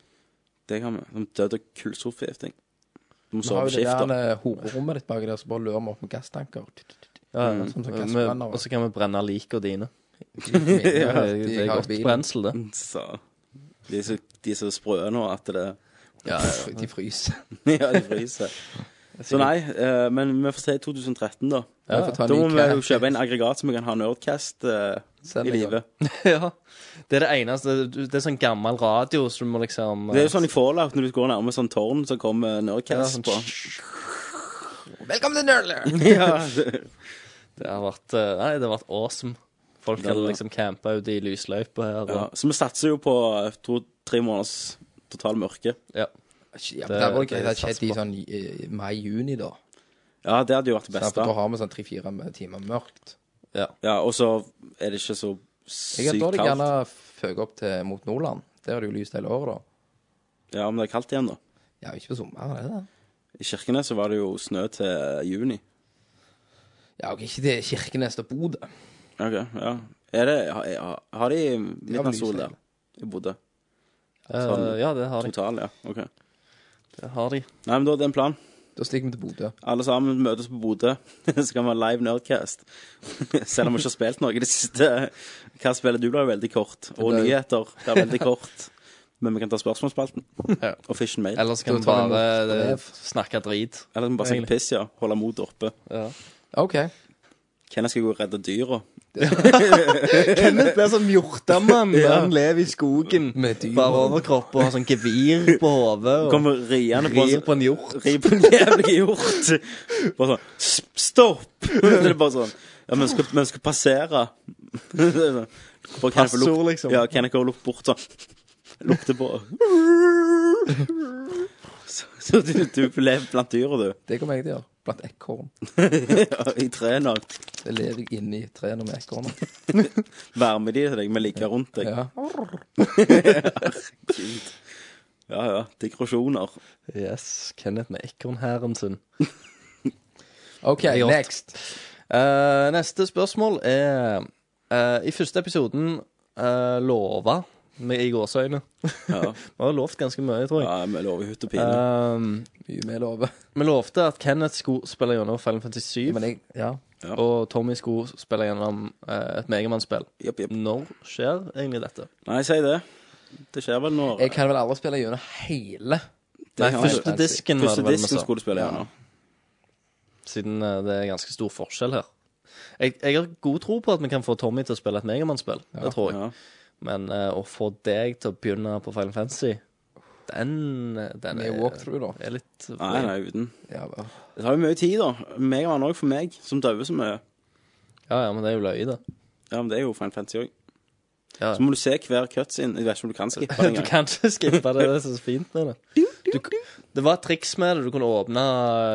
A: Det kan vi. Som død av kullsofegifting. Du må
I: Vi har
A: sove
I: jo det
A: skift, da.
I: der eh, horommet ditt baki der, så bare lører vi opp med gasstanker.
B: Ja,
I: Mm.
B: ja.
I: Sånn som
B: Vi-
I: gassbrenner,
B: og så kan vi brenne likene dine.
I: Ja,
B: det, er- det
I: de
B: er
I: har
B: godt
I: bilen.
B: brensel, det.
A: Så. De er så, de er så sprø nå at det
I: Ja, ja, de fryser.
A: Ja, de fryser. Så nei, eh, men vi får se i 2013, da.
I: Ja, vi får ta en
A: da
I: ny
A: må vi jo
I: cat.
A: kjøpe inn aggregat så vi kan ha Nerdcast eh,
I: Send
A: i
I: i gang.
A: live.
B: ja. Det er det eneste du- Det er sånn gammel radio, så du må liksom
A: Det er jo sånn i Fallout, når du går nærme sånn tårn, så kommer Nerdcast
B: Ja, sånn
A: på.
I: Velkommen til Nerdler!
A: ja, det-
B: Det har vært eh, Nei, det har vært awesome. Folk
A: Det har
B: hadde
A: det.
B: liksom campa ute i lysløypa her.
A: ja.
B: Og,
A: Så vi satser jo på to-tre måneders total mørke.
B: ja.
I: Ja,
B: Det-
I: men det hadde
B: det
I: vært greit at det skjedde i
B: satser
I: sånn eh, mai-juni, da.
A: Ja, det hadde jo vært det
I: Derfor, da
A: beste.
I: har vi sånn tre-fire timer mørkt.
A: Ja, og så er det ikke så
I: Jeg
A: sykt
I: hadde da gjerne
A: kaldt.
I: føket opp til, mot Nordland. Der er det jo lyst hele året, da.
A: Ja, men det er kaldt igjen, da.
I: Ja, ikke på sommeren, er det det?
A: I Kirkenes så var det jo snø til juni.
I: Ja, ok, ikke til Kirkenes og Bodø.
A: Ok, ja. Er det, har, har de midnattssol
I: lysleil.
A: der? I Bodø?
B: Eh, ja, det har de.
A: Total, ja. Ok.
B: Det sånn- har de.
A: Nei, men da er det en plan.
I: Da stikker vi til Bodø.
A: Alle sammen møtes på Bodø, så kan vi ha live Nerdcast. Selv om vi ikke har spilt noe i det siste. Hva spiller du blir jo veldig kort. Og
I: Det er jo-
A: nyheter blir veldig kort. Men vi kan ta spørsmålsspalten. Og Fish and Mail.
B: Ellers kan
I: Da
B: vi bare
I: tar vi mot
B: eh,
I: brev.
B: snakke drit.
A: Eller bare si
B: Egentlig.
A: piss, ja. Holde motet oppe.
B: Ja.
I: OK.
A: Kenneth skal gå og redde dyra.
B: Kenneth blir som hjortemann.
A: Ja.
B: Han lever i skogen.
I: Med dyr.
B: Bare overkropp og har sånn gevir på hodet. og
A: Kommer riende på
B: Rir
A: en,
B: på en hjort.
A: rir på en jævlig hjort. Bare sånn "Sp- Stopp! Det er bare sånn Ja, men skal, men skal passere. For Kenneth å lukte-
B: Passord, liksom.
A: Ja, Kenneth går og lukter bort sånn. Lukter på Så, så du, du lever blant dyra, du.
I: Det kommer jeg til å gjøre. Blant ekorn.
A: Ja, I trærne.
I: Det lever jeg inni trærne med ekorn.
A: Varmer de til deg, men ligger rundt deg.
I: Ja.
A: Ja, ja. Digresjoner.
B: Yes, Kenneth med ekornhæren sin.
I: OK,
B: Hjort.
I: next.
B: Eh, neste spørsmål er eh, I første episoden uh, lova med i gåseøyne.
A: Ja.
B: Vi har lovt ganske mye, tror jeg.
A: Ja, vi lover hutt og pine.
B: Ehm,
I: Mye vi lover.
B: vi lovte at Kenneth skulle spille gjennom Final Fantasy 7,
I: Men jeg
B: ja.
A: Ja.
B: og Tommy skulle spille gjennom eh, et Megamann-spill.
A: Jepp, jepp.
B: Når skjer egentlig dette?
A: Nei, si det. Det skjer vel når
I: Jeg kan vel aldri spille gjennom hele
B: Nei,
A: kan
B: første
I: jeg.
B: disken var
A: Første
B: det vel vi
A: disken
B: sa,
A: skulle du spille gjennom.
B: siden eh, det er ganske stor forskjell her. Jeg, jeg har god tro på at vi kan få Tommy til å spille et Megamann-spill. Det tror jeg.
A: Ja.
B: Men eh, å få deg til å begynne på Final Fantasy, den, den
I: med walkthrough, da.
B: er litt
A: Nei, nei, uten.
I: Ja, vel.
A: Det tar jo mye tid, da. Megamann òg for meg, som dauer så mye.
B: Ja, ja, men det er jo løye, det.
A: Ja, men det er jo Final Fantasy òg.
B: Ja.
A: Så må du se hver cutscene. Jeg vet ikke om du kan skippe det
B: Du
A: engang.
B: kan ikke skippe det, det er så fint med det. Du, det var et triks med det. Du kunne åpne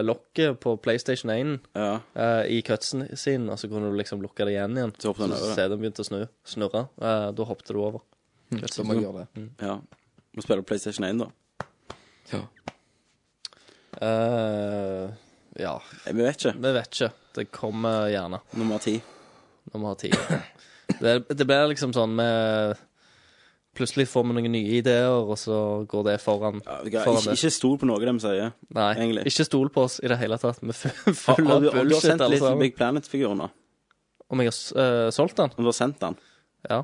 B: lokket på PlayStation 1
A: Ja.
B: eh, i cutsen sin, og så kunne du liksom lukke det igjen igjen.
A: Så hoppet den over, ja.
B: se den begynte å snu, snurre. Eh, da hoppet du over. Mm.
I: Så må jeg gjøre det.
A: ja. Må spille PlayStation 1, da.
B: Eh, ja,
A: Nei, Vi vet ikke.
B: vi vet ikke. Det kommer gjerne.
A: Nummer ti.
B: når vi har tid. Det, det blir liksom sånn med Plutselig får vi noen nye ideer, og så går det foran.
A: Ja, vet du hva,
B: foran
A: ikke, ikke stol på noe de sier.
B: det. Nei,
A: egentlig.
B: ikke stol på oss i det hele tatt. Vi er
A: Har,
B: full
A: har, du, om
B: av
A: du har
B: bullshit,
A: sendt
B: alle
A: litt
B: sammen.
A: Big Planet-figuren, da?
B: Om jeg har s- eh, solgt den?
A: Om du har sendt den?
B: Ja.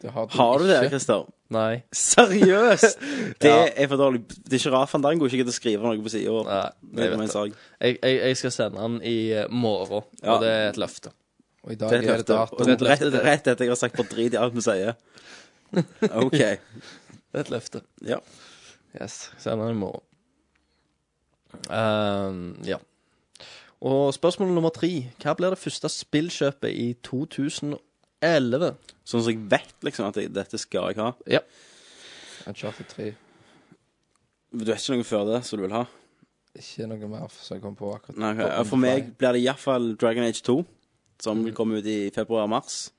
I: Det har du,
A: Har du det,
I: ikke.
A: Christer?
B: Nei.
A: Seriøst! Det
B: Ja.
A: er for dårlig. Det er ikke rart Fandango ikke gidder å skrive noe på sida.
B: Nei,
A: Det
B: jeg
A: er
B: vet
A: min
B: det.
A: sak.
B: Jeg, jeg, jeg skal sende den i eh, morgen,
A: Ja.
B: og det er et løfte.
I: Og i dag
A: Det er
I: er
A: et
I: det
A: løfte.
I: dato.
A: Og
B: Det er et
A: Rett,
B: løfte, det.
A: rett etter jeg har sagt på drit i alt vi sier. OK.
B: Det er et løfte.
A: Ja.
B: Yes. Send den i morgen. Ehm, ja. Og spørsmål nummer tre. Hva blir det første spillkjøpet i 2011?
A: Sånn som jeg vet liksom at jeg, dette skal jeg ha.
B: Ja.
I: Uncharted 3.
A: Du vet ikke noe før det som du vil ha?
I: Ikke noe mer som jeg kom på akkurat.
A: Nei, ok.
I: på-
A: For meg
I: Mm.
A: blir det iallfall Dragon Age 2, som kommer ut i februar-mars.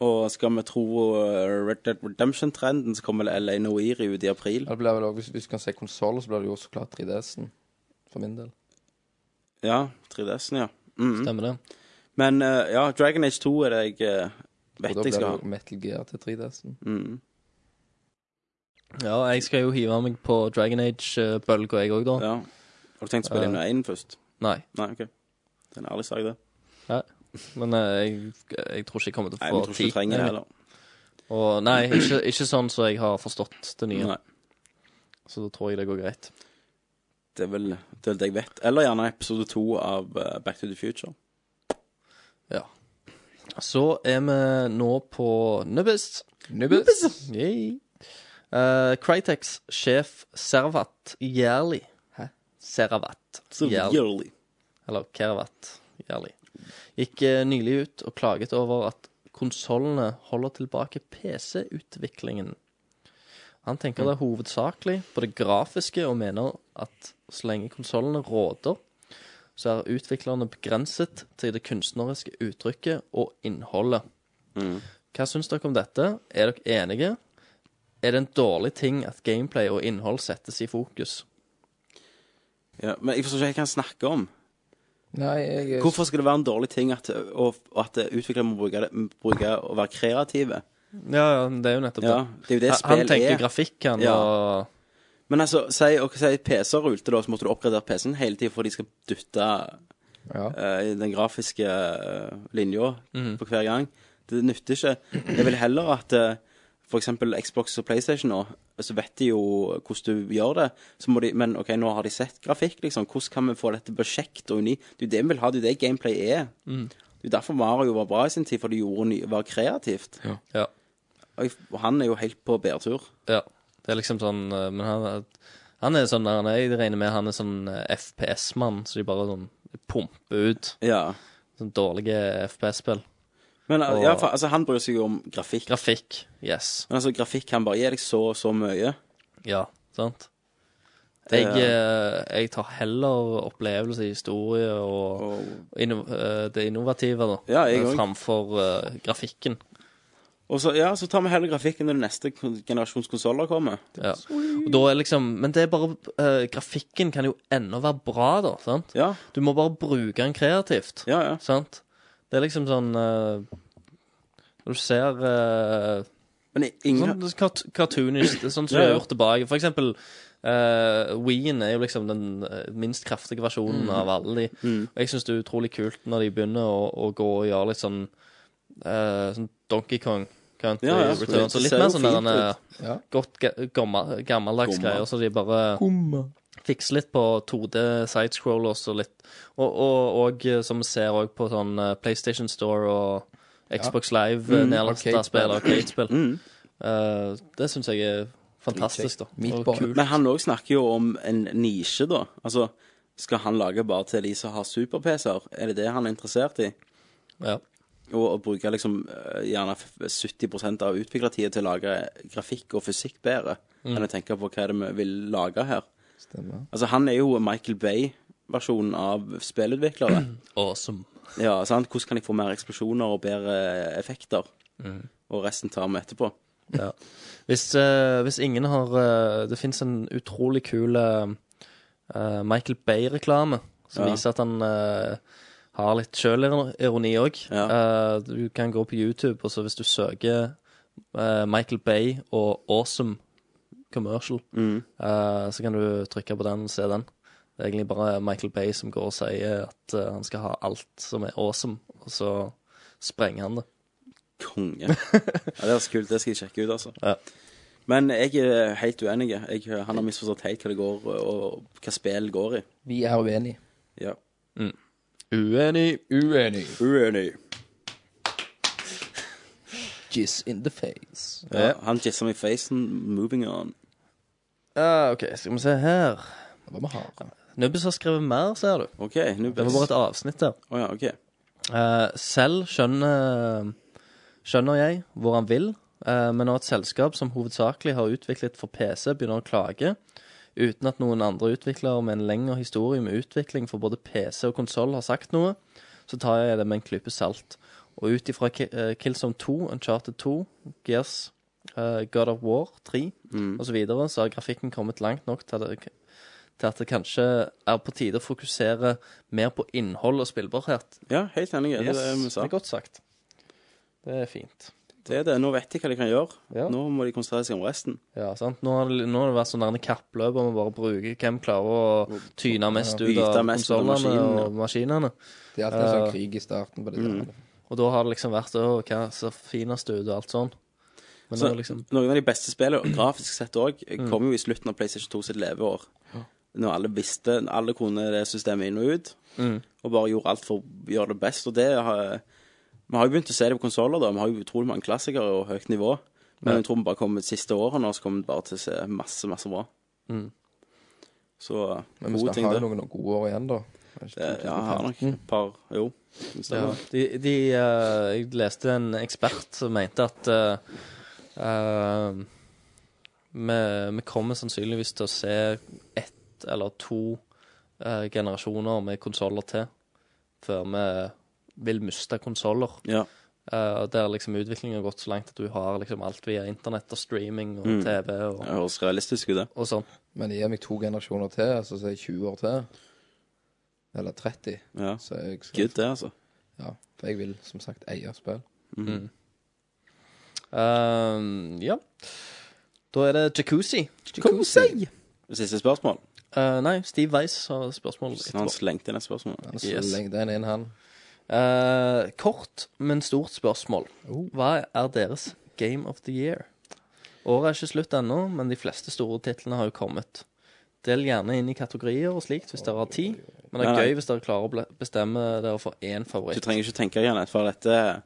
A: Og skal vi tro eh, Red Dead Redemption-trenden, så kommer vel LA Noiri ut i april.
I: Det blir vel også, hvis, hvis du kan se konsoll, så blir det jo så klart 3DS-en. For min del.
A: Ja, 3DS-en, ja. Mhm.
B: Stemmer det.
A: Men eh, ja, Dragon Age 2 er det jeg eh, vet
I: Og da
A: jeg
I: blir
A: skal
I: det
A: ha.
I: jo Metal Gear til 3DS-en.
A: Mhm.
B: Ja, jeg skal jo hive meg på Dragon Age-bølga, jeg òg, da.
A: Ja. Har du tenkt å spille inn
B: Eh,
A: én først?
B: Nei.
A: Nei, OK. Det er en ærlig sak, det.
B: Ja. Men eh, jeg, jeg tror ikke jeg kommer til
A: Nei,
B: å
A: men
B: få
A: tror ikke du trenger det heller.
B: Og nei, ikke, ikke sånn som jeg har forstått det nye.
A: Nei.
B: Så da tror jeg det går greit.
A: Det er vel det, er vel det jeg vet. Eller gjerne episode to av eh, Back to the Future.
B: Ja. Så er vi nå på Nubbis.
I: Nubbis.
B: Yay. Eh, Crytex sjef Servat Jærli. Hæ? Servat
A: Jærli.
B: Eller Kervat Jærli. Gikk eh, nylig ut og klaget over at konsollene holder tilbake PC-utviklingen. Han tenker det er hovedsakelig på det grafiske og mener at så lenge konsollene råder, så er utviklerne begrenset til det kunstneriske uttrykket og innholdet. Hva syns dere om dette? Er dere enige? Er det en dårlig ting at gameplay og innhold settes i fokus?
A: Ja, men jeg forstår ikke hva jeg kan snakke om.
I: Nei, jeg
A: Hvorfor skal det være en dårlig ting at, og, og at utviklere må bruke, det, bruke å være kreative?
B: Ja, ja, det er jo nettopp
A: Ja, det er jo det
B: Han-
A: spill
B: Han tenker
A: er.
B: grafikk, han,
A: Ja.
B: og
A: Men altså, si, ok, si PC rulte, da, så måtte du oppgradere PC-en hele tiden for de skal dytte
I: Ja.
A: eh, i den grafiske eh, linja
B: Mhm.
A: på hver gang. Det nytter ikke. Jeg vil heller at eh, for eksempel Xbox og PlayStation nå, så vet de jo hvordan du gjør det. Så må de, men OK, nå har de sett grafikk, liksom. Hvordan kan vi få dette til å bli kjekt og unikt? Det er jo det vi vil ha, det er jo det gameplay er.
B: Mhm.
A: Det er jo derfor Mario var bra i sin tid, for det gjorde ny, var kreativt.
B: Ja.
A: Og, jeg- og han er jo helt på bærtur.
B: Ja. Det er liksom sånn eh, Men han, er- han er sånn han er, Jeg regner med han er sånn eh, FPS-mann, så de bare sånn pumper ut
A: Ja.
B: sånn dårlige FPS-spill.
A: Men eh,
B: Og-
A: ja, for, altså, han bryr seg jo om grafikk.
B: Grafikk. Yes.
A: Men altså, grafikk kan bare gi deg så og så mye.
B: Ja, sant? Jeg,
A: Ja.
B: eh, jeg tar heller opplevelse i historie og, inno- eh, det innovative da,
A: Ja, jeg
B: eh,
A: òg.
B: framfor eh, grafikken.
A: Og så, ja, så tar vi heller grafikken når neste kon- generasjons konsoller kommer.
B: Ja. Og da er liksom, men det er bare eh, Grafikken kan jo ennå være bra, da. sant?
A: Ja.
B: Du må bare bruke den kreativt.
A: Ja, ja.
B: Sant? Det er liksom sånn eh, Når du ser eh,
A: Men i- ingen
B: Sånn kart- cartoonish, det er sånn som
A: Ja,
B: vi
A: ja.
B: har gjort tilbake. For eksempel uh, Ween er jo liksom den eh, minst kraftige
A: Mm.
B: versjonen av alle de. Og jeg syns det er utrolig kult når de begynner å, å gå og gjøre litt sånn, eh, sånn Donkey Kong Country
A: Ja, ja,
B: Returns.
A: det
B: Og litt
A: ser jo
B: mer sånn der,
A: fint
B: eh,
I: Ja.
B: godt ga- gamma- gammeldags
A: Gomma.
B: greier, så de bare fikser litt på 2D sidescrollers og litt Og, og, og eh, som vi ser òg på sånn eh, PlayStation Store og Xbox Live, mm, nedlasta
I: Arcade-spill.
B: spill og arcade-spill. Eh, det syns jeg er fantastisk, da.
I: Meat
B: Og
I: Boy.
B: kult.
A: Men han òg snakker jo om en nisje, da. Altså, skal han lage bare til de som har super-PC-er? Er det det han er interessert i?
B: Ja.
A: Og å bruke liksom eh, gjerne f- 70 av utviklertida til å lage grafikk og fysikk bedre, enn å tenke på hva er det vi vil lage her.
I: Stemmer.
A: Altså, han er jo Michael Bay-versjonen av spillutviklere.
B: Awesome.
A: Ja, sant? Hvordan kan jeg få mer eksplosjoner og bedre effekter? Og resten tar vi etterpå.
B: Ja. Hvis, eh, hvis ingen har eh, Det fins en utrolig kul eh, eh, Michael Bay-reklame som
A: Ja.
B: viser at han eh, har litt sjølironi òg. du kan gå på YouTube, og så hvis du søker eh, Michael Bay og Awesome Commercial, eh, så kan du trykke på den og se den. Det er egentlig bare Michael Bay som går og sier at eh, han skal ha alt som er awesome, og så sprenger han det.
A: Konge. Ja, det er så kult. Det skal jeg sjekke ut, altså.
B: Ja.
A: Men jeg er helt uenig. Jeg, han har misforstått helt hva det går og hva spill går i.
I: Vi er uenige.
A: Ja.
B: Uenig.
I: Uenig.
A: Uenig.
I: Jizz in the face.
A: Ja, han jizza meg i facen. Moving on.
B: Ja, Ah, OK, skal vi se her.
I: Hva vi har.
B: Nubbis har skrevet mer, ser du.
A: OK, nå
B: Det var bare et avsnitt der.
A: Å ja, OK.
B: Eh, selv skjønner, skjønner jeg hvor han vil, eh, men når et selskap som hovedsakelig har utviklet for PC, begynner å klage, uten at noen andre utviklere med en lengre historie med utvikling for både PC og konsoll har sagt noe, så tar jeg det med en klype salt. Og ut ifra Ki- eh, Killzone 2, Uncharted 2, Gears, eh, God of War 3
A: Mm.
B: osv., så, videre, så har grafikken kommet langt nok til, det, til at det kanskje er på tide å fokusere mer på innhold og spillbarhet.
A: Ja, helt enig. Det er
B: Yes,
A: det vi sa.
B: det er godt sagt. Det er fint.
A: Det er det. Nå vet de hva de kan gjøre. Nå må de konsentrere seg om resten.
B: Ja, sant? Nå har det, nå har det vært sånn der en kappløp om å bare bruke hvem klarer å tyne mest
A: Ja,
B: ut av
A: yte mest på
B: konsollene
A: maskinen, ja.
B: og maskinene.
I: Det er alltid en sånn krig i starten på
A: Mm.
I: det der.
B: Og da har det liksom vært å, hva ser finest ut og alt sånn. Men
A: Så,
B: nå liksom
A: Noen av de beste spillene, grafisk sett òg,
B: Mm.
A: kom jo i slutten av PlayStation 2 sitt leveår. Når alle visste Alle kunne det systemet inn og ut,
B: Mm.
A: og bare gjorde alt for å gjøre det best. Og det har Vi har jo begynt å se det på konsoller, da. Vi har jo utrolig mange klassikere og høyt nivå. Men
B: Ja.
A: jeg tror vi bare kommer de siste årene, og så kommer vi bare til å se masse, masse bra.
B: Mm.
A: Så
I: Men vi
A: gode ting,
I: skal ha
A: det.
I: noen gode år igjen, da.
A: Det- Ja, jeg har nok et par Jo. det stemmer.
B: Mm. Ja, de, de, eh, Jeg leste en ekspert som mente at eh, eh, vi, vi kommer sannsynligvis til å se ett eller to eh, generasjoner med konsoller til før vi vil miste konsoller.
A: Ja.
B: Eh, der liksom utviklingen har gått så langt at du har liksom alt via internett og streaming og
A: Mm.
B: TV og,
A: Det høres realistisk ut, det.
B: og sånn.
I: Men gir meg to generasjoner til, altså så er jeg 20 år til, eller 30,
A: Ja.
I: så er jeg
A: Good, det, altså.
I: Ja, for jeg vil som sagt eie spill.
B: Mm. Eh, ja. Da er det jacuzzi. Jacuzzi!
A: Siste spørsmål.
B: Eh, nei, Steve Weiss har spørsmål
A: Så han slengte inn et spørsmål.
I: Han slengte en inn, han.
B: Eh, kort, men stort spørsmål.
I: Oh.
B: Hva er deres Game of the Year? Året er ikke slutt ennå, men de fleste store titlene har jo kommet. Del gjerne inn i kategorier og slikt hvis dere har tid, men
A: Nei,
B: det er
A: nei.
B: gøy hvis dere klarer å ble- bestemme dere for én
A: Du
B: favoritt.
A: trenger ikke tenke igjen for dette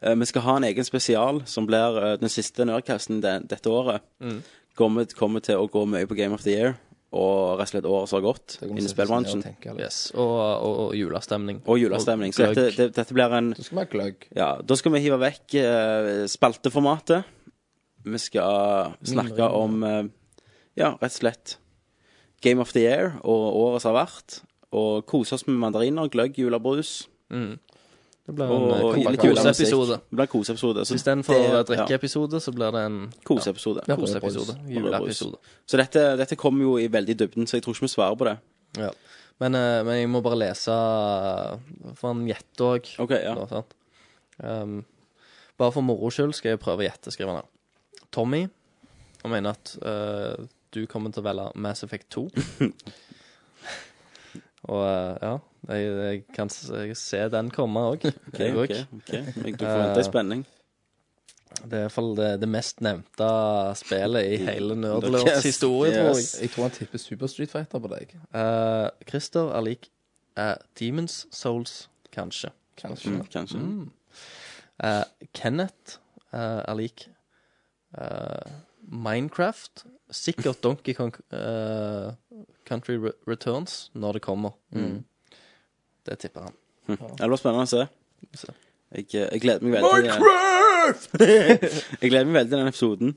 A: eh, Vi skal ha en egen spesial som blir eh, den siste Nerdcasten den, dette året.
B: Mm.
A: Kommer, kommer til å gå mye på Game of the Year og rett og slett året som har gått
I: Da kan vi
A: innen
I: sette oss ned og
A: spillbransjen.
I: tenke litt.
B: Yes, og, og, og julestemning.
A: Og julestemning. Så
B: gløgg.
A: dette, det, dette blir en
I: Da skal vi ha gløgg.
A: Ja, da skal vi hive vekk eh, spalteformatet. Vi skal snakke
I: Mindre.
A: om eh, Ja, rett og slett Game of the Year og året som har vært. Og kose oss med mandariner, gløgg, julebrus.
B: Mm. Det blir en eh,
A: Og
B: ko-
A: litt
B: koseepisode.
A: Det blir en koseepisode. så
B: Istedenfor
A: det- ja.
B: drikkeepisode, så blir det en
A: Koseepisode.
B: ja, koseepisode.
A: Og
B: Juleepisode.
A: Så dette, dette kommer jo i veldig dybden, så jeg tror ikke vi svarer på det.
B: Ja. Men, eh, men jeg må bare lese eh, For han gjetter òg.
A: Ok, ja.
B: Um, bare for moro skyld skal jeg prøve å gjette, skriver han her. Tommy, jeg mener at eh, du kommer til å velge Mass Effect 2. Og eh, ja, jeg, jeg kan s- jeg se den komme òg.
A: Ok, ok, ok. Jeg, du forventer spenning.
B: Mm. Det er i hvert fall det, det mest nevnte spillet i hele
A: Yes,
B: Nerdlords historie, tror jeg.
A: yes.
I: Jeg tror han tipper Super Street Fighter på deg.
B: Eh, Christer er lik eh, Demons Souls, kanskje.
I: Kanskje.
A: Mm, kanskje.
B: Mm. Eh, Kenneth eh, er lik eh, Minecraft. Sikkert Donkey Kong eh, Country Re Returns når det kommer. Mm. Det tipper han.
A: Mm. Ja, Det blir spennende å se.
B: Se.
A: Jeg, eh, jeg gleder meg veldig Minecraft! jeg gleder meg veldig til den episoden.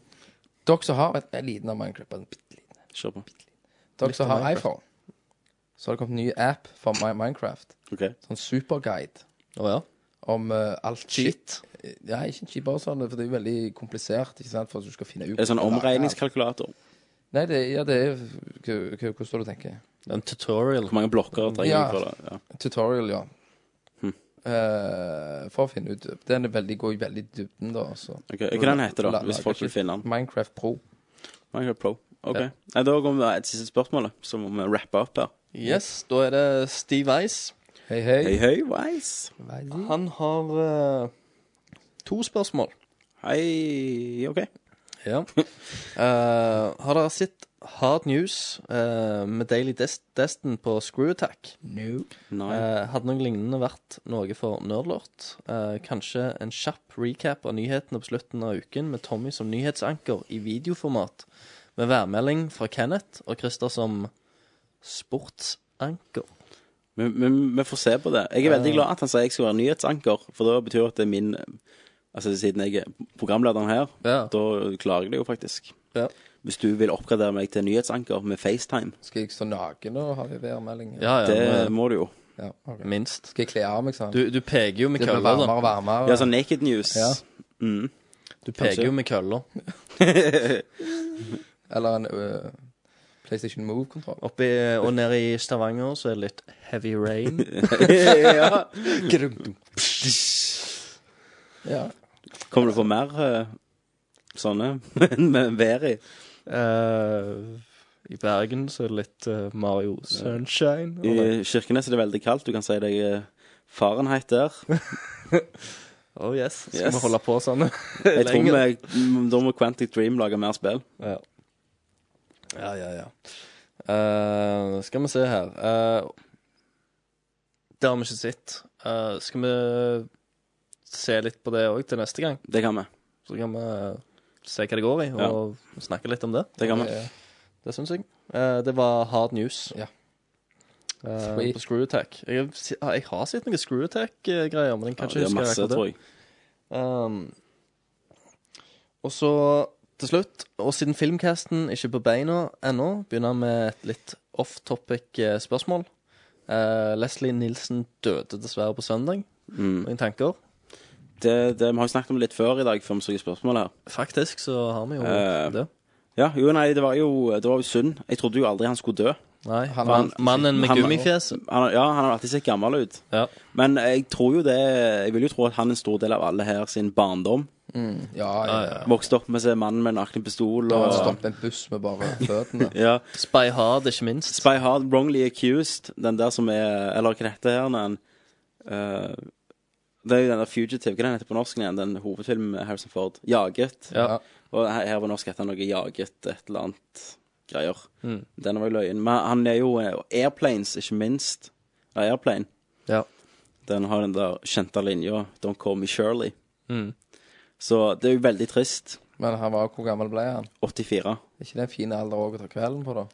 I: Dere som har en liten av Minecraft, bare en bitte liten.
A: Kjør på.
I: Dere som
B: Litt av
I: har
B: Minecraft.
I: iPhone, så har det kommet en ny app for Mi- Minecraft.
A: Ok.
I: Sånn superguide
B: Å ja.
I: om eh, alt
B: Cheat.
I: shit. Eh, Ja, ikke en cheat, bare sånn, for det er jo veldig komplisert, ikke sant, for at du skal finne ut
A: Er det sånn
I: omregningskalkulator?
A: omregningskalkulator?
I: Nei, det, ja, det er hva- hva- Hvordan står det, tenker jeg?
B: En tutorial.
A: Hvor mange blokker trenger
I: Ja.
A: jeg for det? Ja.
I: Tutorial, ja.
A: Hm.
I: Eh, for å finne ut Den er veldig, går i veldig dybden, da. Så.
A: Ok, Hva den heter da,
I: La-
A: hvis
I: lager
A: folk vil
I: ikke-
A: finne den?
I: Minecraft Pro.
A: Minecraft Pro. Ok.
B: Ja.
A: Nei, da går vi til et siste spørsmål, da, så må vi rappe opp her.
B: Yes, da er det Steve Ice.
I: Hei, hei.
A: Hei, hei, Wise.
B: Han har eh, to spørsmål.
A: Hei, OK.
B: Ja. Eh, har dere sett Hard News eh, med Daily Des Destin på Screw Attack?
I: No.
A: Nei.
B: Eh, hadde noe lignende vært noe for Nerdlort? Eh, kanskje en kjapp recap av nyhetene på slutten av uken med Tommy som nyhetsanker i videoformat, med værmelding fra Kenneth og Christer som sportsanker.
A: Men, men vi får se på det. Jeg er veldig glad at han sier jeg skal være nyhetsanker, for da betyr det at det er min Altså siden jeg er programlederen her,
B: Ja.
A: da klarer jeg det jo faktisk.
B: Ja.
A: Hvis du vil oppgradere meg til nyhetsanker med FaceTime,
I: Skal jeg stå naken og ha en værmelding?
B: Ja, ja,
A: det
B: men-
A: må du jo.
I: Ja, ok.
B: Minst.
I: Skal jeg kle av meg sånn?
B: Du, du peker jo med
I: Det blir
B: køller, da.
I: varmere og varmere.
A: Ja, sånn naked news.
I: Ja.
B: Du peker jo med køller.
I: Eller en øh, PlayStation Move-kontroll.
B: Oppi og nede i Stavanger så er det litt heavy rain.
A: ja.
B: Grum.
I: Ja.
A: Kommer du på mer eh, sånne med vær i?
B: Eh, I Bergen så er det litt eh, Mario Sunshine.
A: I
B: Å
A: Kirkenes er det veldig kaldt. Du kan si deg eh, Fahrenheit der.
B: oh yes, skal
A: Yes.
B: vi holde på sånn
A: Jeg tror
B: lenger?
A: vi, m- Da må Quantic Dream lage mer spill.
B: Ja, ja, ja. ja. Eh, skal vi se her Eh, Det har vi ikke sett. Eh, skal vi se litt på det òg til neste gang?
A: Det kan vi.
B: Så kan vi eh, se hva det går i, og snakke litt om det.
A: Det kan vi.
I: Eh,
B: Det syns jeg. Eh, det var hard news.
I: Ja.
B: Eh,
I: Sweet.
B: på Screw Attack. Jeg, har si- jeg har sett noen Screw Attack-greier, men den
A: Ja,
B: kan
A: det
B: ikke
A: er
B: huske
A: masse,
B: akkurat det.
A: tror jeg.
B: Um, og så til slutt, og siden filmcasten ikke er på beina ennå, begynner jeg med et litt off-topic eh, spørsmål. Eh, Leslie Nilsen døde dessverre på søndag.
A: Mm.
B: Noen tanker?
A: Det, det, vi har jo snakket om det litt før i dag, før vi så spørsmålet her.
B: Faktisk så har vi jo
A: Eh,
B: det.
A: Ja, jo, nei, det var jo, det var jo synd. Jeg trodde jo aldri han skulle dø.
B: Nei,
I: han var
B: mann, mannen med
A: han-
B: gummifjeset.
A: Han, ja, han har alltid sett gammel ut.
B: Ja.
A: Men jeg tror jo det Jeg vil jo tro at han er en stor del av alle her sin barndom.
I: ja, ja. ja.
A: Vokste opp med seg mannen med nakne pistol
I: Da har
A: og
I: han stoppet en buss med bare føttene.
A: ja.
B: Spy Hard, ikke minst.
A: Spy Hard, Wrongly Accused, den der som er Eller hva heter her den eh, Det er jo den der Fugitive, hva den heter på norsk igjen? Den hovedfilmen med Harrison Ford. Jaget.
B: Ja.
A: Og her, her på norsk heter han noe Jaget et eller annet greier.
B: Mm.
A: Den var jo løyen. Men han er jo eh, Airplanes, ikke minst. Ja, Airplane.
B: Ja.
A: Den har den der kjente linja Don't call me Shirley.
B: Mm.
A: Så det er jo veldig trist.
I: Men han var, hvor gammel ble han?
A: 84.
I: Er ikke det en fin alder også å ta kvelden på, da?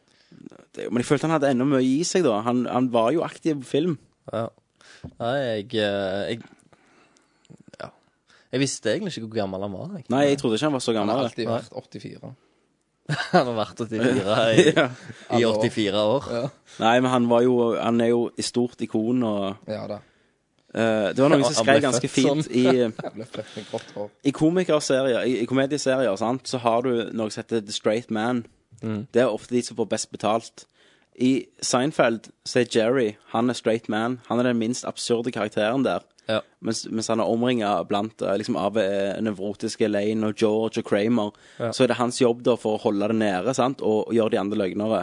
A: Det, er jo- men jeg følte han hadde ennå mye i seg, da. Han, han var jo aktiv på film.
B: Ja. Nei, jeg, eh, jeg Ja. Jeg visste egentlig ikke hvor gammel han var. Jeg.
A: Nei, jeg trodde ikke han var så
I: Han
A: gammel.
I: har alltid vært 84.
B: Han har vært 84 i,
A: Ja.
B: i 84 år.
I: Ja,
A: Nei, men han var jo Han er jo i stort ikon, og
I: ja da.
A: eh, Det var noen som
B: Han ble
A: skrev ganske
B: født
A: fint i
I: Jeg ble født med grått hår.
A: I komikerserier, i, i komedieserier, sant, så har du noe som heter The Straight Man. Det er ofte de som får best betalt. I Seinfeld så er Jerry han er straight man. Han er den minst absurde karakteren der.
B: Ja.
A: Mens, mens han er omringa blant eh, liksom, av eh, nevrotiske Lane og George og Kramer. Så er det hans jobb da for å holde det nede sant? Og, og gjøre de andre løgnere.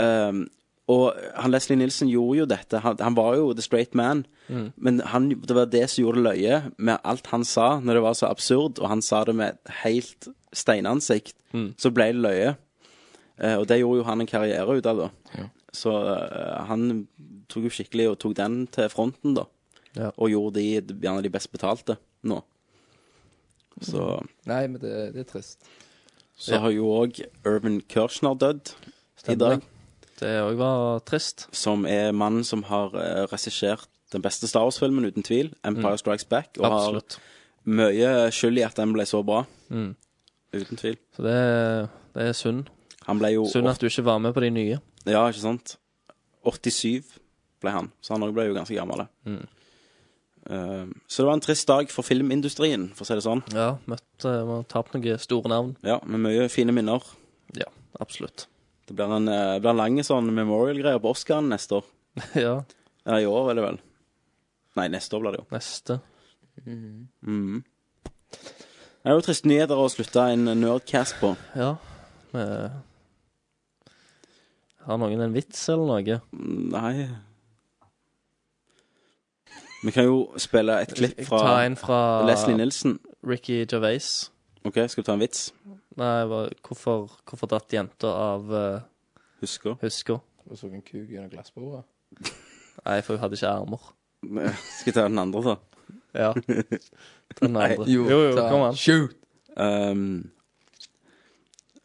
A: Um, og han Leslie Nilsen gjorde jo dette. Han, han var jo the straight man. Men han, det var det som gjorde det løye med alt han sa, når det var så absurd, og han sa det med et helt steinansikt, så ble det løye. Eh, og det gjorde jo han en karriere ut av, da. Så eh, han tok jo skikkelig og tok den til fronten, da.
B: Ja.
A: Og gjorde de gjerne de best betalte nå. Så,
I: Nei, men det, det er trist.
A: så har jo òg Irvin Kirchner dødd i dag.
B: Det òg var trist.
A: som er mannen som har eh, regissert den beste Star Wars-filmen, uten tvil. Empire Strikes Back. Og
B: Mm. Absolutt.
A: har mye skyld i at den ble så bra.
B: Mm.
A: Uten tvil.
B: Så det, er- det er synd.
A: Han ble jo
B: Synd at du ikke var med på de nye.
A: Ja, ikke sant? 87 ble han, så han også ble jo ganske gammel.
B: Mm.
A: Eh, så det var en trist dag for filmindustrien, for å si det sånn.
B: Ja, møtt eh, må ha tapt noen store navn.
A: Ja, Med mye fine minner.
B: Ja, absolutt.
A: Det blir en, eh, blir en lang sånn memorial-greie på Oscaren neste år.
B: ja,
A: Ja, i år, vel det vel. Nei, neste år blir det jo.
B: neste.
A: Mm. Det er jo triste nyheter å slutte en nerdcast på.
B: Ja. Vi har noen en vits eller noe?
A: Nei Vi kan jo spille et klipp
B: Ta
A: fra
B: en fra
A: Leslie Nilsen.
B: Ricky Gervais.
A: OK, skal du ta en vits?
B: Nei, hva- hvorfor, hvorfor datt jenta av uh,
A: Husker.
B: huska?
I: Og så en kuk gjennom glassbordet.
B: Nei, for hun hadde ikke armer.
A: Skal jeg ta den andre, da?
B: Ja. Den andre.
I: Jo,
B: jo, jo
I: ta-
B: kom an.
I: Shoot!
A: Um,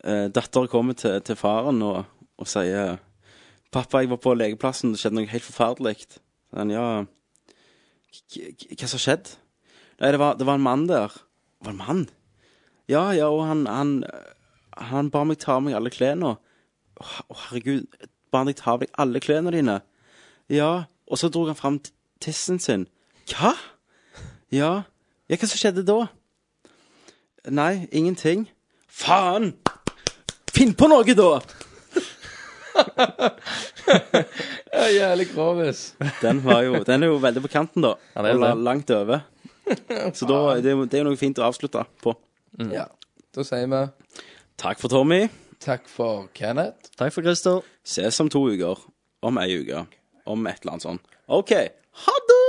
A: eh, Datter kommer til, til faren og, og sier 'Pappa, jeg var på legeplassen, det skjedde noe helt forferdelig.' Så han, ja, «K- k- hva som skjedde? Nei, det var, det var en mann der. Var det en mann? Ja, ja, og han, han, han ba meg ta av meg alle klærne. Å, her- å, herregud, ba han deg ta av deg alle klærne dine? Ja, Og så dro han fram t- tissen sin. Hva? Ja. ja, hva som skjedde da? Nei, ingenting. Faen! Finn på noe, da!
I: Ja, jævlig grovis.
A: Den, var jo, den er jo veldig på kanten, da.
I: Ja, det er
A: og la-
I: det.
A: langt over. Så da, det, er jo- det er jo noe fint å avslutte på.
I: Ja. Da sier vi
A: Takk for Tommy.
I: takk for Kenneth.
B: Takk for Christer.
A: Ses om to uker. Om ei uke. Om et eller annet sånt. OK. Ha det!